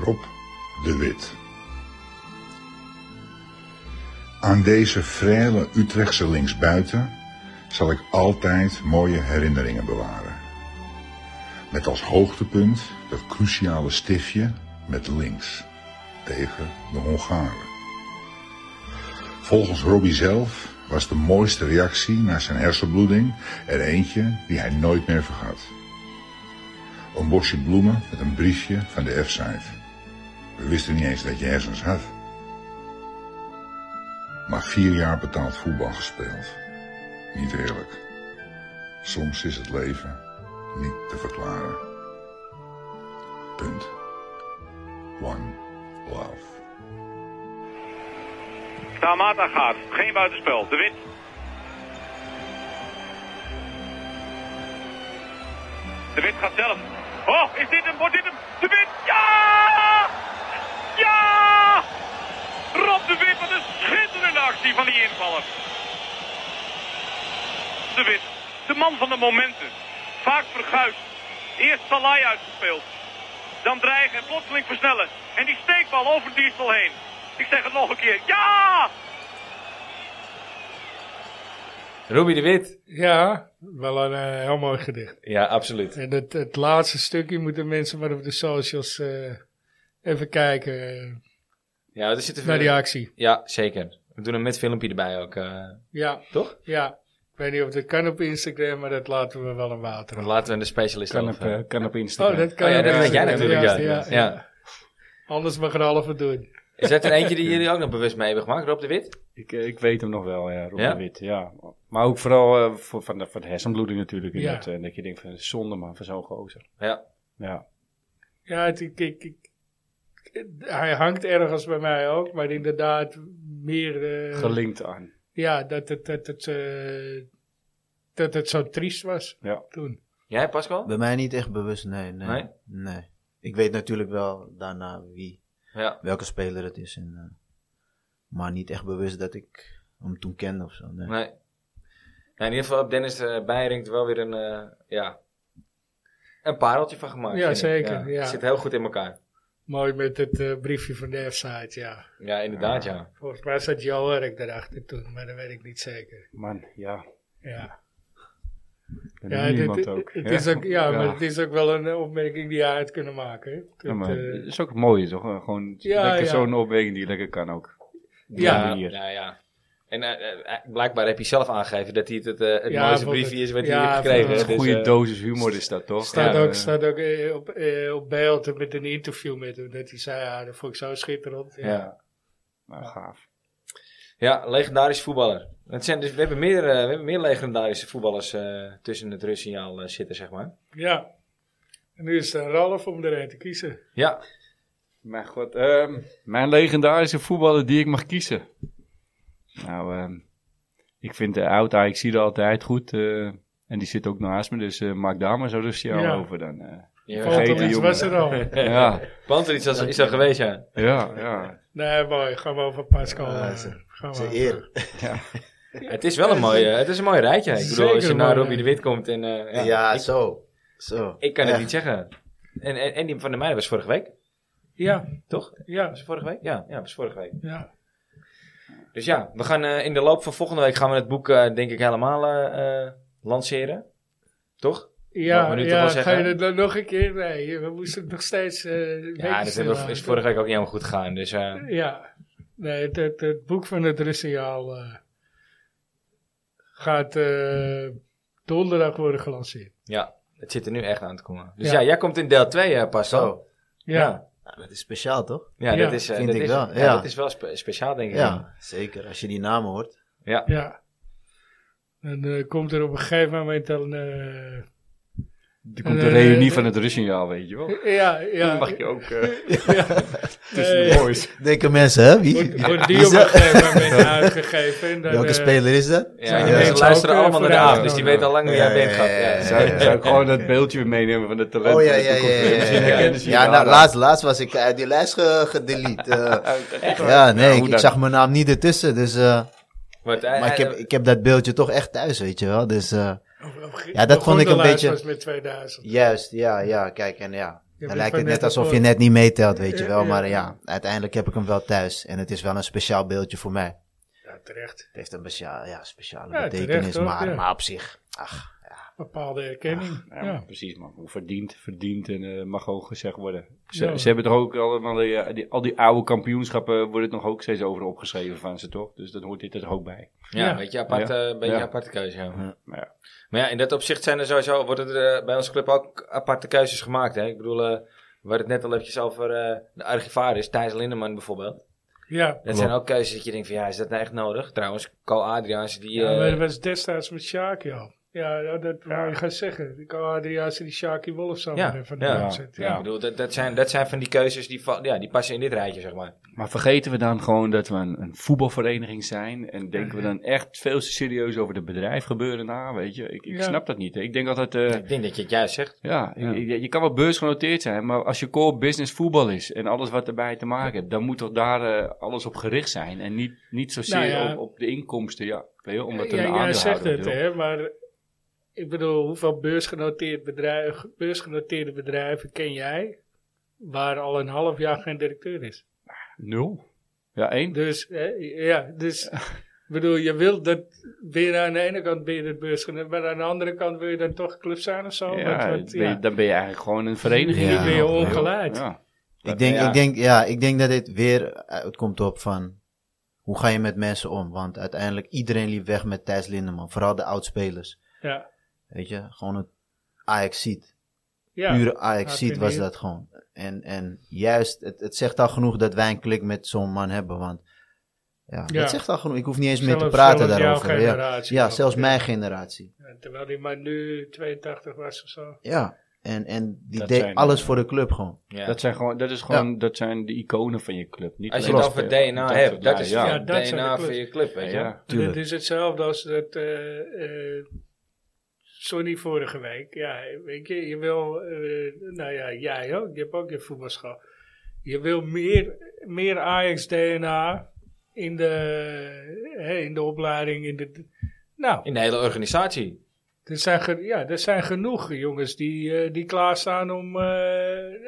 Speaker 5: Rob de Wit. Aan deze vrele Utrechtse linksbuiten zal ik altijd mooie herinneringen bewaren. Met als hoogtepunt dat cruciale stiftje met links tegen de Hongaren. Volgens Robbie zelf was de mooiste reactie na zijn hersenbloeding er eentje die hij nooit meer vergat. Een bosje bloemen met een briefje van de F-site. We wisten niet eens dat je hersens had. Maar vier jaar betaald voetbal gespeeld. Niet eerlijk. Soms is het leven niet te verklaren. Punt. One love.
Speaker 6: Tamata gaat. Geen buitenspel. De wit. De wit gaat zelf. Oh, is dit hem? Wordt dit hem? De wit. Ja! Ja! Rob de wit. Wat een schitterende actie van die invaller. De wit. De man van de momenten. Vaak verguisd. Eerst Salai uitgespeeld. Dan dreigen en plotseling versnellen. En die steekbal over Diesel heen. Ik zeg het nog een keer. Ja!
Speaker 1: Ruby de Wit.
Speaker 2: Ja, wel een eh, heel mooi gedicht.
Speaker 1: Ja, absoluut.
Speaker 2: En het, het laatste stukje moeten mensen maar op de socials eh, even kijken eh,
Speaker 1: Ja, er zitten
Speaker 2: naar
Speaker 1: veel-
Speaker 2: die actie.
Speaker 1: Ja, zeker. We doen hem met filmpje erbij ook, eh,
Speaker 2: Ja,
Speaker 1: toch?
Speaker 2: ja. Ik weet niet of dat kan op Instagram, maar dat laten we wel een water.
Speaker 1: Dan laten we de specialist
Speaker 4: Kan op,
Speaker 1: over.
Speaker 4: eh, kan op Instagram.
Speaker 2: Oh, dat kan
Speaker 1: Oh ja,
Speaker 2: op
Speaker 1: dat weet jij
Speaker 2: Instagram,
Speaker 1: natuurlijk, ja.
Speaker 2: juist,
Speaker 1: Ja,
Speaker 2: Anders mag er halve doen.
Speaker 1: Is dat er eentje die jullie ook nog bewust mee hebben gemaakt, Rob de Wit?
Speaker 4: Ik, eh, ik weet hem nog wel, ja, Rob
Speaker 1: Ja?
Speaker 4: de Wit. Ja. Maar ook vooral eh, voor, van, de, van de hersenbloeding natuurlijk. En
Speaker 2: Ja.
Speaker 4: dat, eh, dat je denkt van zonde man, van zo'n gozer.
Speaker 1: Ja.
Speaker 4: Ja.
Speaker 2: Ja, het, ik, ik, ik- hij hangt ergens bij mij ook, maar inderdaad meer... eh,
Speaker 4: Gelinkt aan.
Speaker 2: ja, dat het, dat, het, eh, dat het zo triest was
Speaker 4: Ja.
Speaker 2: toen.
Speaker 1: Jij, Pascal?
Speaker 3: Bij mij niet echt bewust, nee, nee.
Speaker 1: Nee?
Speaker 3: Nee? Ik weet natuurlijk wel daarna wie,
Speaker 1: Ja.
Speaker 3: welke speler het is. En, eh, maar niet echt bewust dat ik hem toen kende of zo. Nee.
Speaker 1: Nee. Nou, in ieder geval heb Dennis eh Beiring er wel weer een, eh, ja, een pareltje van gemaakt.
Speaker 2: Ja,
Speaker 1: vind ik.
Speaker 2: zeker, ja.
Speaker 1: Zit heel goed in elkaar.
Speaker 2: Mooi met het eh, briefje van de F-site, ja.
Speaker 1: Ja, inderdaad, ja.
Speaker 2: Volgens mij zat jouw werk daarachter toen, maar dat weet ik niet zeker.
Speaker 4: Man, ja.
Speaker 2: Ja,
Speaker 4: En
Speaker 2: ja,
Speaker 4: niemand
Speaker 2: dit-
Speaker 4: ook.
Speaker 2: het
Speaker 4: hè?
Speaker 2: is ook, ja, maar het is ook wel een eh, opmerking die hij had kunnen maken. hè. Dat,
Speaker 4: Ja, maar
Speaker 2: eh,
Speaker 4: het is ook mooi, toch? Eh, Gewoon
Speaker 2: Ja,
Speaker 4: lekker
Speaker 2: ja.
Speaker 4: zo'n opweging die lekker kan ook.
Speaker 2: Ja.
Speaker 1: ja.
Speaker 4: Hier.
Speaker 1: ja, ja. En eh, eh, eh, blijkbaar heb je zelf aangegeven dat hij het, het, eh, het
Speaker 2: Ja,
Speaker 1: mooiste
Speaker 2: vond ik-
Speaker 1: briefje is wat
Speaker 2: ja,
Speaker 1: hij heeft
Speaker 2: vond
Speaker 1: gekregen.
Speaker 2: ik
Speaker 1: hè.
Speaker 2: een
Speaker 4: Een
Speaker 1: Dus,
Speaker 4: goede
Speaker 1: eh,
Speaker 4: dosis humor is dat, toch?
Speaker 2: staat,
Speaker 1: ja,
Speaker 2: ook,
Speaker 4: eh,
Speaker 2: staat ook eh, op, eh, op beeld met een interview met hem. Dat hij zei, ja, dat vond ik zo schitterend. Ja.
Speaker 4: Ja. Nou, gaaf.
Speaker 1: Ja, legendarisch voetballer. Het zijn dus, we, hebben meer, eh, we hebben meer legendarische voetballers eh, tussen het rustsignaal eh, zitten, zeg maar.
Speaker 2: Ja. En nu is het aan Ralf om er een te kiezen.
Speaker 1: Ja,
Speaker 4: Mijn god. ehm, mijn legendarische voetballer die ik mag kiezen. Nou, ehm, ik vind de oud ik zie er altijd goed. eh, en die zit ook naast me, dus eh, maak daar maar zo rustig aan
Speaker 2: Ja.
Speaker 4: over dan. eh.
Speaker 1: je
Speaker 4: Vergeet
Speaker 2: Valt
Speaker 4: die
Speaker 2: er iets
Speaker 4: jongen.
Speaker 2: was er al.
Speaker 4: ja,
Speaker 1: Want er iets als, is er geweest, ja.
Speaker 4: ja, ja.
Speaker 2: Nee, mooi. Gaan we over Pascal.
Speaker 3: Ja,
Speaker 2: eh,
Speaker 3: is een-
Speaker 2: gaan we
Speaker 3: Zijn
Speaker 2: over.
Speaker 3: eer.
Speaker 1: Het is wel een mooi, eh, het is een mooi rijtje. Ik bedoel,
Speaker 2: Zeker
Speaker 1: als je
Speaker 2: een
Speaker 1: naar
Speaker 2: mooi
Speaker 1: Robbie de Wit komt en... eh,
Speaker 3: Ja,
Speaker 1: ja, ik,
Speaker 3: zo. zo.
Speaker 1: ik kan het
Speaker 3: Echt.
Speaker 1: niet zeggen. En, en, en die van de meiden was vorige week,
Speaker 2: Ja,
Speaker 1: toch?
Speaker 2: ja,
Speaker 1: Was het vorige week? Ja, ja, was vorige week.
Speaker 2: ja.
Speaker 1: Dus ja, we gaan eh, in de loop van volgende week gaan we het boek eh, denk ik helemaal eh, eh, lanceren. Toch? Mag
Speaker 2: Ja,
Speaker 1: we nu toch
Speaker 2: ja
Speaker 1: wel
Speaker 2: ga
Speaker 1: zeggen?
Speaker 2: je dat dan nog een keer? Nee, we moesten het nog steeds... eh
Speaker 1: Ja, dat hebben we, is vorige week ook niet helemaal goed gegaan. Dus eh,
Speaker 2: Ja, nee, het, het, het boek van het Russiaal eh gaat eh, donderdag worden gelanceerd.
Speaker 1: ja, het zit er nu echt aan te komen. Dus ja,
Speaker 2: Ja.
Speaker 1: jij komt in deel 2 eh pas
Speaker 3: Zo.
Speaker 2: Ja,
Speaker 3: Nou, dat is speciaal, toch?
Speaker 1: Ja,
Speaker 2: Ja,
Speaker 1: dat is, eh,
Speaker 3: vind
Speaker 1: dat
Speaker 3: ik
Speaker 1: is,
Speaker 3: wel,
Speaker 1: ja,
Speaker 3: ja.
Speaker 1: dat is wel spe- speciaal, denk ik.
Speaker 3: Ja, zeker. Als je die namen hoort.
Speaker 1: ja.
Speaker 2: ja. En eh, komt er op een gegeven moment dan... eh,
Speaker 4: Er komt
Speaker 2: Eh,
Speaker 4: de reunie
Speaker 2: eh,
Speaker 4: van het Russignaal, weet je wel.
Speaker 2: ja, ja. Eh.
Speaker 4: Mag je ook eh
Speaker 2: [laughs]
Speaker 4: [laughs] tussen
Speaker 2: Nee,
Speaker 4: de boys.
Speaker 3: Denken mensen, hè? Wie?
Speaker 2: Wordt,
Speaker 3: wie
Speaker 2: wordt die
Speaker 3: is
Speaker 2: op een
Speaker 3: dat?
Speaker 2: gegeven moment uitgegeven. En dan,
Speaker 3: Welke
Speaker 2: eh,
Speaker 3: speler is dat?
Speaker 1: Ja, die
Speaker 2: Zijn die
Speaker 1: mensen
Speaker 2: mensen
Speaker 1: luisteren
Speaker 2: ook, eh,
Speaker 1: allemaal naar de
Speaker 2: vooruit?
Speaker 1: avond, dus die weten al lang wie
Speaker 3: Ja,
Speaker 1: jij bent,
Speaker 3: ja,
Speaker 1: gaat.
Speaker 3: ja, ja,
Speaker 1: Ja,
Speaker 4: Zou, zou ik gewoon dat beeldje weer meenemen van de talent?
Speaker 3: Oh ja, ja, ja. ja, ja, ja. Ja, nou, laatst, laatst was ik uit die lijst ge- gedelete. [laughs] eh. ja, nee, ik, ik zag mijn naam niet ertussen. Dus, eh,
Speaker 1: Wat, eh,
Speaker 3: maar ik heb,
Speaker 1: eh,
Speaker 3: ik heb dat beeldje toch echt thuis, weet je wel. Dus eh,
Speaker 2: op- op-
Speaker 3: Ja, dat
Speaker 2: begon
Speaker 3: vond ik
Speaker 2: de
Speaker 3: een
Speaker 2: lijst
Speaker 3: beetje-
Speaker 2: was met 2000.
Speaker 3: juist, ja, ja, kijk, en ja.
Speaker 2: bent
Speaker 3: Dan lijkt
Speaker 2: van
Speaker 3: het net alsof
Speaker 2: ervoor.
Speaker 3: je net niet meetelt, weet je
Speaker 2: Ja,
Speaker 3: wel.
Speaker 2: ja.
Speaker 3: Maar ja, uiteindelijk heb ik hem wel thuis. En het is wel een speciaal beeldje voor mij.
Speaker 2: Ja, terecht.
Speaker 3: Het heeft een speciaal, ja, speciale
Speaker 2: Ja, terecht
Speaker 3: betekenis,
Speaker 2: ook,
Speaker 3: maar,
Speaker 2: ja.
Speaker 3: maar op zich. Ach,
Speaker 2: Bepaalde erkenning.
Speaker 4: Ja,
Speaker 2: ja.
Speaker 4: maar precies man. Verdiend, verdiend en eh, mag ook gezegd worden. Ze,
Speaker 2: Ja.
Speaker 4: ze hebben toch ook allemaal, die, eh, die- al die oude kampioenschappen worden nog ook steeds over opgeschreven van ze toch? Dus dat hoort dit er ook bij.
Speaker 1: Ja,
Speaker 2: Ja.
Speaker 1: een beetje apart,
Speaker 4: Ja.
Speaker 1: eh, een beetje
Speaker 4: Ja.
Speaker 1: aparte keuze. Ja.
Speaker 4: Maar ja,
Speaker 1: Maar ja, in dat opzicht zijn er sowieso, wordt er eh, bij onze club ook aparte keuzes gemaakt. Hè? Ik bedoel, eh, we hadden het net al eventjes over eh, de archivaris, Thijs Lindeman bijvoorbeeld. Dat
Speaker 2: ja.
Speaker 1: zijn ook keuzes dat je denkt van, ja, is dat nou echt nodig? Trouwens, Ko Adriaans, die...
Speaker 2: Ja,
Speaker 1: eh,
Speaker 2: maar dat was destijds met Sjaakje al. Ja, dat, dat wou je gaan zeggen. Ik had die juist die Sjaakje Wolf samen
Speaker 1: Ja,
Speaker 2: eh, van de
Speaker 1: ja,
Speaker 2: ja, zet.
Speaker 1: ja, ik
Speaker 2: Ja.
Speaker 1: bedoel, dat, dat, zijn, dat zijn van die keuzes die, va- ja, die passen in dit rijtje, zeg maar.
Speaker 4: Maar vergeten we dan gewoon dat we een, een voetbalvereniging zijn? En denken we dan echt veel te serieus over het bedrijf gebeuren na? Weet je, ik, ik
Speaker 2: Ja.
Speaker 4: snap dat niet. hè. Ik denk altijd. eh,
Speaker 1: Ik denk dat je het juist zegt.
Speaker 4: ja, ik- ik- je kan wel beursgenoteerd zijn, maar als je core business voetbal is en alles wat erbij te maken heeft, dan moet toch daar eh, alles op gericht zijn en niet, niet zozeer
Speaker 2: Nou ja.
Speaker 4: op, op de inkomsten. Ja, weet je, omdat er
Speaker 2: Ja,
Speaker 4: een
Speaker 2: jij zegt
Speaker 4: aandeelhouder
Speaker 2: het, hè, maar ik bedoel, hoeveel beursgenoteerd bedrijf, beursgenoteerde bedrijven ken jij waar al een half jaar geen directeur is?
Speaker 4: Nul. Ja, één.
Speaker 2: Dus, hè, ja, dus, ik bedoel, je wilt dat weer aan de ene kant ben je het beursgenoteerd, maar aan de andere kant wil je dan toch club zijn of zo?
Speaker 4: Ja,
Speaker 2: Want- want,
Speaker 4: het ben je-
Speaker 2: ja.
Speaker 4: dan ben je eigenlijk gewoon een vereniging.
Speaker 3: Nu ben je
Speaker 4: Ja.
Speaker 2: ongeleid.
Speaker 4: Ja.
Speaker 2: Eh,
Speaker 3: ik, denk,
Speaker 1: ja.
Speaker 3: Ik, denk, ja, ik denk dat dit weer uitkomt op van... Hoe ga je met mensen om? Want uiteindelijk, iedereen liep weg met Thijs Lindeman. Vooral de oudspelers.
Speaker 2: ja,
Speaker 3: Weet je, gewoon het ajax ziet.
Speaker 2: ja.
Speaker 3: Pure ajax
Speaker 2: Ja,
Speaker 3: ziet was
Speaker 2: vind ik.
Speaker 3: dat gewoon. En, en juist, het, het zegt al genoeg dat wij een klik met zo'n man hebben. Want ja,
Speaker 2: Ja.
Speaker 3: dat zegt al genoeg. Ik hoef niet eens meer te
Speaker 2: Zelfs-
Speaker 3: praten
Speaker 2: zelfs jouw
Speaker 3: daarover. Ja,
Speaker 2: generatie
Speaker 3: ja
Speaker 2: nog,
Speaker 3: zelfs
Speaker 2: ja.
Speaker 3: mijn generatie.
Speaker 2: Ja, Terwijl die maar nu 82 was of zo.
Speaker 3: Ja, en, en die
Speaker 4: Dat
Speaker 3: deed
Speaker 4: zijn,
Speaker 3: alles
Speaker 4: eh,
Speaker 3: voor de club gewoon.
Speaker 1: Ja.
Speaker 4: Dat, zijn gewoon, dat, is gewoon, dat zijn de iconen van je club. Niet
Speaker 1: Als je
Speaker 4: alleen
Speaker 1: het
Speaker 4: de
Speaker 1: over
Speaker 4: spelers.
Speaker 1: DNA
Speaker 4: Dat
Speaker 1: hebt,
Speaker 4: soort-
Speaker 1: dat is
Speaker 4: ja,
Speaker 1: ja,
Speaker 2: ja, dat zijn
Speaker 1: DNA
Speaker 2: de
Speaker 1: voor je club, weet je.
Speaker 4: Ja.
Speaker 3: Tuurlijk.
Speaker 2: Het is hetzelfde als dat eh, eh, Sonny vorige week. Ja, weet je, je wil, eh, nou ja, jij ook, je hebt ook je voetbalschap. Je wil meer, meer Ajax-DNA in de, hè, in de opleiding. In de, nou,
Speaker 1: In de hele organisatie.
Speaker 2: er zijn, ge- ja, er zijn genoeg jongens die, eh, die klaarstaan om eh,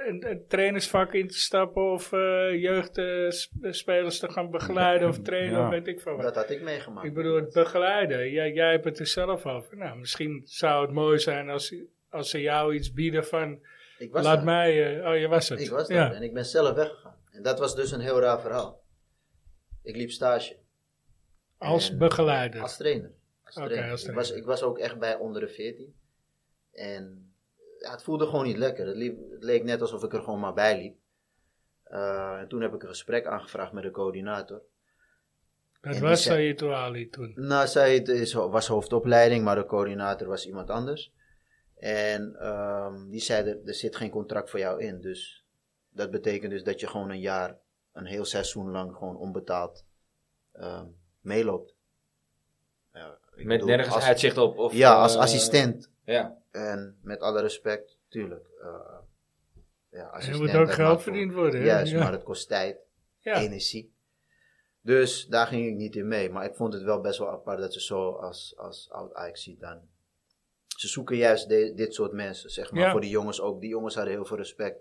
Speaker 2: een, een trainersvak in te stappen of eh, jeugdspelers te gaan begeleiden of trainen
Speaker 4: Ja.
Speaker 2: of weet ik veel wat.
Speaker 3: had ik meegemaakt.
Speaker 2: Ik bedoel, het begeleiden. Jij, jij hebt het er zelf over. Nou, misschien zou het mooi zijn als, als ze jou iets bieden van...
Speaker 3: Ik
Speaker 2: laat mij... eh, oh, je was het. ja.
Speaker 3: ik ben zelf weggegaan. En dat was dus een heel raar verhaal. Ik liep stage.
Speaker 2: Als
Speaker 3: eh, En-
Speaker 2: begeleider.
Speaker 3: Als trainer. Als
Speaker 2: Oké,
Speaker 3: trainer.
Speaker 2: als
Speaker 3: Ik,
Speaker 2: trainer.
Speaker 3: was, ik was ook echt bij onder de 14. En ja, het voelde gewoon niet lekker. Het, liep- het leek net alsof ik er gewoon maar bij liep. Eh, en toen heb ik een gesprek aangevraagd met de coördinator.
Speaker 2: dat
Speaker 3: en
Speaker 2: was
Speaker 3: die zei-
Speaker 2: Sayid Ali toen.
Speaker 3: Nou, zij het is, was hoofdopleiding, maar de coördinator was iemand anders. En ehm, die zei, er, er zit geen contract voor jou in. Dus dat betekent dus dat je gewoon een jaar, een heel seizoen lang gewoon onbetaald ehm, meeloopt. Ja, ik
Speaker 1: Met
Speaker 3: bedoel,
Speaker 1: nergens
Speaker 3: als-
Speaker 1: uitzicht op. Of,
Speaker 3: Ja, als
Speaker 1: eh,
Speaker 3: assistent.
Speaker 1: Ja.
Speaker 3: En met alle respect, tuurlijk. eh, ja,
Speaker 2: Er
Speaker 3: assistent.
Speaker 2: moet
Speaker 3: dat
Speaker 2: ook
Speaker 3: maakt
Speaker 2: geld
Speaker 3: voor-
Speaker 2: verdiend worden. hè?
Speaker 3: Juist,
Speaker 2: ja.
Speaker 3: maar het kost tijd
Speaker 2: Ja.
Speaker 3: energie. Dus daar ging ik niet in mee. Maar ik vond het wel best wel apart dat ze zo als, als oud Ajax ziet dan. Ze zoeken juist de- dit soort mensen, zeg maar.
Speaker 2: Ja.
Speaker 3: Voor die jongens ook. Die jongens hadden heel veel respect.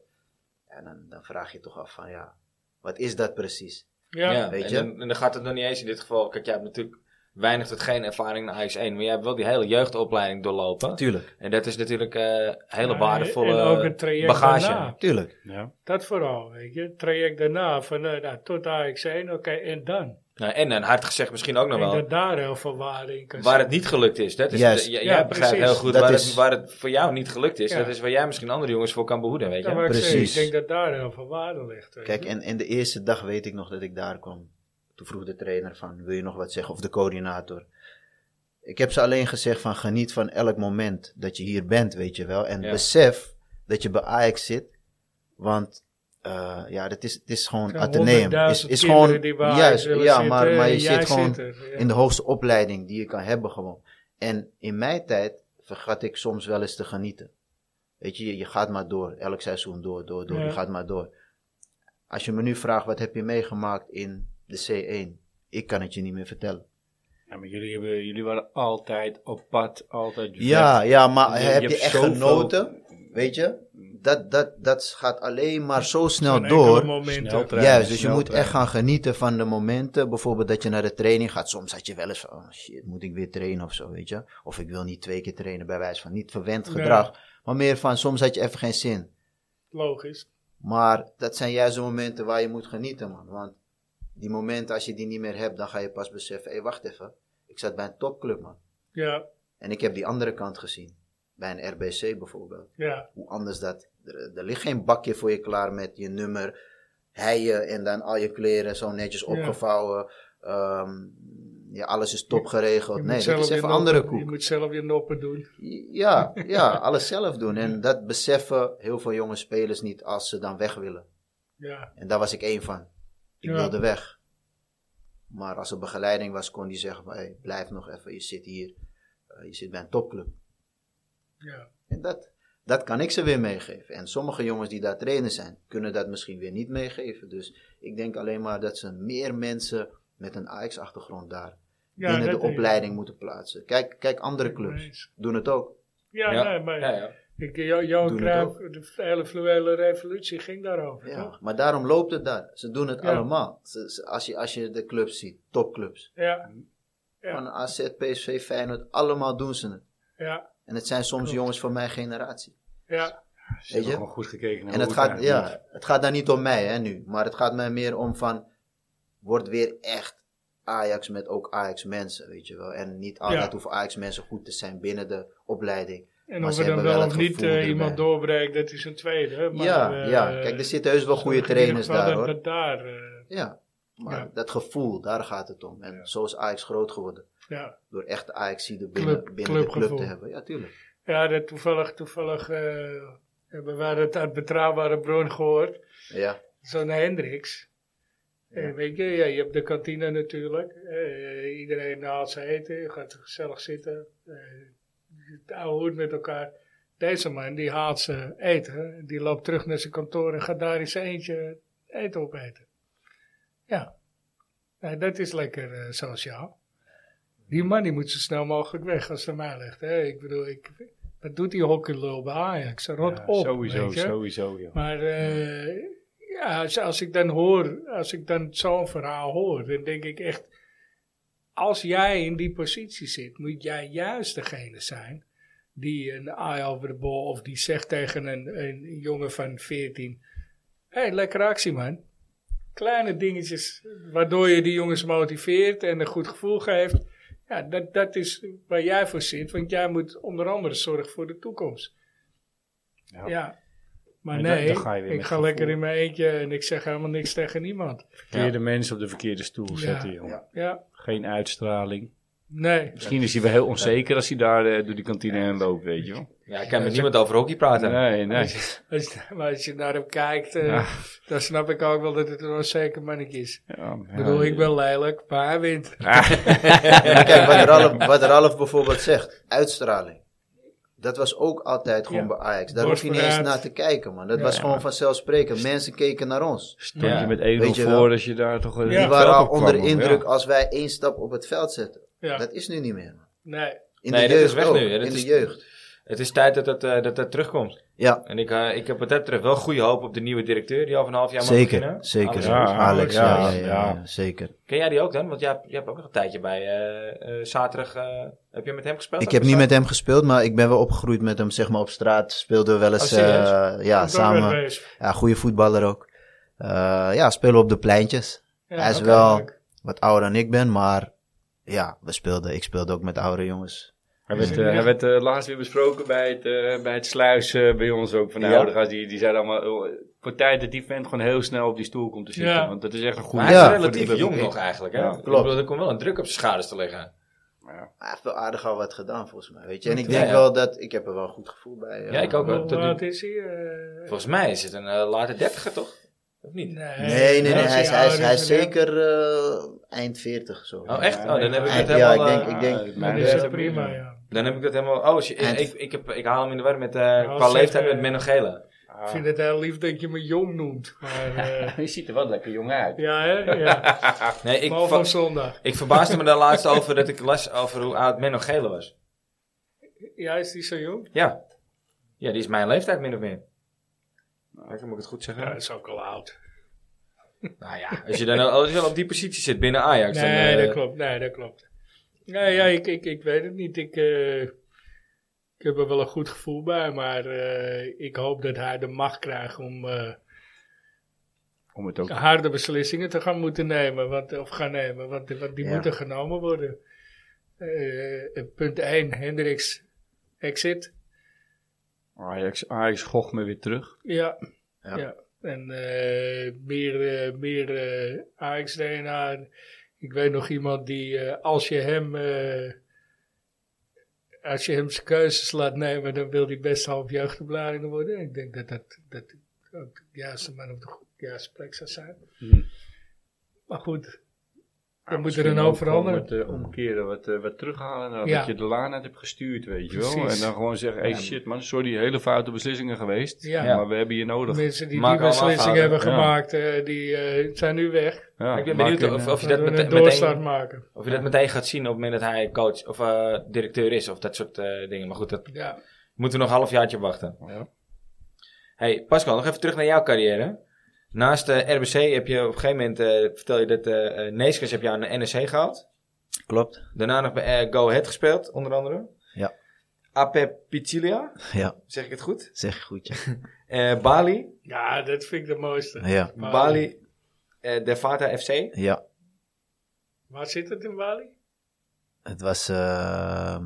Speaker 3: En dan, dan vraag je toch af van ja, wat is dat precies?
Speaker 1: Ja,
Speaker 2: Ja.
Speaker 3: weet
Speaker 1: en
Speaker 3: je.
Speaker 1: Dan, en dan gaat het nog niet eens in dit geval. Kijk, jij hebt natuurlijk weinig tot geen ervaring in Ajax 1. Maar jij hebt wel die hele jeugdopleiding doorlopen.
Speaker 3: Tuurlijk,
Speaker 1: En dat is natuurlijk eh hele
Speaker 2: Ja,
Speaker 1: waardevolle
Speaker 2: en ook het traject
Speaker 1: bagage.
Speaker 2: daarna.
Speaker 3: tuurlijk.
Speaker 4: Ja.
Speaker 2: Dat vooral, weet je. Het traject daarna, van eh, nou, tot AX1, oké, en dan?
Speaker 1: Nou, en een hard gezegd misschien ook nog
Speaker 2: Ik denk
Speaker 1: wel.
Speaker 2: dat daar heel veel waarde in kan
Speaker 1: Waar
Speaker 2: zitten.
Speaker 1: het niet gelukt is. Dat is
Speaker 3: Juist.
Speaker 1: de- j-
Speaker 2: Ja,
Speaker 1: jij begrijpt
Speaker 2: precies.
Speaker 1: heel goed
Speaker 3: Dat
Speaker 1: waar,
Speaker 3: is-
Speaker 1: het, waar het voor jou niet gelukt is.
Speaker 2: Ja.
Speaker 1: Dat is waar jij misschien andere jongens voor kan behoeden, weet
Speaker 2: Ja, maar
Speaker 1: je.
Speaker 2: ik zeg,
Speaker 3: Precies.
Speaker 2: Ik denk dat daar heel veel waarde ligt. weet
Speaker 3: Kijk,
Speaker 2: je.
Speaker 3: en, en de eerste dag weet ik nog dat ik daar kwam. Toen vroeg de trainer van, wil je nog wat zeggen? Of de coördinator. Ik heb ze alleen gezegd van, geniet van elk moment dat je hier bent, weet je wel. En
Speaker 1: Ja.
Speaker 3: besef dat je bij Ajax zit. Want, eh, ja, dat is, het is gewoon
Speaker 2: Er zijn
Speaker 3: Atheneum. Is,
Speaker 2: 100.000
Speaker 3: is
Speaker 2: kinderen
Speaker 3: gewoon,
Speaker 2: die bij Ajax
Speaker 3: juist,
Speaker 2: willen
Speaker 3: ja,
Speaker 2: zitten
Speaker 3: maar, maar
Speaker 2: en
Speaker 3: je
Speaker 2: jij
Speaker 3: zit gewoon
Speaker 2: er, ja.
Speaker 3: in de hoogste opleiding die je kan hebben gewoon. En in mijn tijd vergat ik soms wel eens te genieten. Weet je, je- je gaat maar door. Elk seizoen door, door, door.
Speaker 2: Ja.
Speaker 3: Je gaat maar door. Als je me nu vraagt, wat heb je meegemaakt in de C1? Ik kan het je niet meer vertellen.
Speaker 4: Ja, maar jullie, hebben, jullie waren altijd op pad, altijd
Speaker 3: Ja, ja, maar
Speaker 4: Je- je
Speaker 3: heb je,
Speaker 4: hebt
Speaker 3: echt
Speaker 4: zoveel-
Speaker 3: genoten? Weet je? dat, dat, dat gaat alleen maar zo snel
Speaker 2: Geen enkele
Speaker 3: door.
Speaker 2: momenten.
Speaker 4: Snel trein.
Speaker 3: Juist, dus je
Speaker 4: snel
Speaker 3: moet
Speaker 4: trainen.
Speaker 3: echt gaan genieten van de momenten. Bijvoorbeeld dat je naar de training gaat. Soms had je wel eens van, oh shit, moet ik weer trainen of zo, weet je. Of ik wil niet twee keer trainen, bij wijze van niet verwend
Speaker 2: Ja.
Speaker 3: gedrag. Maar meer van, soms had je even geen zin.
Speaker 2: Logisch.
Speaker 3: Maar dat zijn juist de momenten waar je moet genieten, man. Want die momenten, als je die niet meer hebt, dan ga je pas beseffen, hé, wacht even. Ik zat bij een topclub, man.
Speaker 2: Ja,
Speaker 3: En ik heb die andere kant gezien. Bij een RBC bijvoorbeeld.
Speaker 2: ja.
Speaker 3: Hoe anders dat. Er, er ligt geen bakje voor je klaar met je nummer, heien en dan al je kleren zo netjes opgevouwen. Ehm, ja, alles is top geregeld.
Speaker 2: Je
Speaker 3: Nee,
Speaker 2: moet
Speaker 3: dat
Speaker 2: zelf
Speaker 3: is
Speaker 2: je
Speaker 3: even
Speaker 2: noppen-
Speaker 3: andere
Speaker 2: Je
Speaker 3: koek.
Speaker 2: moet zelf je noppen doen. [laughs]
Speaker 3: Ja, ja, alles zelf doen. En dat beseffen heel veel jonge spelers niet als ze dan weg willen.
Speaker 2: Ja,
Speaker 3: En daar was ik één van. Ik
Speaker 2: Ja.
Speaker 3: wilde weg. Maar als er begeleiding was, kon die zeggen van, hey, blijf nog even, je zit hier. Eh, je zit bij een topclub.
Speaker 2: ja.
Speaker 3: En dat, dat kan ik ze weer meegeven. En sommige jongens die daar trainen zijn, kunnen dat misschien weer niet meegeven. Dus ik denk alleen maar dat ze meer mensen met een AX-achtergrond daar
Speaker 2: Ja,
Speaker 3: binnen de
Speaker 2: dat denk ik.
Speaker 3: opleiding moeten plaatsen. Kijk, kijk, andere clubs
Speaker 2: Eens.
Speaker 3: doen het ook.
Speaker 2: Ja, nee, maar
Speaker 1: ja, ja.
Speaker 2: Ik, jou, Johan
Speaker 3: Doen het
Speaker 2: Cruijff, de hele fluwele revolutie ging daarover,
Speaker 3: Ja.
Speaker 2: toch?
Speaker 3: Maar daarom loopt het daar. Ze doen het
Speaker 2: Ja.
Speaker 3: allemaal. Ze- ze- als, je, als je de clubs ziet, topclubs.
Speaker 2: Ja, Ja.
Speaker 3: Van AZ, PSV, Feyenoord, allemaal doen ze het.
Speaker 2: ja,
Speaker 3: En het zijn soms jongens van mijn generatie.
Speaker 2: ja.
Speaker 4: Ze hebben
Speaker 3: je?
Speaker 4: gewoon goed gekeken naar
Speaker 3: En het
Speaker 4: hoe
Speaker 3: gaat,
Speaker 4: eigenlijk
Speaker 3: ja, het gaat daar niet om mij hè, nu, maar het gaat mij meer om van, word weer echt Ajax met ook Ajax mensen, weet je wel. En niet altijd
Speaker 2: Ja.
Speaker 3: hoeven Ajax mensen goed te zijn binnen de opleiding.
Speaker 2: En
Speaker 3: Maar
Speaker 2: of
Speaker 3: ze
Speaker 2: er dan
Speaker 3: hebben
Speaker 2: wel
Speaker 3: wel
Speaker 2: of
Speaker 3: het
Speaker 2: niet
Speaker 3: gevoel
Speaker 2: eh,
Speaker 3: erbij.
Speaker 2: iemand doorbreekt, dat is een tweede. hè, Maar,
Speaker 3: ja,
Speaker 2: eh,
Speaker 3: ja, kijk, er zitten heus wel goede
Speaker 2: in ieder
Speaker 3: trainers
Speaker 2: geval
Speaker 3: daar
Speaker 2: dat,
Speaker 3: hoor.
Speaker 2: dat daar, eh,
Speaker 3: Ja, maar
Speaker 2: Ja.
Speaker 3: dat gevoel, daar gaat het om. En zo is Ajax groot geworden,
Speaker 2: ja.
Speaker 3: door echt ajax binnen, binnen de club
Speaker 2: clubgevoel.
Speaker 3: te hebben. Ja, tuurlijk.
Speaker 2: ja dat toevallig, toevallig eh, hebben wij dat uit betrouwbare bron gehoord.
Speaker 3: Ja,
Speaker 2: Zo'n Hendricks. En weet je, ja, je hebt de kantine natuurlijk. Eh, iedereen haalt zijn eten, je eh, gaat gezellig zitten. eh, het oude hoed met elkaar. Deze man, die haalt zijn eten. Die loopt terug naar zijn kantoor en gaat daar in zijn eentje eten opeten. Ja. Nou, dat is lekker eh, sociaal. Die man die moet zo snel mogelijk weg als het aan mij ligt. Hè? Ik bedoel, ik, wat doet die hockeylul bij Ajax? Rot
Speaker 4: Ja,
Speaker 2: op,
Speaker 4: Sowieso,
Speaker 2: weet je?
Speaker 4: sowieso, joh.
Speaker 2: Maar eh, ja, als, als ik dan hoor, als ik dan zo'n verhaal hoor, dan denk ik echt, als jij in die positie zit, moet jij juist degene zijn die een eye over de bal of die zegt tegen een, een jongen van 14, hé, hey, lekker actie man. Kleine dingetjes waardoor je die jongens motiveert en een goed gevoel geeft. Ja, dat, dat is waar jij voor zit, want jij moet onder andere zorgen voor de toekomst.
Speaker 4: Ja.
Speaker 2: Ja. Maar
Speaker 4: En dan-
Speaker 2: nee,
Speaker 4: dan ga je weer
Speaker 2: ik
Speaker 4: met
Speaker 2: ga
Speaker 4: gevoel.
Speaker 2: lekker in mijn eentje en ik zeg helemaal niks tegen niemand.
Speaker 4: Verkeerde mensen op de verkeerde stoel
Speaker 2: Ja.
Speaker 4: zetten, joh.
Speaker 2: Ja,
Speaker 4: Geen uitstraling.
Speaker 2: nee.
Speaker 4: Misschien is hij wel heel onzeker als hij daar eh, door die kantine heen loopt, weet je wel.
Speaker 1: Ja, ik kan met niemand over hockey praten.
Speaker 4: Nee, nee.
Speaker 2: Als, maar als je naar hem kijkt, eh,
Speaker 4: Ja.
Speaker 2: dan snap ik ook wel dat het een onzeker mannetje is.
Speaker 4: Ja,
Speaker 2: Ik bedoel, ik ben lelijk, maar hij wint.
Speaker 3: Maar kijk, wat Ralf, wat Ralf bijvoorbeeld zegt, uitstraling. Dat was ook altijd gewoon
Speaker 2: Ja.
Speaker 3: bij Ajax. Daar
Speaker 2: Borst
Speaker 3: hoef je niet eens
Speaker 2: vooruit.
Speaker 3: naar te kijken, man. Dat was gewoon vanzelfsprekend. Mensen keken naar ons.
Speaker 4: Stond
Speaker 1: Ja.
Speaker 4: je
Speaker 3: Weet
Speaker 4: met 1-0
Speaker 3: je wel.
Speaker 4: voor als je daar toch... eh,
Speaker 2: Die
Speaker 3: Die
Speaker 4: het
Speaker 3: waren
Speaker 4: veld
Speaker 3: al
Speaker 4: op kwam,
Speaker 3: onder
Speaker 4: hoor.
Speaker 3: de indruk
Speaker 4: Ja.
Speaker 3: als wij één stap op het veld zetten.
Speaker 2: Ja,
Speaker 3: Dat is nu niet meer. man.
Speaker 2: nee.
Speaker 3: In
Speaker 1: Nee,
Speaker 3: de
Speaker 1: dat
Speaker 3: jeugd
Speaker 1: is weg
Speaker 3: ook.
Speaker 1: nu, hè. Dat
Speaker 3: In
Speaker 1: is-
Speaker 3: de jeugd.
Speaker 1: Het is tijd dat het, eh, dat het terugkomt.
Speaker 3: Ja,
Speaker 1: En ik, eh, ik heb wat dat betreft wel goede hoop op de nieuwe directeur die over een half jaar mag beginnen.
Speaker 3: zeker. Zeker.
Speaker 1: Alex
Speaker 4: Ja,
Speaker 1: Roos.
Speaker 3: Alex, ja, ja,
Speaker 4: Alex,
Speaker 3: ja,
Speaker 4: ja.
Speaker 3: ja, zeker.
Speaker 1: Ken jij die ook dan? Want jij, hebt- jij hebt ook nog een tijdje bij eh, eh, zaterdag. eh, heb je met hem gespeeld?
Speaker 3: Ik heb niet met hem gespeeld, maar ik ben wel opgegroeid met hem. Zeg maar op straat speelden we wel eens
Speaker 1: Oh, serieus?
Speaker 3: eh, ja,
Speaker 2: Komt ook wel
Speaker 3: samen.
Speaker 2: wees.
Speaker 3: Ja, goede voetballer ook. Eh, ja, spelen we op de pleintjes.
Speaker 2: Ja,
Speaker 3: Hij is
Speaker 2: oké,
Speaker 3: wel-
Speaker 2: leuk.
Speaker 3: Wat ouder dan ik ben, maar ja, we speelden, ik speelde ook met oude jongens.
Speaker 4: Hij werd,
Speaker 2: Ja.
Speaker 4: eh, hij werd eh, laatst weer besproken bij het, eh, bij het sluis eh, bij ons ook. Van de
Speaker 1: Ja.
Speaker 4: oude gast, die, die zeiden allemaal... oh, voor tijd dat die vent gewoon heel snel op die stoel komt te zitten.
Speaker 2: Ja.
Speaker 4: Want dat is echt een goede...
Speaker 1: Maar hij is
Speaker 3: Ja.
Speaker 1: relatief jong nog eigenlijk. Hè?
Speaker 4: Ja,
Speaker 1: Ik
Speaker 3: klopt.
Speaker 1: bedoel, er komt wel een druk op zijn schouders te liggen.
Speaker 3: Hij heeft wel aardig al wat gedaan volgens mij, weet je. En ik
Speaker 1: Ja,
Speaker 3: denk
Speaker 1: ja.
Speaker 3: wel dat, ik heb er wel een goed gevoel bij. eh.
Speaker 1: Ja, ik ook wel.
Speaker 2: Hoe
Speaker 1: Tot nu-
Speaker 2: laat is hij? eh?
Speaker 1: Volgens mij is het een eh, late dertiger toch? Of niet?
Speaker 3: Nee, nee, nee,
Speaker 2: als
Speaker 3: hij is, hij is,
Speaker 2: ouder
Speaker 3: hij is
Speaker 2: dan-
Speaker 3: zeker eh, eind 40 zo.
Speaker 1: Oh echt? Oh, dan heb ik
Speaker 3: Ja,
Speaker 1: het
Speaker 3: ja,
Speaker 1: helemaal...
Speaker 3: ik
Speaker 1: eh,
Speaker 3: denk- ik denk-
Speaker 2: Dan is het prima, ja.
Speaker 1: Dan heb ik dat helemaal... Oh, shit, ik,
Speaker 3: En-
Speaker 1: ik, ik, heb, ik haal hem in de war met... eh, qua
Speaker 2: zeg,
Speaker 1: leeftijd
Speaker 2: eh,
Speaker 1: met Menno Gele.
Speaker 2: Ik vind het heel lief dat je me jong noemt. [laughs] Maar, eh,
Speaker 4: [laughs] Je ziet er wel lekker jong uit.
Speaker 2: ja, hè? [laughs] Ja.
Speaker 1: Nee, ik,
Speaker 2: Behalve
Speaker 1: va-
Speaker 2: op zondag.
Speaker 1: ik verbaasde me daar laatst over dat ik las over hoe oud Menno Gele was.
Speaker 2: Ja, is die zo jong?
Speaker 1: Ja. Ja, die is mijn leeftijd min of meer. Even moet ik het goed zeggen.
Speaker 2: Ja, dat is ook al oud.
Speaker 1: Nou ja, als je dan al, als je al op die positie zit binnen Ajax. dan,
Speaker 2: Nee,
Speaker 1: eh,
Speaker 2: dat klopt. Nee, dat klopt. Nee, ja, ik, ik, ik weet het niet. Ik, eh, ik heb er wel een goed gevoel bij, maar eh, ik hoop dat hij de macht krijgt om eh,
Speaker 4: Om het ook.
Speaker 2: harde beslissingen te gaan moeten nemen. Want, of gaan nemen, want, want die
Speaker 3: Ja.
Speaker 2: moeten genomen worden. Eh, punt 1, Hendricks exit.
Speaker 4: Ajax, Ajax gocht me weer terug.
Speaker 2: Ja.
Speaker 3: Ja.
Speaker 2: ja. En eh, meer, eh, meer eh AX-DNA. Ik weet nog iemand die, eh, als je hem. eh, als je hem zijn keuzes laat nemen, dan wil hij best half jeugdopleidingen worden. Ik denk dat dat, dat ook de juiste man op de go- juiste plek zou zijn.
Speaker 4: Hmm.
Speaker 2: Maar goed, dan moet er een hoop veranderen.
Speaker 4: Met, omkeren, wat, eh, wat terughalen. nadat
Speaker 2: Ja.
Speaker 4: Dat je de laan uit hebt gestuurd, weet je wel.
Speaker 2: Precies.
Speaker 4: En dan gewoon zeggen: hey, shit man, sorry, hele foute beslissingen geweest.
Speaker 2: Ja.
Speaker 4: Maar we hebben je nodig.
Speaker 2: Mensen die
Speaker 1: Maak
Speaker 2: die
Speaker 1: allemaal
Speaker 2: beslissing
Speaker 1: fouten.
Speaker 2: hebben
Speaker 4: Ja.
Speaker 2: gemaakt, eh, die eh, zijn nu weg.
Speaker 4: Ja,
Speaker 1: ik ben
Speaker 4: maak
Speaker 1: benieuwd
Speaker 4: een,
Speaker 1: of,
Speaker 4: eh,
Speaker 1: of, je
Speaker 2: Dat
Speaker 1: dat
Speaker 2: we
Speaker 1: meteen,
Speaker 2: een doorstart
Speaker 1: meteen-
Speaker 2: maken.
Speaker 1: of je dat meteen gaat zien op het moment dat hij coach of eh, directeur is. Of dat soort eh, dingen. Maar goed, dat
Speaker 2: Ja.
Speaker 1: moeten we nog een halfjaartje wachten.
Speaker 4: Ja.
Speaker 1: Hey Pascal, nog even terug naar jouw carrière. Naast eh, RBC heb je op een gegeven moment, eh, vertel je dat, eh eh, Neeskens heb je aan de NEC gehaald.
Speaker 3: Klopt.
Speaker 1: Daarna nog bij eh, Go Ahead gespeeld, onder andere.
Speaker 3: Ja.
Speaker 1: AP Picilia,
Speaker 3: [laughs] Ja,
Speaker 1: zeg ik het goed.
Speaker 3: zeg goed. Ja.
Speaker 1: Eh, Bali,
Speaker 2: ja, dat vind ik de mooiste.
Speaker 3: ja,
Speaker 2: Bali.
Speaker 1: Bali, eh Devata FC.
Speaker 3: ja.
Speaker 2: Waar zit het in Bali?
Speaker 3: Het was. ehm,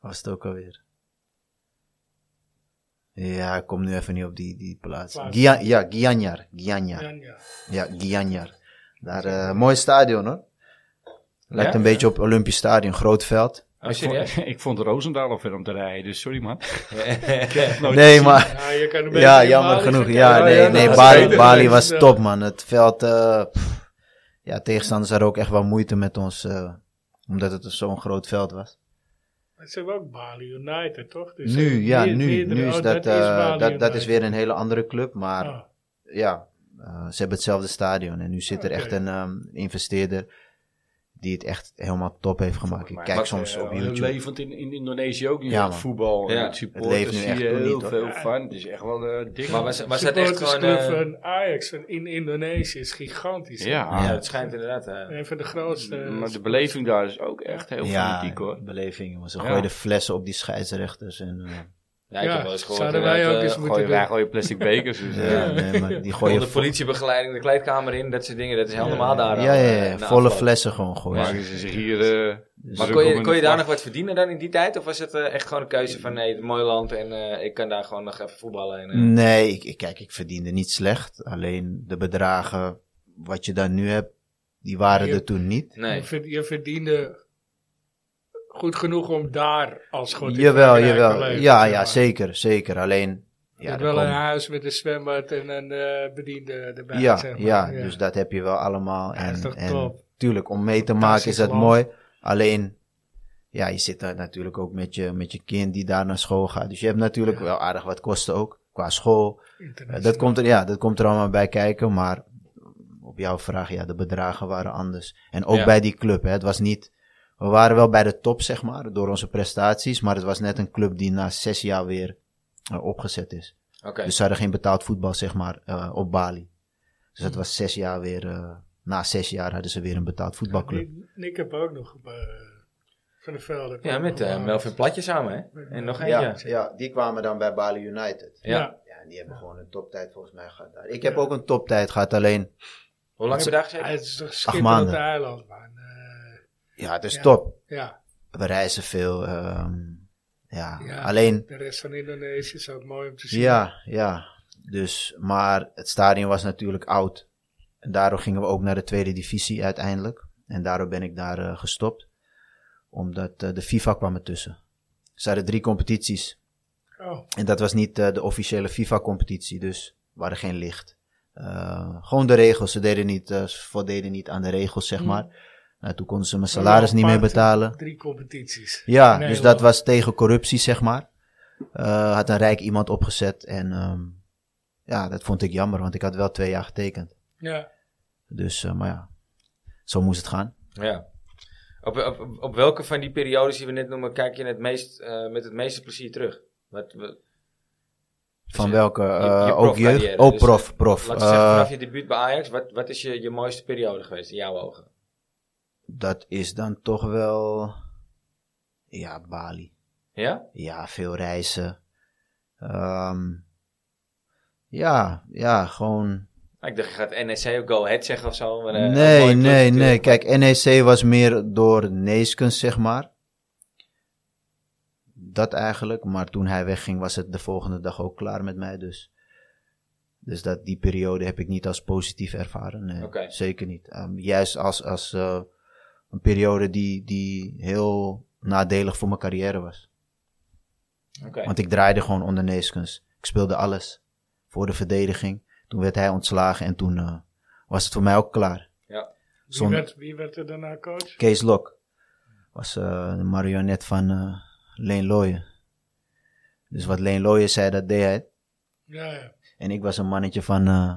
Speaker 3: was het ook alweer? Ja, ik kom nu even niet op die, die plaats.
Speaker 2: Plaats.
Speaker 3: Gia- ja, Gianyar. Gianyar.
Speaker 2: Ja, ja.
Speaker 3: Ja, Gianyar. Daar, eh, mooi stadion hoor. Lijkt een beetje op Olympisch Stadion, groot veld.
Speaker 1: Oh,
Speaker 4: ik,
Speaker 1: serieus?
Speaker 4: vond, [laughs] ik vond Roosendaal al ver om te rijden, dus sorry
Speaker 1: [laughs]
Speaker 4: man. nooit
Speaker 3: Nee, maar. [laughs]
Speaker 2: Ja, je kan Nou, een
Speaker 3: Ja,
Speaker 2: beetje
Speaker 3: jammer
Speaker 2: Bali
Speaker 3: genoeg.
Speaker 2: zitten. Oh,
Speaker 3: Ja,
Speaker 1: Ja,
Speaker 3: nee,
Speaker 1: ja,
Speaker 3: nee
Speaker 1: dat is
Speaker 3: Bali,
Speaker 1: beter.
Speaker 3: Bali was
Speaker 2: Ja.
Speaker 3: top, man. Het veld, eh, pff, ja, tegenstanders hadden ook echt wel moeite met ons, eh, omdat het zo'n groot veld was.
Speaker 2: Maar Ze hebben ook Bali United, toch? Dus
Speaker 3: Nu, ja,
Speaker 2: meer-
Speaker 3: nu,
Speaker 2: meerdere-
Speaker 3: nu is
Speaker 2: oh,
Speaker 3: dat, eh,
Speaker 2: Bali
Speaker 3: dat, dat is
Speaker 2: United.
Speaker 3: weer een hele andere club, maar
Speaker 2: Ah,
Speaker 3: ja, eh, ze hebben hetzelfde stadion en nu zit
Speaker 2: Ah,
Speaker 3: er
Speaker 2: Oké.
Speaker 3: echt een ehm, investeerder die het echt helemaal top heeft gemaakt. Ik
Speaker 4: Maar
Speaker 3: kijk
Speaker 4: Max,
Speaker 3: soms
Speaker 4: eh,
Speaker 3: op
Speaker 4: heel
Speaker 3: YouTube.
Speaker 4: Levend in, in Indonesië ook nu
Speaker 3: Ja,
Speaker 4: ja,
Speaker 3: man.
Speaker 4: voetbal.
Speaker 1: Ja.
Speaker 4: en
Speaker 1: Het
Speaker 4: het supporters
Speaker 3: leeft nu echt
Speaker 4: zie je
Speaker 3: nog
Speaker 4: heel
Speaker 3: niet, hoor.
Speaker 4: veel
Speaker 2: Ja.
Speaker 4: van. Het is echt wel eh dik.
Speaker 1: Maar was, was dat echt gewoon... eh,
Speaker 2: supportersclub van Ajax van in Indonesië is gigantisch.
Speaker 4: ja,
Speaker 1: ja, het schijnt inderdaad. eh,
Speaker 2: Een van de grootste.
Speaker 4: maar de beleving daar is ook echt heel fanatiek hoor.
Speaker 3: beleving, jongens. Ze
Speaker 4: Ja.
Speaker 3: gooiden flessen op die scheidsrechters en... eh,
Speaker 1: ja, ik
Speaker 2: Ja,
Speaker 1: heb wel eens gehoord.
Speaker 2: zouden wij
Speaker 1: inderdaad,
Speaker 2: ook
Speaker 1: eh,
Speaker 2: eens moeten
Speaker 4: Gooi,
Speaker 2: doen.
Speaker 4: wij gooien
Speaker 2: [laughs]
Speaker 4: plastic bekers. Dus, eh,
Speaker 3: ja, nee, maar die
Speaker 1: Gewoon
Speaker 3: gooien
Speaker 1: de politiebegeleiding, de kleedkamer in, dat soort dingen. Dat is helemaal daar.
Speaker 3: Ja, ja, ja,
Speaker 1: eh, na
Speaker 3: volle
Speaker 1: afloop.
Speaker 3: flessen gewoon gooien. Dus
Speaker 4: maken ze zich hier... eh
Speaker 1: Maar
Speaker 4: druk
Speaker 1: kon
Speaker 4: op
Speaker 1: je,
Speaker 4: in
Speaker 1: kon
Speaker 4: de
Speaker 1: je daar
Speaker 4: vlag.
Speaker 1: nog wat verdienen dan in die tijd? Of was het eh, echt gewoon een keuze van nee, het is een mooi land en eh, ik kan daar gewoon nog even voetballen? En, eh,
Speaker 3: Nee, ik, ik- kijk, ik verdiende niet slecht. Alleen de bedragen wat je dan nu hebt, die waren
Speaker 2: Ja.
Speaker 3: er toen niet.
Speaker 1: nee.
Speaker 2: je, verd- je verdiende goed genoeg om daar als goed
Speaker 3: jawel, jawel. Ja, ja, zeker, zeker. Alleen,
Speaker 2: Je
Speaker 3: ja,
Speaker 2: had
Speaker 3: er
Speaker 2: wel een
Speaker 1: eh,
Speaker 3: komen-
Speaker 2: huis met een zwembad en een eh, bediende erbij.
Speaker 3: ja,
Speaker 2: zeg maar.
Speaker 3: ja, dus dat heb je wel allemaal.
Speaker 2: Ja,
Speaker 3: En,
Speaker 2: dat is toch
Speaker 3: en
Speaker 2: top.
Speaker 3: tuurlijk, om mee te maken is
Speaker 2: Fantastisch
Speaker 3: dat
Speaker 2: land.
Speaker 3: mooi. Alleen, ja, je zit daar natuurlijk ook met je, met je kind die daar naar school gaat. Dus je hebt natuurlijk wel aardig wat kosten ook, qua school. Ja,
Speaker 2: Internationaal.
Speaker 3: dat, komt er, ja, dat komt er allemaal bij kijken, maar op jouw vraag, ja, de bedragen waren anders. En ook
Speaker 1: Ja.
Speaker 3: bij die club, hè, het was niet... We waren wel bij de top, zeg maar, door onze prestaties, maar het was net een club die na zes jaar weer eh, opgezet is.
Speaker 1: Oké.
Speaker 3: Dus ze hadden geen betaald voetbal, zeg maar, eh, op Bali. Dus het was zes jaar weer... eh, na zes jaar hadden ze weer een betaald voetbalclub.
Speaker 2: Nick, Nick heb ook nog op, eh, van de velden.
Speaker 1: ja, met eh, Melvin Platje samen, hè? En nog eentje. Ja.
Speaker 3: ja, die kwamen dan bij Bali United. Ja, en die hebben gewoon een toptijd volgens mij gehad daar. Ik heb
Speaker 2: Ja.
Speaker 3: ook een toptijd gehad, alleen...
Speaker 1: Hoe lang heb je daar
Speaker 2: Ja,
Speaker 1: gezeten?
Speaker 2: het is toch schitterend
Speaker 3: maanden.
Speaker 2: eiland, man. Eh,
Speaker 3: Ja, het is
Speaker 2: Ja.
Speaker 3: top.
Speaker 2: ja,
Speaker 3: we reizen veel. ehm, ja.
Speaker 2: Ja.
Speaker 3: alleen.
Speaker 2: de rest van Indonesië is ook mooi om te zien.
Speaker 3: Ja, ja. Dus, maar het stadion was natuurlijk oud. En daardoor gingen we ook naar de tweede divisie uiteindelijk. En daardoor ben ik daar eh, gestopt. Omdat eh, de FIFA kwam ertussen. Ze hadden drie competities.
Speaker 2: Oh,
Speaker 3: En dat was niet eh, de officiële FIFA-competitie. Dus we hadden geen licht. Eh, gewoon de regels. Ze deden niet, eh, ze voldeden niet aan de regels, zeg
Speaker 2: Hmm.
Speaker 3: maar. Nou, toen konden ze mijn
Speaker 2: Wel
Speaker 3: salaris niet meer
Speaker 2: apart.
Speaker 3: betalen.
Speaker 2: drie competities.
Speaker 3: Ja,
Speaker 2: Nee,
Speaker 3: dus
Speaker 2: wel.
Speaker 3: dat was tegen corruptie, zeg maar. Eh, had een rijk iemand opgezet en ehm, ja, dat vond ik jammer, want ik had wel twee jaar getekend.
Speaker 2: Ja.
Speaker 3: Dus, eh, maar ja, zo moest het gaan.
Speaker 1: Ja. Op, op, op welke van die periodes die we net noemen, kijk je het meest, eh, met het meeste plezier terug? Wat, wat-
Speaker 3: Van welke? eh,
Speaker 1: je
Speaker 3: ook
Speaker 1: profcarrière,
Speaker 3: jeugd? Oh,
Speaker 1: dus,
Speaker 3: prof, prof.
Speaker 1: Laten we zeggen,
Speaker 3: Eh,
Speaker 1: vanaf je debuut bij Ajax, wat, wat is je, je mooiste periode geweest in jouw ogen?
Speaker 3: dat is dan toch wel... Ja, Bali.
Speaker 1: Ja?
Speaker 3: Ja, veel reizen. Ehm, ja, ja, gewoon.
Speaker 1: Ik dacht, je gaat NEC of Go Ahead zeggen of zo. maar, eh, een mooie
Speaker 3: nee,
Speaker 1: club
Speaker 3: nee,
Speaker 1: natuurlijk.
Speaker 3: nee. Kijk, NEC was meer door Neeskens, zeg maar. Dat eigenlijk. Maar toen hij wegging, was het de volgende dag ook klaar met mij. Dus, dus dat, die periode heb ik niet als positief ervaren. Nee,
Speaker 1: Oké.
Speaker 3: Zeker niet. Ehm, juist als, als eh, een periode die, die heel nadelig voor mijn carrière was.
Speaker 1: Oké.
Speaker 3: Want ik draaide gewoon onder Neeskens. Ik speelde alles voor de verdediging. Toen werd hij ontslagen en toen eh, was het voor mij ook klaar.
Speaker 2: Wie
Speaker 3: Zonder-
Speaker 2: werd, wie werd er daarna coach?
Speaker 3: Kees Lok was eh de marionet van eh Leen Looyen. Dus wat Leen Looyen zei, dat deed hij.
Speaker 2: Ja, ja.
Speaker 3: En ik was een mannetje van, eh,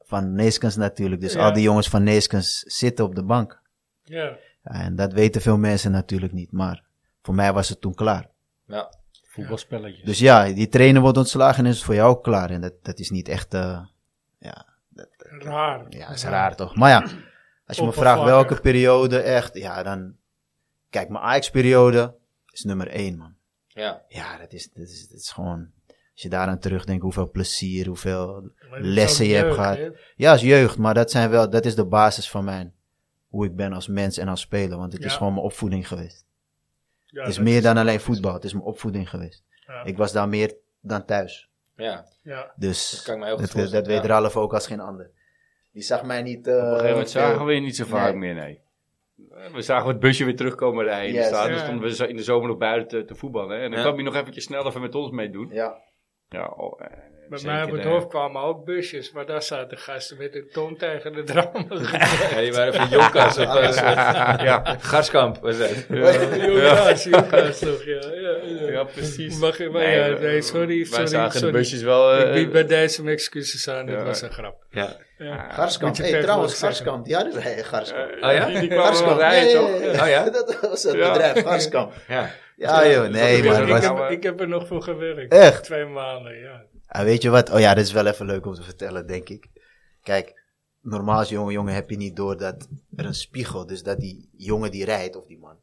Speaker 3: van Neeskens natuurlijk. Dus
Speaker 2: Ja.
Speaker 3: al die jongens van Neeskens zitten op de bank.
Speaker 2: ja.
Speaker 3: En dat weten veel mensen natuurlijk niet. Maar voor mij was het toen klaar.
Speaker 1: Ja.
Speaker 4: Voetbalspelletjes.
Speaker 3: Dus ja, die trainer wordt ontslagen en is het voor jou ook klaar. En dat, dat is niet echt... eh, ja,
Speaker 2: Raar.
Speaker 3: Ja, dat is raar toch? Maar ja, als je me vraagt
Speaker 2: Oppervlakkig.
Speaker 3: welke periode echt, ja dan... Kijk, mijn Ajax-periode is nummer één, man.
Speaker 1: ja.
Speaker 3: Ja, dat is, dat is, dat is gewoon... Als je daaraan terugdenkt, hoeveel plezier, hoeveel...
Speaker 2: Maar dat is
Speaker 3: Lessen
Speaker 2: ook
Speaker 3: je hebt
Speaker 2: jeugd,
Speaker 3: gehad.
Speaker 2: hè?
Speaker 3: Ja, als jeugd, maar dat, zijn wel, dat is de basis van mijn... Hoe ik ben als mens en als speler, want het is
Speaker 2: Ja.
Speaker 3: gewoon mijn opvoeding geweest.
Speaker 2: Ja,
Speaker 3: het is
Speaker 2: dat
Speaker 3: meer dan alleen voetbal, het is mijn opvoeding geweest.
Speaker 2: Ja.
Speaker 3: Ik was daar meer dan thuis.
Speaker 1: ja. [laughs]
Speaker 2: Ja.
Speaker 3: Dus
Speaker 1: Dat kan ik me heel goed
Speaker 3: dat, dat,
Speaker 1: voorstellen,
Speaker 3: weet
Speaker 1: ja.
Speaker 3: Ralf ook als geen ander. Die zag mij niet... eh,
Speaker 4: Op een gegeven moment zagen we je niet zo vaak
Speaker 3: Nee.
Speaker 4: meer, nee. Eh, We zagen het busje weer terugkomen rijden.
Speaker 3: Yes.
Speaker 4: Yes. Dan
Speaker 2: Ja.
Speaker 4: stonden we zo- in de zomer nog buiten te, te voetballen. hè. En dan
Speaker 1: Ja.
Speaker 4: kwam je nog eventjes snel even met ons meedoen.
Speaker 3: eh, Ja,
Speaker 4: Ja, oh, eh,
Speaker 2: Bij
Speaker 4: zeker,
Speaker 2: mij op het
Speaker 4: eh,
Speaker 2: hoofd kwamen ook busjes, maar daar zaten gasten met een tong tegen de
Speaker 3: [laughs]
Speaker 2: dram.
Speaker 1: Ja, die waren van Jonkers of eh,
Speaker 4: [laughs] ja.
Speaker 1: Garskamp was dat.
Speaker 2: Jongens, jongens toch, ja. ja, ja.
Speaker 4: ja, precies.
Speaker 2: Mag je, maar
Speaker 4: Nee,
Speaker 2: ja,
Speaker 4: we-
Speaker 2: nee, sorry,
Speaker 4: Wij
Speaker 2: sorry,
Speaker 4: zagen de
Speaker 2: sorry.
Speaker 4: busjes wel...
Speaker 2: Ik
Speaker 4: eh,
Speaker 2: bied bij deze mijn excuses aan,
Speaker 4: ja.
Speaker 2: dat was een grap.
Speaker 1: Ja.
Speaker 2: Ja.
Speaker 3: Garskamp.
Speaker 2: Moet je
Speaker 3: Hey,
Speaker 2: tegenwoordig
Speaker 3: trouwens,
Speaker 2: zeggen.
Speaker 3: Garskamp. Die hadden wij, Garskamp.
Speaker 1: Oh ja?
Speaker 4: die, die kwamen wel
Speaker 3: Garskamp.
Speaker 4: rijden,
Speaker 3: ja,
Speaker 4: toch?
Speaker 3: ja,
Speaker 1: Oh ja?
Speaker 3: [laughs] Dat was het
Speaker 4: Ja.
Speaker 3: bedrijf, Garskamp.
Speaker 1: Ja.
Speaker 3: Ja, joh, nee,
Speaker 4: is
Speaker 3: maar het
Speaker 4: ook
Speaker 2: ik,
Speaker 4: niet
Speaker 3: was...
Speaker 4: zo.
Speaker 2: heb, ik heb er nog voor gewerkt.
Speaker 3: Echt?
Speaker 2: Twee maanden, ja.
Speaker 3: Ah, weet je wat? Oh ja, dat is wel even leuk om te vertellen, denk ik. Kijk, normaal als jonge jongen heb je niet door dat er een spiegel, dus dat die jongen die rijdt, of die man,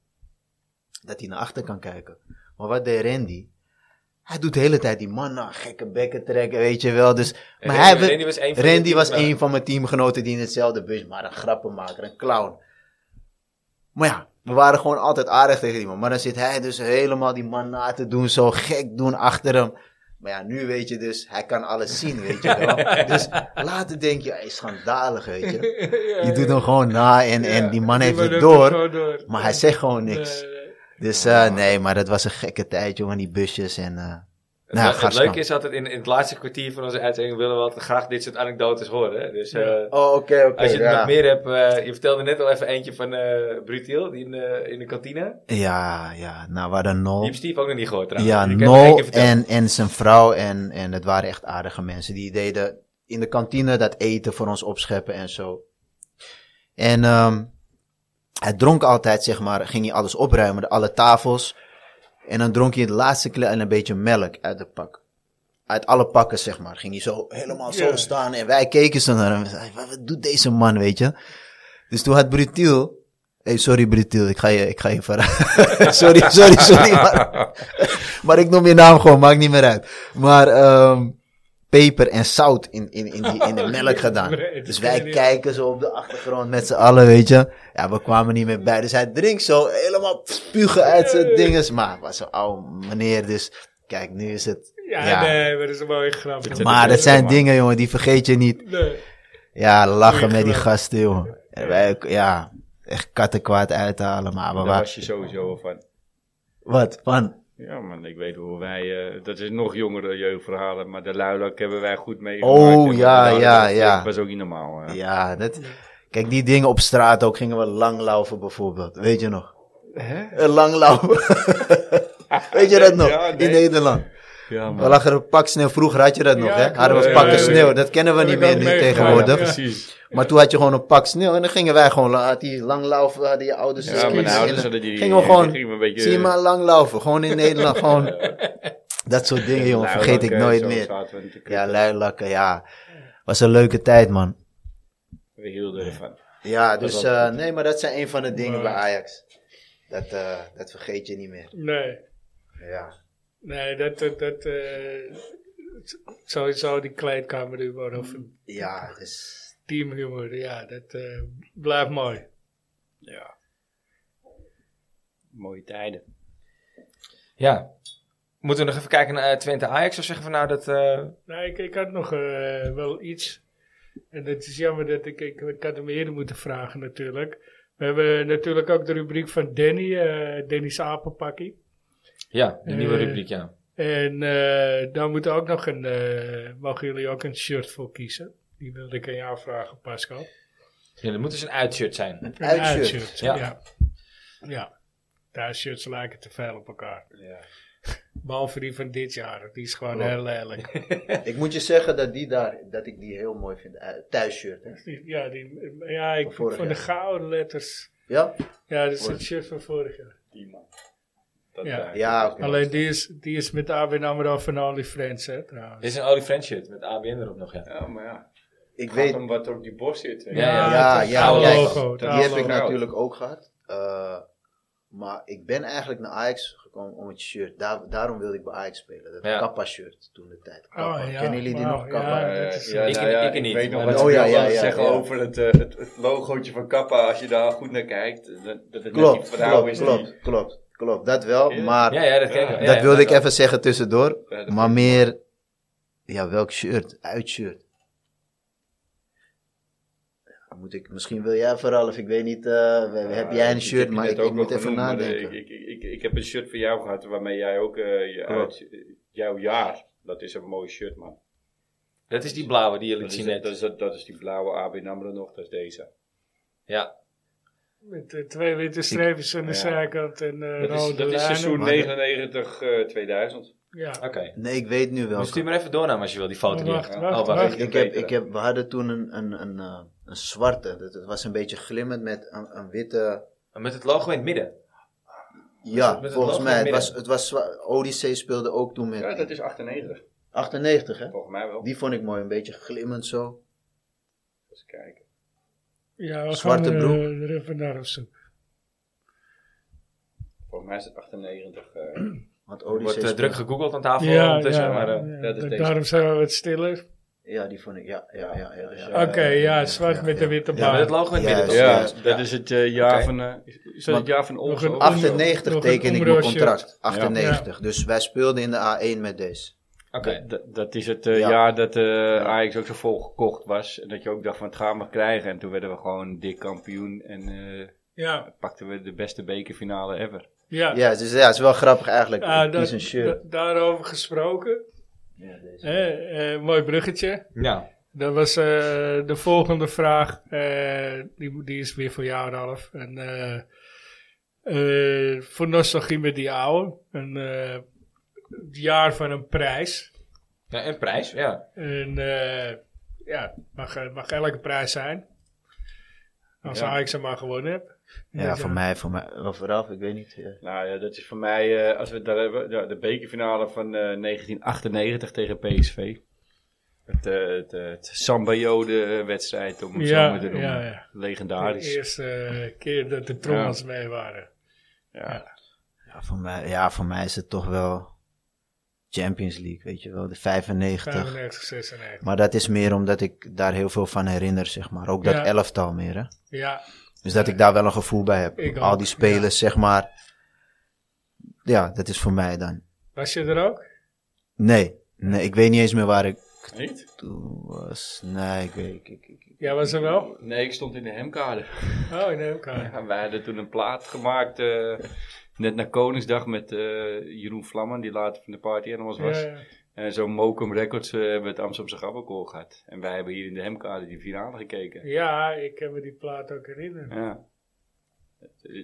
Speaker 3: dat hij naar achter kan kijken. Maar wat deed Randy? Hij doet de hele tijd die man naar gekke bekken trekken, weet je wel. Dus, maar
Speaker 1: Randy-
Speaker 3: hij, wil-
Speaker 1: Randy was een van de
Speaker 3: Randy was
Speaker 1: teamgenoten.
Speaker 3: een van mijn teamgenoten die in hetzelfde bus, maar een grappenmaker, een clown. Maar ja, we waren gewoon altijd aardig tegen die man. Maar dan zit hij dus helemaal die man na te doen, zo gek doen achter hem. Maar ja, nu weet je dus, hij kan alles zien, weet je
Speaker 1: [laughs]
Speaker 3: wel. dus later denk je, hij is schandalig, weet je. Je doet hem gewoon na en, en die man heeft het door, maar hij zegt gewoon niks. Dus eh, nee, maar dat was een gekke tijd, jongen, die busjes en... eh,
Speaker 1: Het,
Speaker 3: nou,
Speaker 1: het
Speaker 3: Garskamp.
Speaker 1: leuke is altijd in, in het laatste kwartier van onze uitzending willen we altijd graag dit soort anekdotes horen. hè. Dus eh,
Speaker 3: Oh, oké, oké.
Speaker 1: als je er
Speaker 3: ja.
Speaker 1: nog meer hebt, eh, je vertelde net al even eentje van eh Brutiel die in, de- in de kantine. Die
Speaker 3: Ja, ja, nou, waar dan nul.
Speaker 1: heeft Steve ook nog niet gehoord trouwens.
Speaker 3: Ja,
Speaker 1: Die kan je nog één
Speaker 3: Nol
Speaker 1: keer vertellen.
Speaker 3: en, en zijn vrouw en, en het waren echt aardige mensen. Die deden in de kantine dat eten voor ons opscheppen en zo. En ehm, hij dronk altijd, zeg maar, ging hij alles opruimen, de- alle tafels. En dan dronk hij het laatste klein een beetje melk uit de pak. Uit alle pakken, zeg maar. Ging hij zo helemaal zo
Speaker 2: Ja.
Speaker 3: staan. En wij keken zo naar hem. We zeiden, wat, wat doet deze man, weet je? Dus toen had Brutiel... Hey, sorry Brutiel, ik ga je, ik ga je verraden. [laughs] sorry, sorry, sorry. Maar, maar ik noem je naam gewoon, maakt niet meer uit. Maar ehm peper en zout in, in, in, die, in de melk gedaan.
Speaker 2: Nee,
Speaker 3: Dus
Speaker 2: dat
Speaker 3: wij
Speaker 2: kan niet.
Speaker 3: kijken zo op de achtergrond met z'n allen, weet je. Ja, we kwamen niet meer bij. Dus hij drinkt zo helemaal spugen uit zijn dinges. Maar hij was zo'n oude meneer, dus kijk, nu is het...
Speaker 2: Ja,
Speaker 3: Ja.
Speaker 2: nee, maar dat is een mooie grap.
Speaker 4: Dit is-
Speaker 3: Maar dat zijn
Speaker 4: man.
Speaker 3: dingen, jongen, die vergeet je niet.
Speaker 2: Nee.
Speaker 3: Ja, lachen
Speaker 2: Goeie
Speaker 3: met die
Speaker 2: grap.
Speaker 3: gasten, jongen. En wij, ook, ja, echt kattenkwaad uithalen, maar we
Speaker 4: Daar
Speaker 3: wa-
Speaker 4: was je sowieso wel van.
Speaker 3: Wat, van?
Speaker 4: Ja, man, ik weet hoe wij... eh, dat is nog jongere jeugdverhalen, maar de luilak hebben wij goed meegemaakt.
Speaker 3: Oh,
Speaker 4: En
Speaker 3: ja,
Speaker 4: de luilak
Speaker 3: ja,
Speaker 4: was-
Speaker 3: ja.
Speaker 4: was ook niet normaal. hè.
Speaker 3: Ja, dat... Kijk, die dingen op straat ook gingen we langlaufen bijvoorbeeld. Weet je nog? Hè? Langlaufen. Weet je dat nog?
Speaker 4: Ja, nee.
Speaker 3: In Nederland.
Speaker 4: Ja, man.
Speaker 3: We lagen een pak sneeuw. Vroeger had je dat nog,
Speaker 2: Ja,
Speaker 3: hè?
Speaker 2: klopt.
Speaker 3: Hadden we
Speaker 2: Ja,
Speaker 3: pakken
Speaker 2: ja, ja.
Speaker 3: sneeuw. Dat kennen we
Speaker 2: Heb
Speaker 3: niet
Speaker 2: ik ook
Speaker 3: meer nu
Speaker 2: meegemaakt,
Speaker 3: tegenwoordig.
Speaker 4: Ja, precies.
Speaker 3: Maar toen had je gewoon een pak sneeuw en dan gingen wij gewoon, la- had die langlaufen, hadden je ouders
Speaker 4: Ja,
Speaker 3: dus
Speaker 4: mijn
Speaker 3: kiezen.
Speaker 4: ouders
Speaker 3: En dan
Speaker 4: hadden die-
Speaker 3: Gingen we
Speaker 4: die
Speaker 3: gewoon,
Speaker 4: gingen we een beetje- [laughs]
Speaker 3: zie je maar langlaufen, gewoon in Nederland, gewoon. Dat soort dingen, jongen,
Speaker 4: Luilakken,
Speaker 3: vergeet ik nooit
Speaker 4: Nou, eh, zo
Speaker 3: meer.
Speaker 4: zaten we natuurlijk
Speaker 3: Ja, luilakken, ja. Was een leuke tijd, man.
Speaker 4: We hielden ervan.
Speaker 3: Ja, dus
Speaker 4: was wel
Speaker 3: eh, nee, maar dat zijn een van de dingen
Speaker 2: Maar-
Speaker 3: bij Ajax. Dat, eh, dat vergeet je niet meer.
Speaker 2: Nee.
Speaker 3: Ja.
Speaker 2: Nee, dat, dat, dat eh, sowieso die kleedkamerhumor of
Speaker 3: Ja, het is-
Speaker 2: teamhumor, ja, dat eh, blijft mooi.
Speaker 4: Ja. Mooie tijden.
Speaker 1: Ja. Moeten we nog even kijken naar eh, Twente Ajax? Of zeggen we nou dat... eh,
Speaker 2: Nou, ik, ik had nog eh, wel iets. En het is jammer dat ik, ik, ik had hem eerder moeten vragen natuurlijk. We hebben natuurlijk ook de rubriek van Danny, eh Danny's apenpakkie.
Speaker 1: ja, de nieuwe
Speaker 2: Eh,
Speaker 1: rubriek, ja.
Speaker 2: En eh, daar moet ook nog een, eh, mogen jullie ook een shirt voor kiezen. Die wilde ik aan jou vragen, Pascal.
Speaker 1: ja. Dat moet dus een uitshirt zijn.
Speaker 2: Een
Speaker 3: Uitshirt.
Speaker 1: Ja.
Speaker 2: Ja. ja. Thuisshirts lijken te veel op elkaar.
Speaker 4: Ja.
Speaker 2: Behalve die van dit jaar. Die is gewoon
Speaker 1: Klopt.
Speaker 2: heel lelijk.
Speaker 3: Ik moet je zeggen dat, die daar, dat ik die heel mooi vind. Eh, Thuisshirt, hè?
Speaker 2: Die- ja, die, ja, ik
Speaker 3: Van
Speaker 2: van
Speaker 3: vorig
Speaker 2: de
Speaker 3: jaar.
Speaker 2: gouden letters.
Speaker 3: Ja?
Speaker 2: Ja, dat is
Speaker 3: Mooi.
Speaker 2: het shirt van vorig jaar.
Speaker 4: Die man. Dat
Speaker 2: Ja.
Speaker 4: daar.
Speaker 3: Ja, oké.
Speaker 2: Alleen die is, die is met ABN AMRO van Only Friends, hè, trouwens.
Speaker 1: Dit is een Oli Friend shirt met ABN erop nog, ja.
Speaker 4: Ja, maar ja.
Speaker 3: Ik
Speaker 4: Ik
Speaker 3: weet,
Speaker 4: weet om wat er op die borst zit. hè.
Speaker 1: Ja, ja.
Speaker 3: Ja,
Speaker 2: het is
Speaker 3: ja,
Speaker 2: oude
Speaker 3: kijk,
Speaker 2: logo, het
Speaker 4: die
Speaker 3: die
Speaker 2: oude
Speaker 3: heb ik
Speaker 2: logo.
Speaker 4: Goud.
Speaker 3: natuurlijk ook gehad. Eh, maar ik ben eigenlijk naar Ajax gekomen om het shirt. Daar, daarom wilde ik bij Ajax spelen. Dat
Speaker 1: Ja.
Speaker 3: Kappa-shirt toen de tijd. Kappa.
Speaker 2: Oh, ja.
Speaker 3: Kennen jullie die
Speaker 2: Wauw,
Speaker 3: nog? Kappa.
Speaker 2: ja,
Speaker 4: Eh,
Speaker 2: dat is-
Speaker 4: ja,
Speaker 1: Ik-
Speaker 4: nou ja,
Speaker 1: ik niet,
Speaker 4: weet nog
Speaker 1: maar-
Speaker 4: wat ze
Speaker 3: Oh, ja,
Speaker 4: wilden
Speaker 3: ja, ja,
Speaker 4: zeggen
Speaker 3: ja.
Speaker 4: over het, eh, het, het logootje van Kappa. Als je daar goed naar kijkt, eh, dat, dat het net
Speaker 3: Klopt,
Speaker 4: die vrouw
Speaker 3: klopt,
Speaker 4: is
Speaker 3: klopt, klopt, klopt. Dat wel,
Speaker 4: Ja.
Speaker 3: maar
Speaker 1: Ja, ja, dat ken ik wel. Ja,
Speaker 3: dat
Speaker 1: ja,
Speaker 3: wilde ik
Speaker 1: wel.
Speaker 3: even zeggen tussendoor.
Speaker 4: Ja, dat
Speaker 3: Maar meer, ja, welk shirt? Uitshirt. Ja, Moet ik, misschien wil jij voor Ralf, ik weet niet, eh, we- we-
Speaker 4: die-
Speaker 3: heb
Speaker 4: Ja,
Speaker 3: jij een
Speaker 4: ik-
Speaker 3: shirt,
Speaker 4: heb
Speaker 3: maar
Speaker 4: net
Speaker 3: ik,
Speaker 4: ook
Speaker 3: ik moet
Speaker 4: wel
Speaker 3: even
Speaker 4: genoemd, maar, eh,
Speaker 3: nadenken.
Speaker 4: Ik, ik, ik, ik heb een shirt van jou gehad waarmee jij ook eh, je
Speaker 3: Klopt.
Speaker 4: uit, jouw jaar. Dat is een mooi shirt, man.
Speaker 1: Dat is die blauwe die je
Speaker 4: Dat
Speaker 1: liet
Speaker 4: is,
Speaker 1: zien
Speaker 4: dat,
Speaker 1: net.
Speaker 4: is, dat, dat is die blauwe AB Namro nog, dat is deze.
Speaker 1: Ja.
Speaker 2: Met eh, twee witte streepjes aan de
Speaker 4: Ja.
Speaker 2: zijkant en eh
Speaker 4: Dat is,
Speaker 2: rode
Speaker 4: dat is
Speaker 2: lijnen.
Speaker 4: seizoen
Speaker 3: Maar-
Speaker 4: 99, eh, 2000.
Speaker 2: Ja.
Speaker 1: Oké.
Speaker 3: nee, ik weet nu wel.
Speaker 1: Dus stuur maar even door naar hem als je wil, die foto. die-
Speaker 2: Wacht,
Speaker 1: Oh,
Speaker 2: wacht,
Speaker 1: wacht.
Speaker 2: wacht.
Speaker 3: Ik heb,
Speaker 2: eh,
Speaker 3: ik heb, we hadden toen een, een, een, eh, een zwarte, dat het was een beetje glimmend met een, een witte...
Speaker 1: Met het logo in het midden.
Speaker 3: Oh, Ja,
Speaker 1: Met het
Speaker 3: volgens
Speaker 1: logo
Speaker 3: mij.
Speaker 1: in het
Speaker 3: Het was, het was zwa- Odyssey speelde ook toen met
Speaker 4: Ja, dat is 98,
Speaker 3: 98, hè?
Speaker 4: volgens mij wel.
Speaker 3: Die vond ik mooi, een beetje glimmend zo.
Speaker 4: Eens kijken.
Speaker 2: Ja, we
Speaker 3: Zwarte
Speaker 2: gaan er,
Speaker 3: broek.
Speaker 2: eh, er even naar op zoek.
Speaker 4: Volgens mij is het 98. eh,
Speaker 3: Want
Speaker 1: Er wordt
Speaker 3: Odyssey
Speaker 1: eh,
Speaker 3: speelde-
Speaker 1: druk gegoogeld aan tafel
Speaker 2: Ja,
Speaker 1: ondertussen.
Speaker 2: ja,
Speaker 1: maar, eh,
Speaker 2: ja,
Speaker 4: dat is
Speaker 2: da-
Speaker 4: deze.
Speaker 2: daarom zijn we wat stiller.
Speaker 3: Ja, die vond ik, ja, ja, ja. ja, ja.
Speaker 4: Ja,
Speaker 2: Oké, ja, zwart
Speaker 3: Eh, ja,
Speaker 2: met
Speaker 3: ja.
Speaker 2: de witte
Speaker 1: ja, met
Speaker 2: baard.
Speaker 1: het logo in het
Speaker 3: Ja,
Speaker 1: midden toch?
Speaker 3: ja.
Speaker 1: Ja.
Speaker 4: dat is het eh, jaar
Speaker 1: Oké.
Speaker 4: van. eh, is- is dat het jaar van ons?
Speaker 2: nog een
Speaker 4: ook?
Speaker 3: 98
Speaker 2: Nog een
Speaker 3: teken ik mijn
Speaker 2: Umbro-shirt.
Speaker 3: contract. 98. Dus wij speelden in de A1 met deze.
Speaker 1: Oké.
Speaker 4: Dat, dat is het eh,
Speaker 3: Ja.
Speaker 4: jaar dat eh, Ajax ook zo vol gekocht was. En dat je ook dacht van het gaan we krijgen. En toen werden we gewoon dik kampioen. En eh,
Speaker 2: ja,
Speaker 4: pakten we de beste bekerfinale ever.
Speaker 2: ja.
Speaker 3: Ja, dus ja, het is wel grappig eigenlijk.
Speaker 2: Ah,
Speaker 3: Ik
Speaker 2: dat-
Speaker 3: kies een shirt.
Speaker 2: da- daarover gesproken.
Speaker 3: Ja, deze.
Speaker 2: Eh, eh, mooi bruggetje.
Speaker 1: Ja.
Speaker 2: Dat was eh, de volgende vraag. eh, die, die is weer voor jou, Ralf. En, eh, eh, voor nostalgie met die oude. Een eh, het jaar van een prijs.
Speaker 1: ja. En prijs, ja.
Speaker 2: En eh, ja, mag, eh, mag elke prijs zijn. Als
Speaker 4: Ja.
Speaker 2: Ajax hem maar gewonnen hebt.
Speaker 3: Ja, voor mij, voor mij. Of vooraf, ik weet niet. ja.
Speaker 4: Nou ja, dat is voor mij, eh, als we het daar hebben, ja, de bekerfinale van eh, 1998 tegen PSV. Het, eh het, eh, het Samba-Jode-wedstrijd, om het zo
Speaker 2: Ja,
Speaker 4: maar te noemen.
Speaker 2: ja, ja. De
Speaker 4: Legendarisch.
Speaker 2: eerste eh, keer dat de trommels mee waren.
Speaker 4: Ja.
Speaker 3: Ja, voor mij, ja, voor mij is het toch wel Champions League, weet je wel. De 95.
Speaker 2: 95, 96.
Speaker 3: Maar dat is meer omdat ik daar heel veel van herinner, zeg maar. Ook dat
Speaker 2: Ja.
Speaker 3: elftal meer, hè.
Speaker 2: Ja,
Speaker 3: Dus dat ik daar wel een gevoel bij heb.
Speaker 2: Ik
Speaker 3: Al
Speaker 2: ook,
Speaker 3: die spelers, zeg maar. Ja, dat is voor mij dan.
Speaker 2: was je er ook?
Speaker 3: Nee, nee ik weet niet eens meer waar ik
Speaker 4: Niet?
Speaker 3: toen was. Nee, ik weet ik, ik, ik-
Speaker 2: Jij was er wel?
Speaker 4: Nee, ik stond in de hemkade.
Speaker 2: Oh, nee, elkaar.
Speaker 4: Ja, [laughs] wij hadden toen een plaat gemaakt, eh, net na Koningsdag, met eh, Jeroen Vlammen, die later van de Party Animals
Speaker 2: Ja,
Speaker 4: was.
Speaker 2: ja.
Speaker 4: En zo'n Mokum Records eh, hebben het Amsterdamse Gabbakoor gehad. En wij hebben hier in de hemkade die finale gekeken.
Speaker 2: ja, ik kan me die plaat ook herinneren.
Speaker 4: Ja.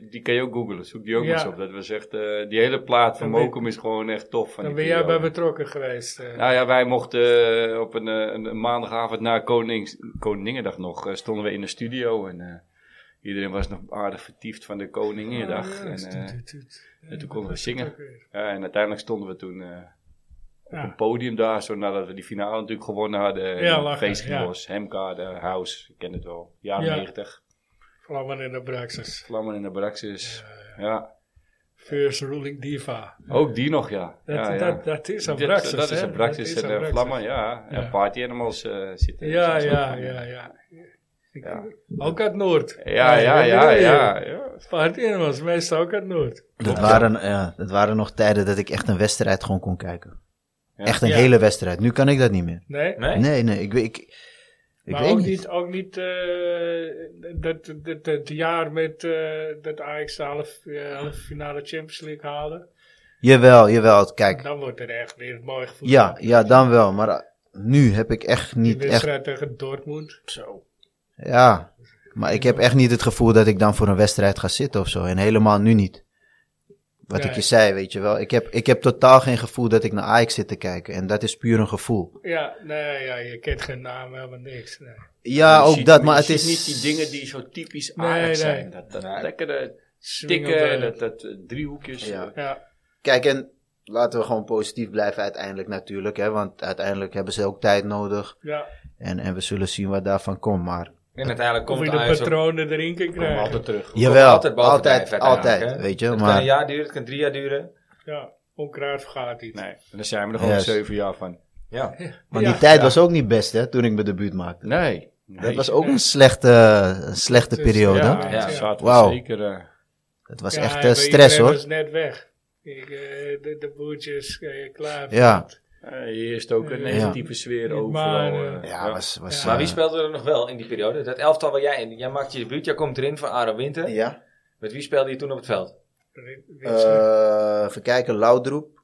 Speaker 4: Die kan je ook googlen, zoek die ook
Speaker 2: Ja.
Speaker 4: eens op. Dat was echt, eh, die hele plaat van
Speaker 2: Dan ben-
Speaker 4: Mokum is gewoon echt tof. Van
Speaker 2: Dan
Speaker 4: die
Speaker 2: ben jij bij
Speaker 4: periode.
Speaker 2: betrokken geweest. eh.
Speaker 4: Nou ja, wij mochten eh, op een, eh, een, een maandagavond na Konings, Koningendag nog, eh, stonden we in de studio en eh, iedereen was nog aardig vertiefd van de Koningendag.
Speaker 2: Ah, ja,
Speaker 4: en,
Speaker 2: tut,
Speaker 4: eh,
Speaker 2: tut, tut.
Speaker 4: en toen
Speaker 2: Ja,
Speaker 4: konden we
Speaker 2: dat
Speaker 4: zingen.
Speaker 2: was het ook weer.
Speaker 4: ja, en uiteindelijk stonden we toen eh,
Speaker 2: Ja.
Speaker 4: op een podium daar, zo nadat we die finale natuurlijk gewonnen hadden.
Speaker 2: Ja,
Speaker 4: En
Speaker 2: lachen,
Speaker 4: Feestgenoos, Hemka, de House, ik ken het wel. Jaren
Speaker 2: Ja.
Speaker 4: 90.
Speaker 2: Vlammen in de Braxis.
Speaker 4: Vlammen in de Braxis. Ja,
Speaker 2: First ruling diva.
Speaker 4: ook die nog, ja.
Speaker 2: Dat,
Speaker 4: ja, ja.
Speaker 2: Dat, dat is een
Speaker 4: Dat-
Speaker 2: Braxis,
Speaker 4: Dat is
Speaker 2: hè?
Speaker 4: een Braxis
Speaker 2: Dat is
Speaker 4: en
Speaker 2: een
Speaker 4: eh, Vlammen, ja.
Speaker 2: Ja.
Speaker 4: En Party Animals eh, zitten
Speaker 2: Ja,
Speaker 4: zelfs
Speaker 2: ja,
Speaker 4: ook.
Speaker 2: ja, ja. Ik-
Speaker 4: Ja.
Speaker 2: Ook uit Noord.
Speaker 4: Ja, ja, ja, ja. ja.
Speaker 2: Spartien was meestal ook uit Noord.
Speaker 3: Dat, waren, ja, dat waren nog tijden dat ik echt een wedstrijd gewoon kon kijken.
Speaker 4: Ja.
Speaker 3: Echt een
Speaker 2: Ja.
Speaker 3: hele wedstrijd. Nu kan ik dat niet meer.
Speaker 2: Nee?
Speaker 1: Nee?
Speaker 3: Nee, nee, ik, weet- ik, ik
Speaker 2: maar
Speaker 3: weet
Speaker 2: ook
Speaker 3: niet.
Speaker 2: niet, ook niet eh, dat, dat, dat jaar met eh, dat Ajax de halve eh, halve finale Champions League haalde.
Speaker 3: Jawel, jawel. Kijk,
Speaker 2: Dan wordt er echt weer mooi gevoel.
Speaker 3: ja, ja, dan wel. Maar eh, nu heb ik echt
Speaker 2: Die
Speaker 3: niet echt...
Speaker 2: wedstrijd tegen Dortmund. Zo.
Speaker 3: Ja, maar ik heb echt niet het gevoel dat ik dan voor een wedstrijd ga zitten of zo. En helemaal nu niet. Wat
Speaker 2: Nee.
Speaker 3: ik je zei, weet je wel. Ik heb, ik heb totaal geen gevoel dat ik naar Ajax zit te kijken. En dat is puur een gevoel.
Speaker 2: Ja, nee, ja, je kent geen naam, helemaal niks. Nee.
Speaker 3: Ja,
Speaker 4: Je
Speaker 3: ook
Speaker 4: ziet-
Speaker 3: dat. Maar het
Speaker 4: je
Speaker 3: is...
Speaker 4: ziet niet die dingen die zo typisch
Speaker 2: Nee,
Speaker 4: Ajax
Speaker 2: nee.
Speaker 4: zijn. Dat, dat
Speaker 1: Nee.
Speaker 4: lekkere
Speaker 2: Swingelde-
Speaker 4: tikken, dat, dat eh, driehoekjes.
Speaker 3: Ja.
Speaker 4: eh,
Speaker 2: Ja,
Speaker 3: Kijk, en laten we gewoon positief blijven uiteindelijk natuurlijk. Hè, want uiteindelijk hebben ze ook tijd nodig.
Speaker 2: ja.
Speaker 3: En, en we zullen zien wat daarvan komt. Maar
Speaker 1: En uiteindelijk
Speaker 2: Of
Speaker 1: komt
Speaker 2: je
Speaker 1: de
Speaker 2: de
Speaker 1: Ajax ook
Speaker 2: patronen erin kan
Speaker 4: komen
Speaker 2: krijgen.
Speaker 4: altijd terug.
Speaker 3: jawel,
Speaker 1: altijd
Speaker 3: altijd,
Speaker 1: boven
Speaker 3: altijd,
Speaker 1: blijven uiteindelijk, hè?
Speaker 3: weet je.
Speaker 1: Het kan
Speaker 3: Maar
Speaker 1: een jaar duren, het kan drie jaar duren.
Speaker 2: Ja, onkruid vergaat iets.
Speaker 4: Nee, en daar zijn we er gewoon
Speaker 3: Yes.
Speaker 4: zeven jaar van.
Speaker 1: Ja.
Speaker 3: Maar
Speaker 2: Ja.
Speaker 3: die tijd was ook niet best, hè, toen ik mijn debuut maakte.
Speaker 4: Nee.
Speaker 3: Dat was ook een slechte, een slechte
Speaker 2: Dus,
Speaker 3: periode.
Speaker 2: ja.
Speaker 4: Ja, zaten we
Speaker 3: Wauw.
Speaker 4: zeker. eh,
Speaker 3: Het was
Speaker 2: Ja,
Speaker 3: echt eh,
Speaker 2: maar
Speaker 3: stress,
Speaker 2: iedereen
Speaker 3: hoor.
Speaker 2: was net weg. Ik, eh, de, de boertjes, eh, klaar.
Speaker 3: Ja.
Speaker 4: eh, eerst ook een
Speaker 2: Ja.
Speaker 4: negatieve sfeer
Speaker 2: Maar,
Speaker 4: overal.
Speaker 2: eh,
Speaker 4: eh,
Speaker 3: Ja, was... was
Speaker 2: Ja.
Speaker 1: Maar wie
Speaker 3: eh,
Speaker 1: speelde er nog wel in die periode? Dat elftal waar jij in. Jij maakte je debuut, jij komt erin voor Aaron Winter.
Speaker 3: Ja.
Speaker 1: Met wie speelde je toen op het veld?
Speaker 2: Rit- Witsche.
Speaker 3: Eh, even kijken, Laudroep,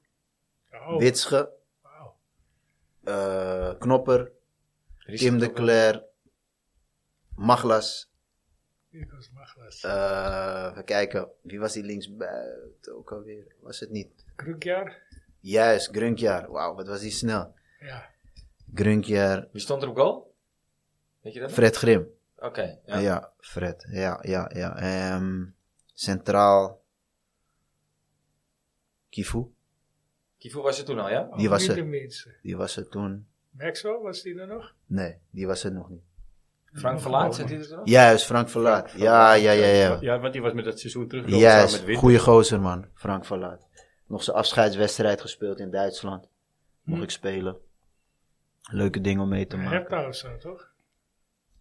Speaker 3: Eh,
Speaker 2: Oh,
Speaker 3: Witsche,
Speaker 2: wauw.
Speaker 3: eh, Knopper,
Speaker 1: Richard
Speaker 3: Tim de
Speaker 1: Knoppen.
Speaker 3: Cler, Maglas.
Speaker 2: Nikos Maglas.
Speaker 3: eh even kijken, wie was die linksbuiten ook alweer? Was het niet?
Speaker 2: Krukjaar?
Speaker 3: Juist, Grunkjaar. Wauw, wat was die snel.
Speaker 2: Ja.
Speaker 3: Grunkjaar,
Speaker 1: Wie stond er op goal? Weet je dat? nog?
Speaker 3: Fred Grim.
Speaker 1: Oké. ja.
Speaker 3: Ja. Fred. Ja, ja, ja. Ehm, centraal. Kifu,
Speaker 1: Kivu was er toen al, ja?
Speaker 2: Ook
Speaker 3: was
Speaker 2: niet
Speaker 3: het.
Speaker 2: de minste.
Speaker 3: die was er toen.
Speaker 2: Maxwell, was die er nog?
Speaker 3: Nee, die was er nog niet.
Speaker 1: Frank Verlaat zat hij er toen al?
Speaker 3: Juist, Frank Verlaat. Ja, ja, ja, ja.
Speaker 4: Ja, want die was met dat seizoen teruggekomen samen met
Speaker 3: Juist,
Speaker 4: Wit.
Speaker 3: goede gozer man, Frank Verlaat. Nog zijn afscheidswedstrijd gespeeld in Duitsland. Mocht
Speaker 2: Hm.
Speaker 3: ik spelen. Leuke dingen om mee te maken.
Speaker 2: Repta of zo, toch?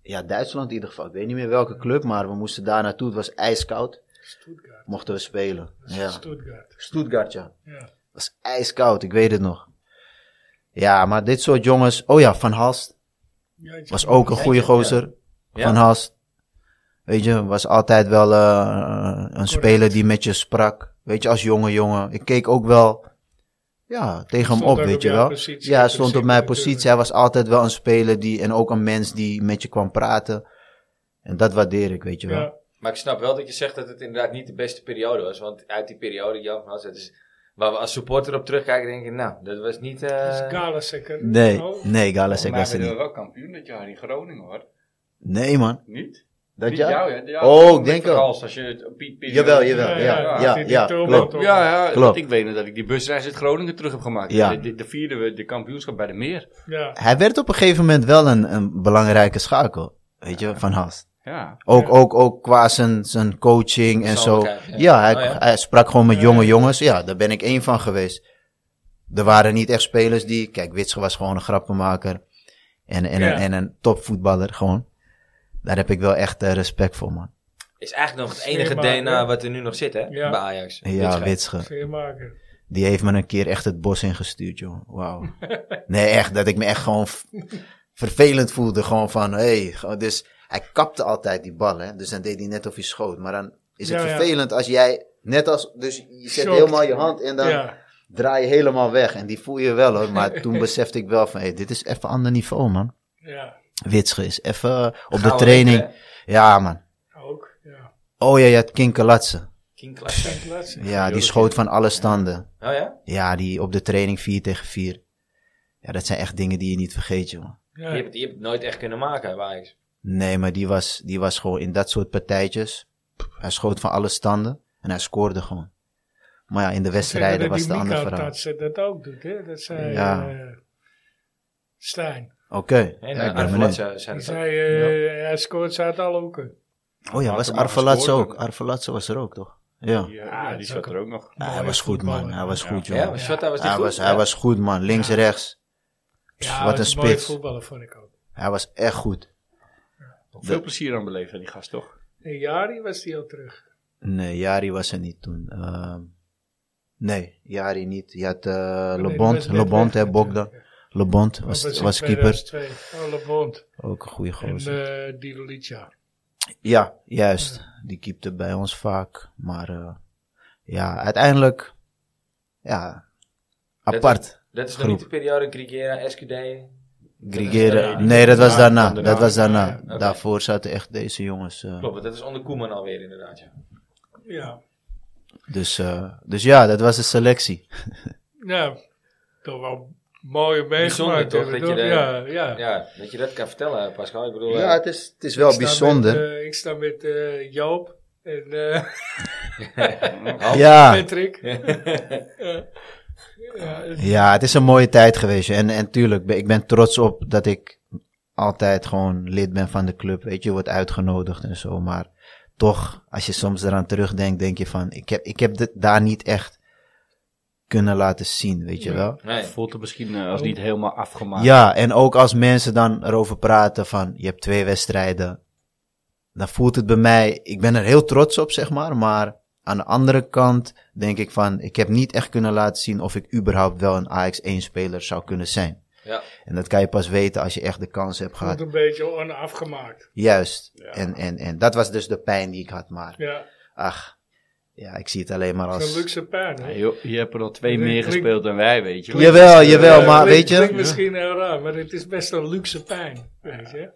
Speaker 3: Ja, Duitsland in ieder geval. Ik weet niet meer welke club, maar we moesten daar naartoe. Het was ijskoud.
Speaker 2: Stuttgart.
Speaker 3: Mochten we spelen. Ja.
Speaker 2: Stuttgart.
Speaker 3: Stuttgart, ja.
Speaker 2: Ja.
Speaker 3: Het was ijskoud, ik weet het nog. Ja, maar dit soort jongens. Oh ja, Van Halst
Speaker 2: Jantje
Speaker 3: was
Speaker 2: van
Speaker 3: ook een goede gozer.
Speaker 1: Ja.
Speaker 3: Van Halst. Weet je, was altijd wel eh, een speler die met je sprak. Weet je, als jonge jongen. Ik keek ook wel ja, tegen hem
Speaker 2: Stond
Speaker 3: op,
Speaker 2: ook
Speaker 3: weet
Speaker 2: op
Speaker 3: je
Speaker 2: jouw
Speaker 3: wel.
Speaker 2: positie,
Speaker 3: ja,
Speaker 2: in
Speaker 3: hij stond op
Speaker 2: principe
Speaker 3: mijn
Speaker 2: natuurlijk.
Speaker 3: positie. Hij was altijd wel een speler die, en ook een mens die met je kwam praten. En dat waardeer ik, weet je wel.
Speaker 2: Ja.
Speaker 1: Maar ik snap wel dat je zegt dat het inderdaad niet de beste periode was. Want uit die periode, Jan van Hals, dat is waar we als supporter op terugkijken, denken nou, dat was niet... eh,
Speaker 2: Dat is Galasek.
Speaker 3: Nee,
Speaker 2: Oh,
Speaker 3: nee, Galasek was er
Speaker 4: werden
Speaker 3: niet.
Speaker 4: wel kampioen dat jaar in Groningen hoor.
Speaker 3: Nee, man.
Speaker 4: Niet?
Speaker 3: Dat
Speaker 4: Niet
Speaker 3: jaar?
Speaker 4: jou, hè? Ja,
Speaker 3: Oh, ik
Speaker 4: met
Speaker 3: denk
Speaker 4: Van
Speaker 3: wel.
Speaker 4: Hals, Als je het op die periode-
Speaker 3: Jawel, jawel.
Speaker 2: Ja,
Speaker 3: Ja,
Speaker 2: ja,
Speaker 3: ja, ja,
Speaker 2: die- die Tobo
Speaker 3: klopt.
Speaker 2: toch?
Speaker 4: Ja, ja
Speaker 3: Klopt.
Speaker 4: want ik weet nog dat ik die busreis uit Groningen terug heb gemaakt.
Speaker 3: Ja.
Speaker 4: De, de, de vierde we de kampioenschap bij de Meer.
Speaker 2: Ja.
Speaker 3: Hij werd op een gegeven moment wel een, een belangrijke schakel, weet je, Van Halst.
Speaker 4: Ja.
Speaker 3: Ook,
Speaker 2: Ja.
Speaker 3: ook, ook qua zijn, zijn coaching en zo. Ja,
Speaker 1: Persoonlijkheid, ja.
Speaker 3: hij,
Speaker 1: Oh, ja.
Speaker 3: hij sprak gewoon met
Speaker 2: Ja,
Speaker 3: jonge
Speaker 2: ja.
Speaker 3: jongens. Ja, daar ben ik één van geweest. Er waren niet echt spelers die... Kijk, Witsche was gewoon een grappenmaker. En, en,
Speaker 2: Ja.
Speaker 3: een, en een topvoetballer, gewoon. Daar heb ik wel echt eh, respect voor, man.
Speaker 1: is eigenlijk nog het enige
Speaker 2: Sfeermaker.
Speaker 1: DNA wat er nu nog zit, hè?
Speaker 2: Ja.
Speaker 1: Bij Ajax.
Speaker 3: Ja,
Speaker 1: Witsche.
Speaker 3: Witsche.
Speaker 2: Veermaker.
Speaker 3: Die heeft me een keer echt het bos ingestuurd, joh.
Speaker 2: [laughs]
Speaker 3: Wauw. Nee, echt. Dat ik me echt gewoon v- vervelend voelde. Gewoon van, hé. gewoon- dus hij kapte altijd die bal, hè. Dus dan deed hij net of hij schoot. Maar dan is het
Speaker 2: Ja, ja.
Speaker 3: vervelend als jij, net als, dus je zet
Speaker 2: Shocked.
Speaker 3: helemaal je hand en dan
Speaker 2: Ja.
Speaker 3: draai je helemaal weg. En die voel je wel, hoor. Maar toen besefte ik wel van, hé, dit is even ander niveau, man.
Speaker 2: Ja.
Speaker 3: Witsche is even op de
Speaker 1: Gouden
Speaker 3: training.
Speaker 1: winter,
Speaker 3: ja, man.
Speaker 2: Ook. Ja.
Speaker 3: Oh ja, je had Kinkelatse.
Speaker 1: King Klaas.
Speaker 2: Galasek.
Speaker 3: Ja, die schoot van alle standen.
Speaker 1: Oh ja?
Speaker 3: Ja, die op de training 4 tegen 4. Ja, dat zijn echt dingen die je niet vergeet, jongen.
Speaker 1: Je hebt,
Speaker 2: Ja.
Speaker 1: het- je hebt het nooit echt kunnen maken bij Ajax.
Speaker 3: Nee, maar die was, die was gewoon in dat soort partijtjes. Pff, Hij schoot van alle standen en hij scoorde gewoon. Maar ja, in de wedstrijden was het een ander
Speaker 2: dat
Speaker 3: verhaal.
Speaker 2: dat ze dat ook doet, hè? Dat zei
Speaker 3: Ja.
Speaker 2: eh, Stijn.
Speaker 3: Oké.
Speaker 1: En eh,
Speaker 3: Ja,
Speaker 4: nou,
Speaker 1: ja,
Speaker 3: permanent.
Speaker 1: zei
Speaker 2: Die
Speaker 1: dat ook.
Speaker 2: zei, eh, hij scoort ze uit alle hoeken.
Speaker 3: Oh ja, was
Speaker 4: Had hem
Speaker 3: Arvelatse
Speaker 4: gescoord,
Speaker 3: ook. Arvelatse was er ook, toch? Ja.
Speaker 4: Ja,
Speaker 2: dat
Speaker 4: die
Speaker 2: is
Speaker 4: zat
Speaker 2: ook-
Speaker 4: er ook nog.
Speaker 3: Ah, hij was goed, man. Hij was goed,
Speaker 1: Ja,
Speaker 3: jongen.
Speaker 1: maar Shota was die
Speaker 3: hij,
Speaker 1: goed.
Speaker 3: was, hij was goed, man. Links,
Speaker 2: Ja.
Speaker 3: rechts.
Speaker 2: Ja,
Speaker 3: wat
Speaker 2: was
Speaker 3: een
Speaker 2: mooie
Speaker 3: spits.
Speaker 2: voetballer vond ik ook.
Speaker 3: Hij was echt goed.
Speaker 4: Veel plezier aan beleefd, hè, die gast toch?
Speaker 2: Een jaar was hij al terug.
Speaker 3: Eh, Nee, Jari was er niet toen. Ehm, nee, Jari niet. Je had eh
Speaker 2: Nee, dat
Speaker 3: Lebond,
Speaker 2: was net
Speaker 3: Lebond,
Speaker 2: weg Oh,
Speaker 3: hè, Bogdan.
Speaker 2: natuurlijk.
Speaker 3: Lebond
Speaker 2: Dat
Speaker 3: was,
Speaker 2: in
Speaker 3: was keeper.
Speaker 2: 2002. Oh, Le Bond.
Speaker 3: Ook een goede
Speaker 2: En
Speaker 3: gozer.
Speaker 2: eh die Licia.
Speaker 3: Ja, juist. Die keepte bij ons vaak. Maar eh, ja, uiteindelijk, ja, apart.
Speaker 1: Dat is nog
Speaker 3: Groep.
Speaker 1: niet de periode Grigera, SQD.
Speaker 3: Grigeren. Nee, dat was daarna.
Speaker 4: daarna.
Speaker 3: Dat was daarna.
Speaker 1: Oké.
Speaker 3: Daarvoor zaten echt deze jongens. eh,
Speaker 1: Klopt, want dat is onder Koeman alweer inderdaad. Ja.
Speaker 2: Ja.
Speaker 3: dus, eh, dus ja, dat was de selectie.
Speaker 2: Ja, Nou, toch wel mooie
Speaker 1: Bijzonder
Speaker 2: meegemaakt.
Speaker 1: toch,
Speaker 2: hebben,
Speaker 1: dat je de-
Speaker 2: Ja, ja.
Speaker 1: ja, dat je dat kan vertellen, Pascal. Ik bedoel, eh,
Speaker 3: is, het is
Speaker 2: Ik sta met, eh, ik sta met eh, Joop en eh,
Speaker 3: ja.
Speaker 2: [laughs] Patrick. Ja. ja, het-
Speaker 3: ja, het is een mooie tijd geweest. En, en tuurlijk, ben- ik ben trots op dat ik altijd gewoon lid ben van de club. Weet je, je wordt uitgenodigd en zo. Maar toch, als je soms eraan terugdenkt, denk je van... Ik heb, ik heb dit daar niet echt kunnen laten zien, weet je wel.
Speaker 1: nee.
Speaker 4: Voelt het misschien eh, als niet helemaal afgemaakt.
Speaker 3: Ja, en ook als mensen dan erover praten van je hebt twee wedstrijden, dan voelt het bij mij, ik ben er heel trots op, zeg maar, maar aan de andere kant denk ik van, ik heb niet echt kunnen laten zien of ik überhaupt wel een AX1-speler zou kunnen zijn.
Speaker 1: Ja.
Speaker 3: En dat kan je pas weten als je echt de kans hebt
Speaker 2: voelt
Speaker 3: gehad.
Speaker 2: een beetje onafgemaakt.
Speaker 3: Juist. En, en, en dat was dus de pijn die ik had, maar
Speaker 2: Ja,
Speaker 3: ach, ja, ik zie het alleen maar
Speaker 2: zo'n
Speaker 3: als...
Speaker 2: luxe pijn.
Speaker 4: Ja,
Speaker 2: hè?
Speaker 4: joh, je hebt er al twee
Speaker 2: Klinkt-
Speaker 4: meer
Speaker 2: klinkt-
Speaker 4: gespeeld dan wij, weet je.
Speaker 3: Jawel, jawel,
Speaker 2: Eh,
Speaker 3: maar
Speaker 2: klinkt-
Speaker 3: weet
Speaker 2: klinkt
Speaker 3: je...
Speaker 2: misschien heel raar, maar het is best een luxe pijn, weet je.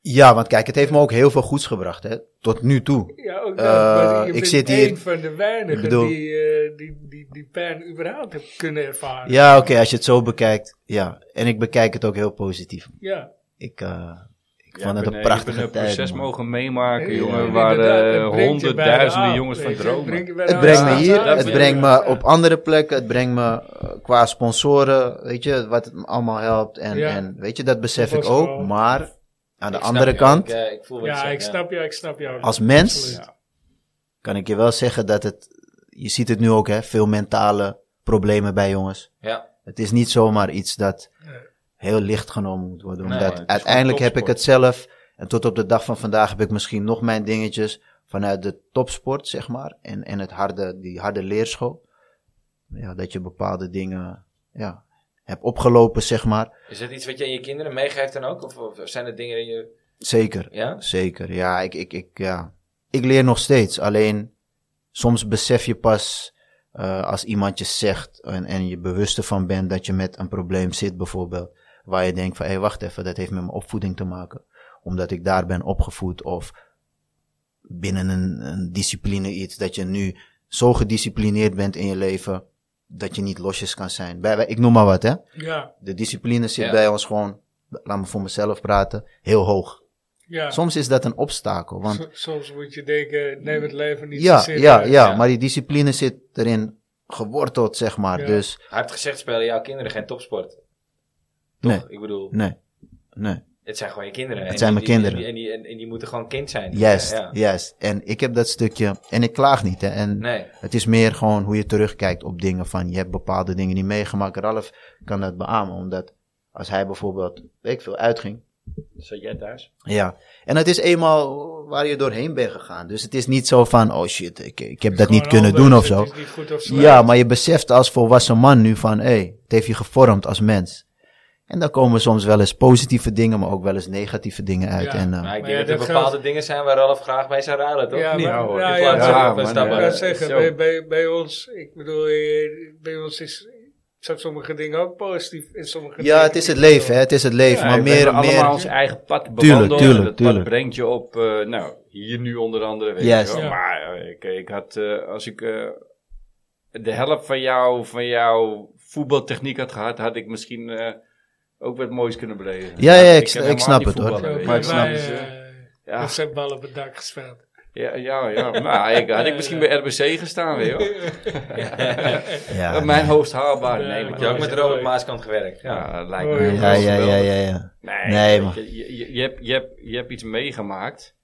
Speaker 3: Ja, want kijk, het heeft me ook heel veel goeds gebracht, hè, tot nu toe.
Speaker 2: Ja, ook
Speaker 3: Eh,
Speaker 2: dat, maar je
Speaker 3: ik
Speaker 2: bent
Speaker 3: zit hier-
Speaker 2: een van de
Speaker 3: Ik
Speaker 2: weinigen
Speaker 3: bedoel-
Speaker 2: die, eh, die, die, die pijn überhaupt hebben kunnen ervaren.
Speaker 3: Ja, oké, als je het zo bekijkt. Ja, en ik bekijk het ook heel positief.
Speaker 2: Ja,
Speaker 3: Ik, eh, ik
Speaker 4: Ja,
Speaker 3: vond het
Speaker 4: ik ben,
Speaker 3: een
Speaker 4: eh,
Speaker 3: prachtige
Speaker 4: Ik ben een
Speaker 3: tijd.
Speaker 4: proces
Speaker 3: man.
Speaker 4: mogen meemaken,
Speaker 2: Ja,
Speaker 4: jongen,
Speaker 2: ja,
Speaker 4: waar
Speaker 2: inderdaad,
Speaker 4: eh,
Speaker 2: het brengt je bij
Speaker 4: honderdduizenden
Speaker 2: de
Speaker 4: jongens
Speaker 2: aap,
Speaker 4: van
Speaker 2: weet je,
Speaker 4: dromen.
Speaker 2: brengt je bij de
Speaker 3: Het brengt me
Speaker 2: aap.
Speaker 3: hier,
Speaker 2: Ja,
Speaker 3: het
Speaker 2: ja,
Speaker 3: brengt
Speaker 2: ja.
Speaker 3: me op andere plekken, het brengt me eh, qua sponsoren, weet je, wat het me allemaal helpt. En,
Speaker 2: Ja.
Speaker 3: en weet je, dat besef
Speaker 2: Dat
Speaker 3: ik
Speaker 2: was
Speaker 3: ook.
Speaker 2: wel-
Speaker 3: Maar aan de
Speaker 1: Ik snap
Speaker 3: andere
Speaker 1: je,
Speaker 3: kant,
Speaker 1: Ik, eh, ik voel wat je
Speaker 2: Ja,
Speaker 1: zegt,
Speaker 2: ik snap jou, ik snap jou.
Speaker 3: als mens,
Speaker 2: Absoluut.
Speaker 3: kan ik je wel zeggen dat het, je ziet het nu ook, hè, veel mentale problemen bij jongens.
Speaker 1: Ja.
Speaker 3: Het is niet zomaar iets dat
Speaker 2: Nee.
Speaker 3: heel licht genomen moet worden.
Speaker 1: Nee,
Speaker 3: Omdat
Speaker 1: het is
Speaker 3: uiteindelijk
Speaker 1: gewoon
Speaker 3: heb ik het zelf. En tot op de dag van vandaag heb ik misschien nog mijn dingetjes vanuit de topsport, zeg maar. En, en het harde, die harde leerschool. Ja, dat je bepaalde dingen ja, hebt opgelopen, zeg maar.
Speaker 1: Is dat iets wat je aan je kinderen meegeeft dan ook? Of, of zijn er dingen die je...
Speaker 3: Zeker,
Speaker 1: Ja?
Speaker 3: zeker. Ja ik, ik, ik, ja, ik leer nog steeds. Alleen soms besef je pas eh, als iemand je zegt en, en je bewust ervan bent dat je met een probleem zit bijvoorbeeld. Waar je denkt van, hé wacht even, dat heeft met mijn opvoeding te maken. Omdat ik daar ben opgevoed of binnen een, een discipline iets. Dat je nu zo gedisciplineerd bent in je leven dat je niet losjes kan zijn. Bij, bij- ik noem maar wat hè.
Speaker 2: Ja,
Speaker 3: De discipline zit
Speaker 1: Ja.
Speaker 3: bij ons gewoon, laat me voor mezelf praten, heel hoog.
Speaker 2: ja.
Speaker 3: Soms is dat een obstakel. Want
Speaker 2: [laughs] So- soms moet je denken, neem het leven niet
Speaker 3: ja,
Speaker 2: zo
Speaker 3: ja,
Speaker 2: serieus.
Speaker 3: ja,
Speaker 1: ja.
Speaker 3: maar die discipline zit erin geworteld, zeg maar.
Speaker 2: Ja.
Speaker 3: Dus
Speaker 1: Hij heeft gezegd, spelen jouw kinderen geen topsport.
Speaker 3: nee,
Speaker 1: Ik bedoel,
Speaker 3: nee, nee.
Speaker 1: het zijn gewoon je kinderen.
Speaker 3: Het
Speaker 1: En
Speaker 3: zijn
Speaker 1: die-
Speaker 3: mijn
Speaker 1: die-
Speaker 3: kinderen.
Speaker 1: En die, en, die, en die moeten gewoon kind zijn.
Speaker 3: Juist,
Speaker 1: Ja, ja.
Speaker 3: juist. En ik heb dat stukje, en ik klaag niet. Hè, en
Speaker 1: Nee.
Speaker 3: Het is meer gewoon hoe je terugkijkt op dingen van je hebt bepaalde dingen niet meegemaakt. Ralf kan dat beamen, omdat als hij bijvoorbeeld, weet ik veel, uitging.
Speaker 4: Zat jij thuis?
Speaker 3: Ja, en het is eenmaal waar je doorheen bent gegaan. Dus het is niet zo van, oh shit, ik, ik heb dat niet
Speaker 2: Gewoon
Speaker 3: kunnen
Speaker 2: anders,
Speaker 3: doen of
Speaker 2: het
Speaker 3: zo.
Speaker 2: is niet goed of slecht.
Speaker 3: Ja, maar je beseft als volwassen man nu van, hé, het heeft je gevormd als mens. En dan komen soms wel eens positieve dingen, maar ook wel eens negatieve dingen uit.
Speaker 2: Ja,
Speaker 3: en, eh,
Speaker 1: Maar ik
Speaker 2: Maar
Speaker 1: denk
Speaker 2: ja,
Speaker 1: dat er
Speaker 2: dat
Speaker 1: bepaalde
Speaker 2: geldt-
Speaker 1: dingen zijn waar Ralf graag mee zou ruilen, toch?
Speaker 2: Ja,
Speaker 1: Niet?
Speaker 2: maar-
Speaker 4: hoor.
Speaker 2: ja,
Speaker 1: In plaats
Speaker 2: ja,
Speaker 1: van op
Speaker 4: ja,
Speaker 1: een
Speaker 4: maar,
Speaker 2: Ik
Speaker 1: stap,
Speaker 4: eh,
Speaker 2: wou
Speaker 1: eh,
Speaker 2: dat zeggen,
Speaker 4: zo.
Speaker 2: bij, bij, bij ons, ik bedoel, eh, bij ons is, zijn sommige dingen ook positief en sommige
Speaker 3: ja, het is het leven, hè, het is het leven.
Speaker 4: Ja,
Speaker 3: maar
Speaker 4: we hebben
Speaker 3: meer,
Speaker 4: allemaal
Speaker 3: meer,
Speaker 4: ons eigen pad bewandeld. en
Speaker 3: tuurlijk,
Speaker 4: dat
Speaker 3: tuurlijk.
Speaker 4: pad brengt je op, eh, nou, hier nu onder andere. Weet
Speaker 3: Juist.
Speaker 4: je wel.
Speaker 2: Ja.
Speaker 4: Maar eh, ik, ik had, eh, als ik eh, de helft van jou, van jouw voetbaltechniek had gehad, had ik misschien eh, ook wat moois kunnen beleven.
Speaker 3: Ja, ja, ik
Speaker 4: ken
Speaker 3: ik
Speaker 4: helemaal
Speaker 3: snap
Speaker 4: niet
Speaker 3: het, hoor.
Speaker 4: voetballen, weet je. Dus, eh,
Speaker 2: Maar
Speaker 4: Maar
Speaker 2: ik
Speaker 4: ik snap het.
Speaker 2: zijn ballen op het dak gespeeld.
Speaker 4: Ja, ja, ja. Nou, ik, had ik misschien bij RBC gestaan weer, hoor.
Speaker 3: Ja,
Speaker 4: Mijn
Speaker 3: nee.
Speaker 4: hoogst haalbaar. Nee,
Speaker 1: Heb
Speaker 4: maar
Speaker 1: je ook met
Speaker 2: Ja.
Speaker 1: Robert Maaskant gewerkt? Ja.
Speaker 4: ja, dat lijkt me
Speaker 2: Oh, Ja,
Speaker 4: heel
Speaker 3: ja, ja, ja,
Speaker 4: geweldig.
Speaker 3: ja, ja.
Speaker 4: Nee,
Speaker 3: Nee,
Speaker 4: weet
Speaker 3: man.
Speaker 4: Je, je, je hebt, je, hebt, je hebt iets meegemaakt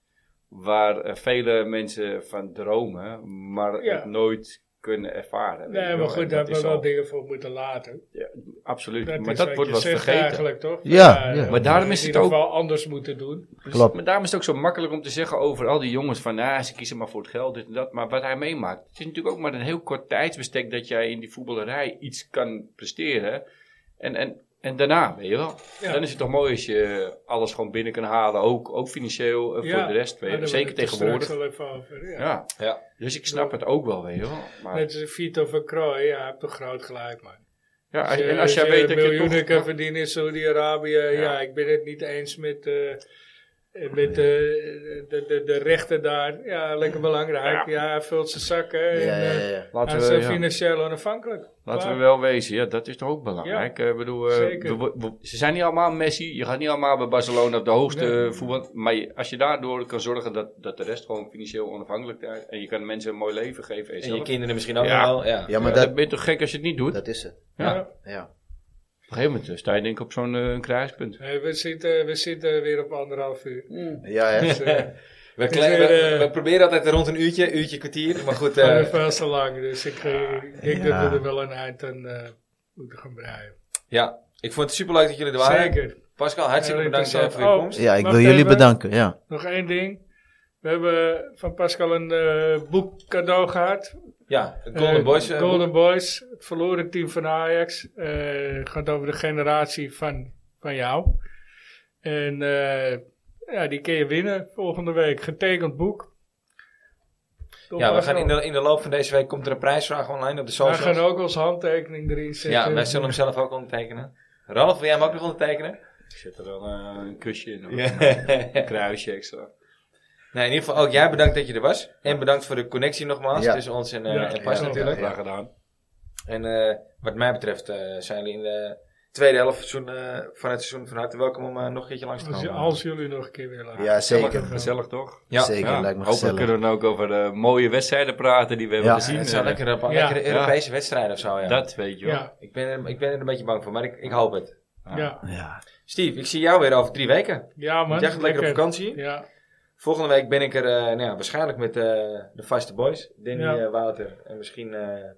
Speaker 4: waar eh, vele mensen van dromen, maar
Speaker 2: Ja.
Speaker 4: het nooit kunnen ervaren. weet je
Speaker 2: Nee,
Speaker 4: wel.
Speaker 2: maar
Speaker 4: En
Speaker 2: goed, daar hebben
Speaker 4: is
Speaker 2: we wel
Speaker 4: al-
Speaker 2: dingen voor moeten laten.
Speaker 4: Absoluut,
Speaker 2: Dat
Speaker 4: maar
Speaker 2: is
Speaker 4: dat
Speaker 2: wat
Speaker 4: wordt
Speaker 2: je
Speaker 4: wat
Speaker 2: zegt
Speaker 4: vergeten.
Speaker 2: eigenlijk, toch?
Speaker 3: Ja, ja.
Speaker 2: eh,
Speaker 4: Maar daarom
Speaker 2: in
Speaker 4: is het
Speaker 2: ieder
Speaker 4: ook-
Speaker 2: geval anders moeten doen.
Speaker 3: Klopt.
Speaker 4: Maar daarom is het ook zo makkelijk om te zeggen over al die jongens van, nou, ze kiezen maar voor het geld, dit en dat. Maar wat hij meemaakt, het is natuurlijk ook maar een heel kort tijdsbestek dat jij in die voetballerij iets kan presteren. En, en, en daarna, weet je wel.
Speaker 2: Ja.
Speaker 4: Dan is het toch mooi als je alles gewoon binnen kan halen, ook, ook financieel eh, voor de rest. Weet je.
Speaker 2: maar daar
Speaker 4: Zeker
Speaker 2: hebben we Nou, het er
Speaker 4: tegenwoordig.
Speaker 2: straks al even over, ja.
Speaker 4: Ja.
Speaker 1: Ja.
Speaker 4: dus ik snap het ook wel, weet je wel. Maar,
Speaker 2: Net als Vito van Krooi, ja, hij heeft toch groot gelijk, man.
Speaker 4: ja, als-
Speaker 2: Als je-
Speaker 4: en als jij
Speaker 2: je
Speaker 4: weet dat
Speaker 2: Dus, eh, miljoenen
Speaker 4: je
Speaker 2: kan
Speaker 4: toch...
Speaker 2: verdienen in Saudi-Arabië, ja. ik ben het niet eens met, eh, eh, met eh, de, de, de rechten daar. Ja, lekker belangrijk. Ja, hij vult zijn zakken. en,
Speaker 3: Ja, ja,
Speaker 2: eh,
Speaker 3: ja, ja.
Speaker 4: Laten
Speaker 2: hij is
Speaker 4: we,
Speaker 2: eh,
Speaker 4: ja.
Speaker 2: financieel onafhankelijk.
Speaker 4: Laten
Speaker 2: Klaar.
Speaker 4: we wel wezen, ja, dat is toch ook belangrijk. Eh, Ik bedoel, eh,
Speaker 2: Zeker.
Speaker 4: we- we- ze zijn niet allemaal Messi. Je gaat niet allemaal bij Barcelona op de hoogste
Speaker 2: Nee.
Speaker 4: voetbal. Maar je- als je daardoor kan zorgen dat, dat de rest gewoon financieel onafhankelijk is. En je kan mensen een mooi leven geven. En
Speaker 1: En Dus je
Speaker 4: jezelf.
Speaker 1: kinderen misschien ook
Speaker 4: Ja.
Speaker 1: wel. Ja.
Speaker 3: Ja, maar
Speaker 4: Ja,
Speaker 3: dat,
Speaker 4: dan ben je toch gek als je het niet doet?
Speaker 3: dat is het.
Speaker 4: ja.
Speaker 2: Ja.
Speaker 4: Op
Speaker 3: Ja.
Speaker 4: een gegeven moment eh, sta je denk ik op zo'n eh, kruispunt.
Speaker 2: Nee, we, zitten, we zitten weer op anderhalf uur.
Speaker 3: Ja,
Speaker 2: [laughs]
Speaker 3: hè?
Speaker 2: Dus, eh,
Speaker 1: We, kle-
Speaker 2: weer,
Speaker 1: we-
Speaker 2: eh,
Speaker 1: we proberen altijd rond een uurtje, uurtje kwartier. Maar goed, eh,
Speaker 2: maar veel te lang. Dus ik, eh, ik denk
Speaker 3: Ja.
Speaker 2: dat we er wel een eind aan eh, moeten gaan breien.
Speaker 1: ja. Ik vond het superleuk dat jullie er waren.
Speaker 2: Zeker.
Speaker 1: Pascal, hartstikke
Speaker 2: Ja,
Speaker 1: bedankt eh,
Speaker 2: interessant.
Speaker 1: voor je
Speaker 2: Oh.
Speaker 1: komst.
Speaker 3: Ja, ik
Speaker 2: Wacht
Speaker 3: wil jullie
Speaker 2: even.
Speaker 3: bedanken. Ja.
Speaker 2: Nog één ding. We hebben van Pascal een eh, boek cadeau gehad.
Speaker 1: Ja, Golden
Speaker 2: Eh,
Speaker 1: Boys. eh,
Speaker 2: Golden Boys, het verloren team van Ajax. Eh, gaat over de generatie van, van jou. En eh, ja, die kun je winnen volgende week. Getekend boek. Door
Speaker 1: Ja, we
Speaker 2: Marcel.
Speaker 1: gaan in de, in de loop van deze week komt er een prijsvraag online op de
Speaker 2: Wij
Speaker 1: socials.
Speaker 2: gaan ook onze handtekening erin zetten.
Speaker 1: Ja, wij zullen hem zelf ook ondertekenen. Ralf, wil jij hem ook nog ondertekenen?
Speaker 4: Ik zet er wel eh, een kusje in. hoor.
Speaker 1: Ja.
Speaker 4: Een [laughs] kruisje extra.
Speaker 1: Nee, in ieder geval ook jij bedankt dat je er was. En bedankt voor de connectie nogmaals
Speaker 3: Ja.
Speaker 1: tussen ons en, eh
Speaker 2: Ja,
Speaker 1: en Pas
Speaker 2: ja,
Speaker 1: natuurlijk.
Speaker 4: Graag gedaan.
Speaker 1: En eh, wat mij betreft eh, zijn jullie in de tweede helft seizoen, eh, van het seizoen van harte welkom om eh, nog een keertje langs te
Speaker 2: Als, je-
Speaker 1: komen.
Speaker 2: als jullie nog een keer willen.
Speaker 3: Ja,
Speaker 4: Gezellig,
Speaker 3: zeker.
Speaker 4: gezellig toch?
Speaker 1: ja.
Speaker 3: Zeker, lijkt me
Speaker 4: Hopelijk
Speaker 3: gezellig.
Speaker 4: kunnen we dan ook over de mooie wedstrijden praten die we hebben
Speaker 3: Ja,
Speaker 4: gezien.
Speaker 1: Het zou
Speaker 4: Eh,
Speaker 1: lekker een paar
Speaker 2: Ja.
Speaker 1: lekkere Europese wedstrijden of zo, ja.
Speaker 4: Dat weet je wel.
Speaker 2: Ja,
Speaker 1: Ik, ben er, ik ben er een beetje bang voor, maar ik, ik hoop het.
Speaker 2: ja.
Speaker 3: Ja.
Speaker 1: Steve, ik zie jou weer over drie weken.
Speaker 2: ja man.
Speaker 1: Want jij gaat lekker op vakantie.
Speaker 2: Ja,
Speaker 1: Volgende week ben ik er eh, nou ja, waarschijnlijk met eh, de vaste boys. Danny,
Speaker 2: Ja.
Speaker 1: eh, Wouter en misschien, eh,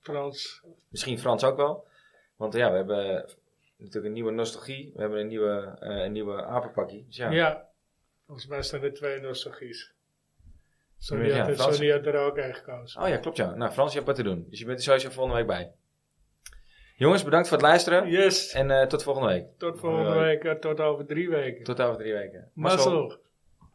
Speaker 2: Frans.
Speaker 1: misschien Frans ook wel. Want eh, ja, we hebben natuurlijk een nieuwe nostalgie. We hebben een nieuwe, eh, een nieuwe apenpakkie. Dus ja,
Speaker 2: Ja. Volgens mij staan er twee nostalgies. Sonny
Speaker 1: Ja,
Speaker 2: had er-
Speaker 1: Frans-
Speaker 2: Sonny had er ook een gekozen.
Speaker 1: Oh ja, klopt ja. Nou, Frans, je hebt wat te doen. Dus je bent er sowieso volgende week bij. Jongens, bedankt voor het luisteren.
Speaker 2: Yes.
Speaker 1: En eh, tot volgende week.
Speaker 2: Tot volgende week, eh, tot over drie weken.
Speaker 1: Tot over drie weken.
Speaker 2: Mazzel.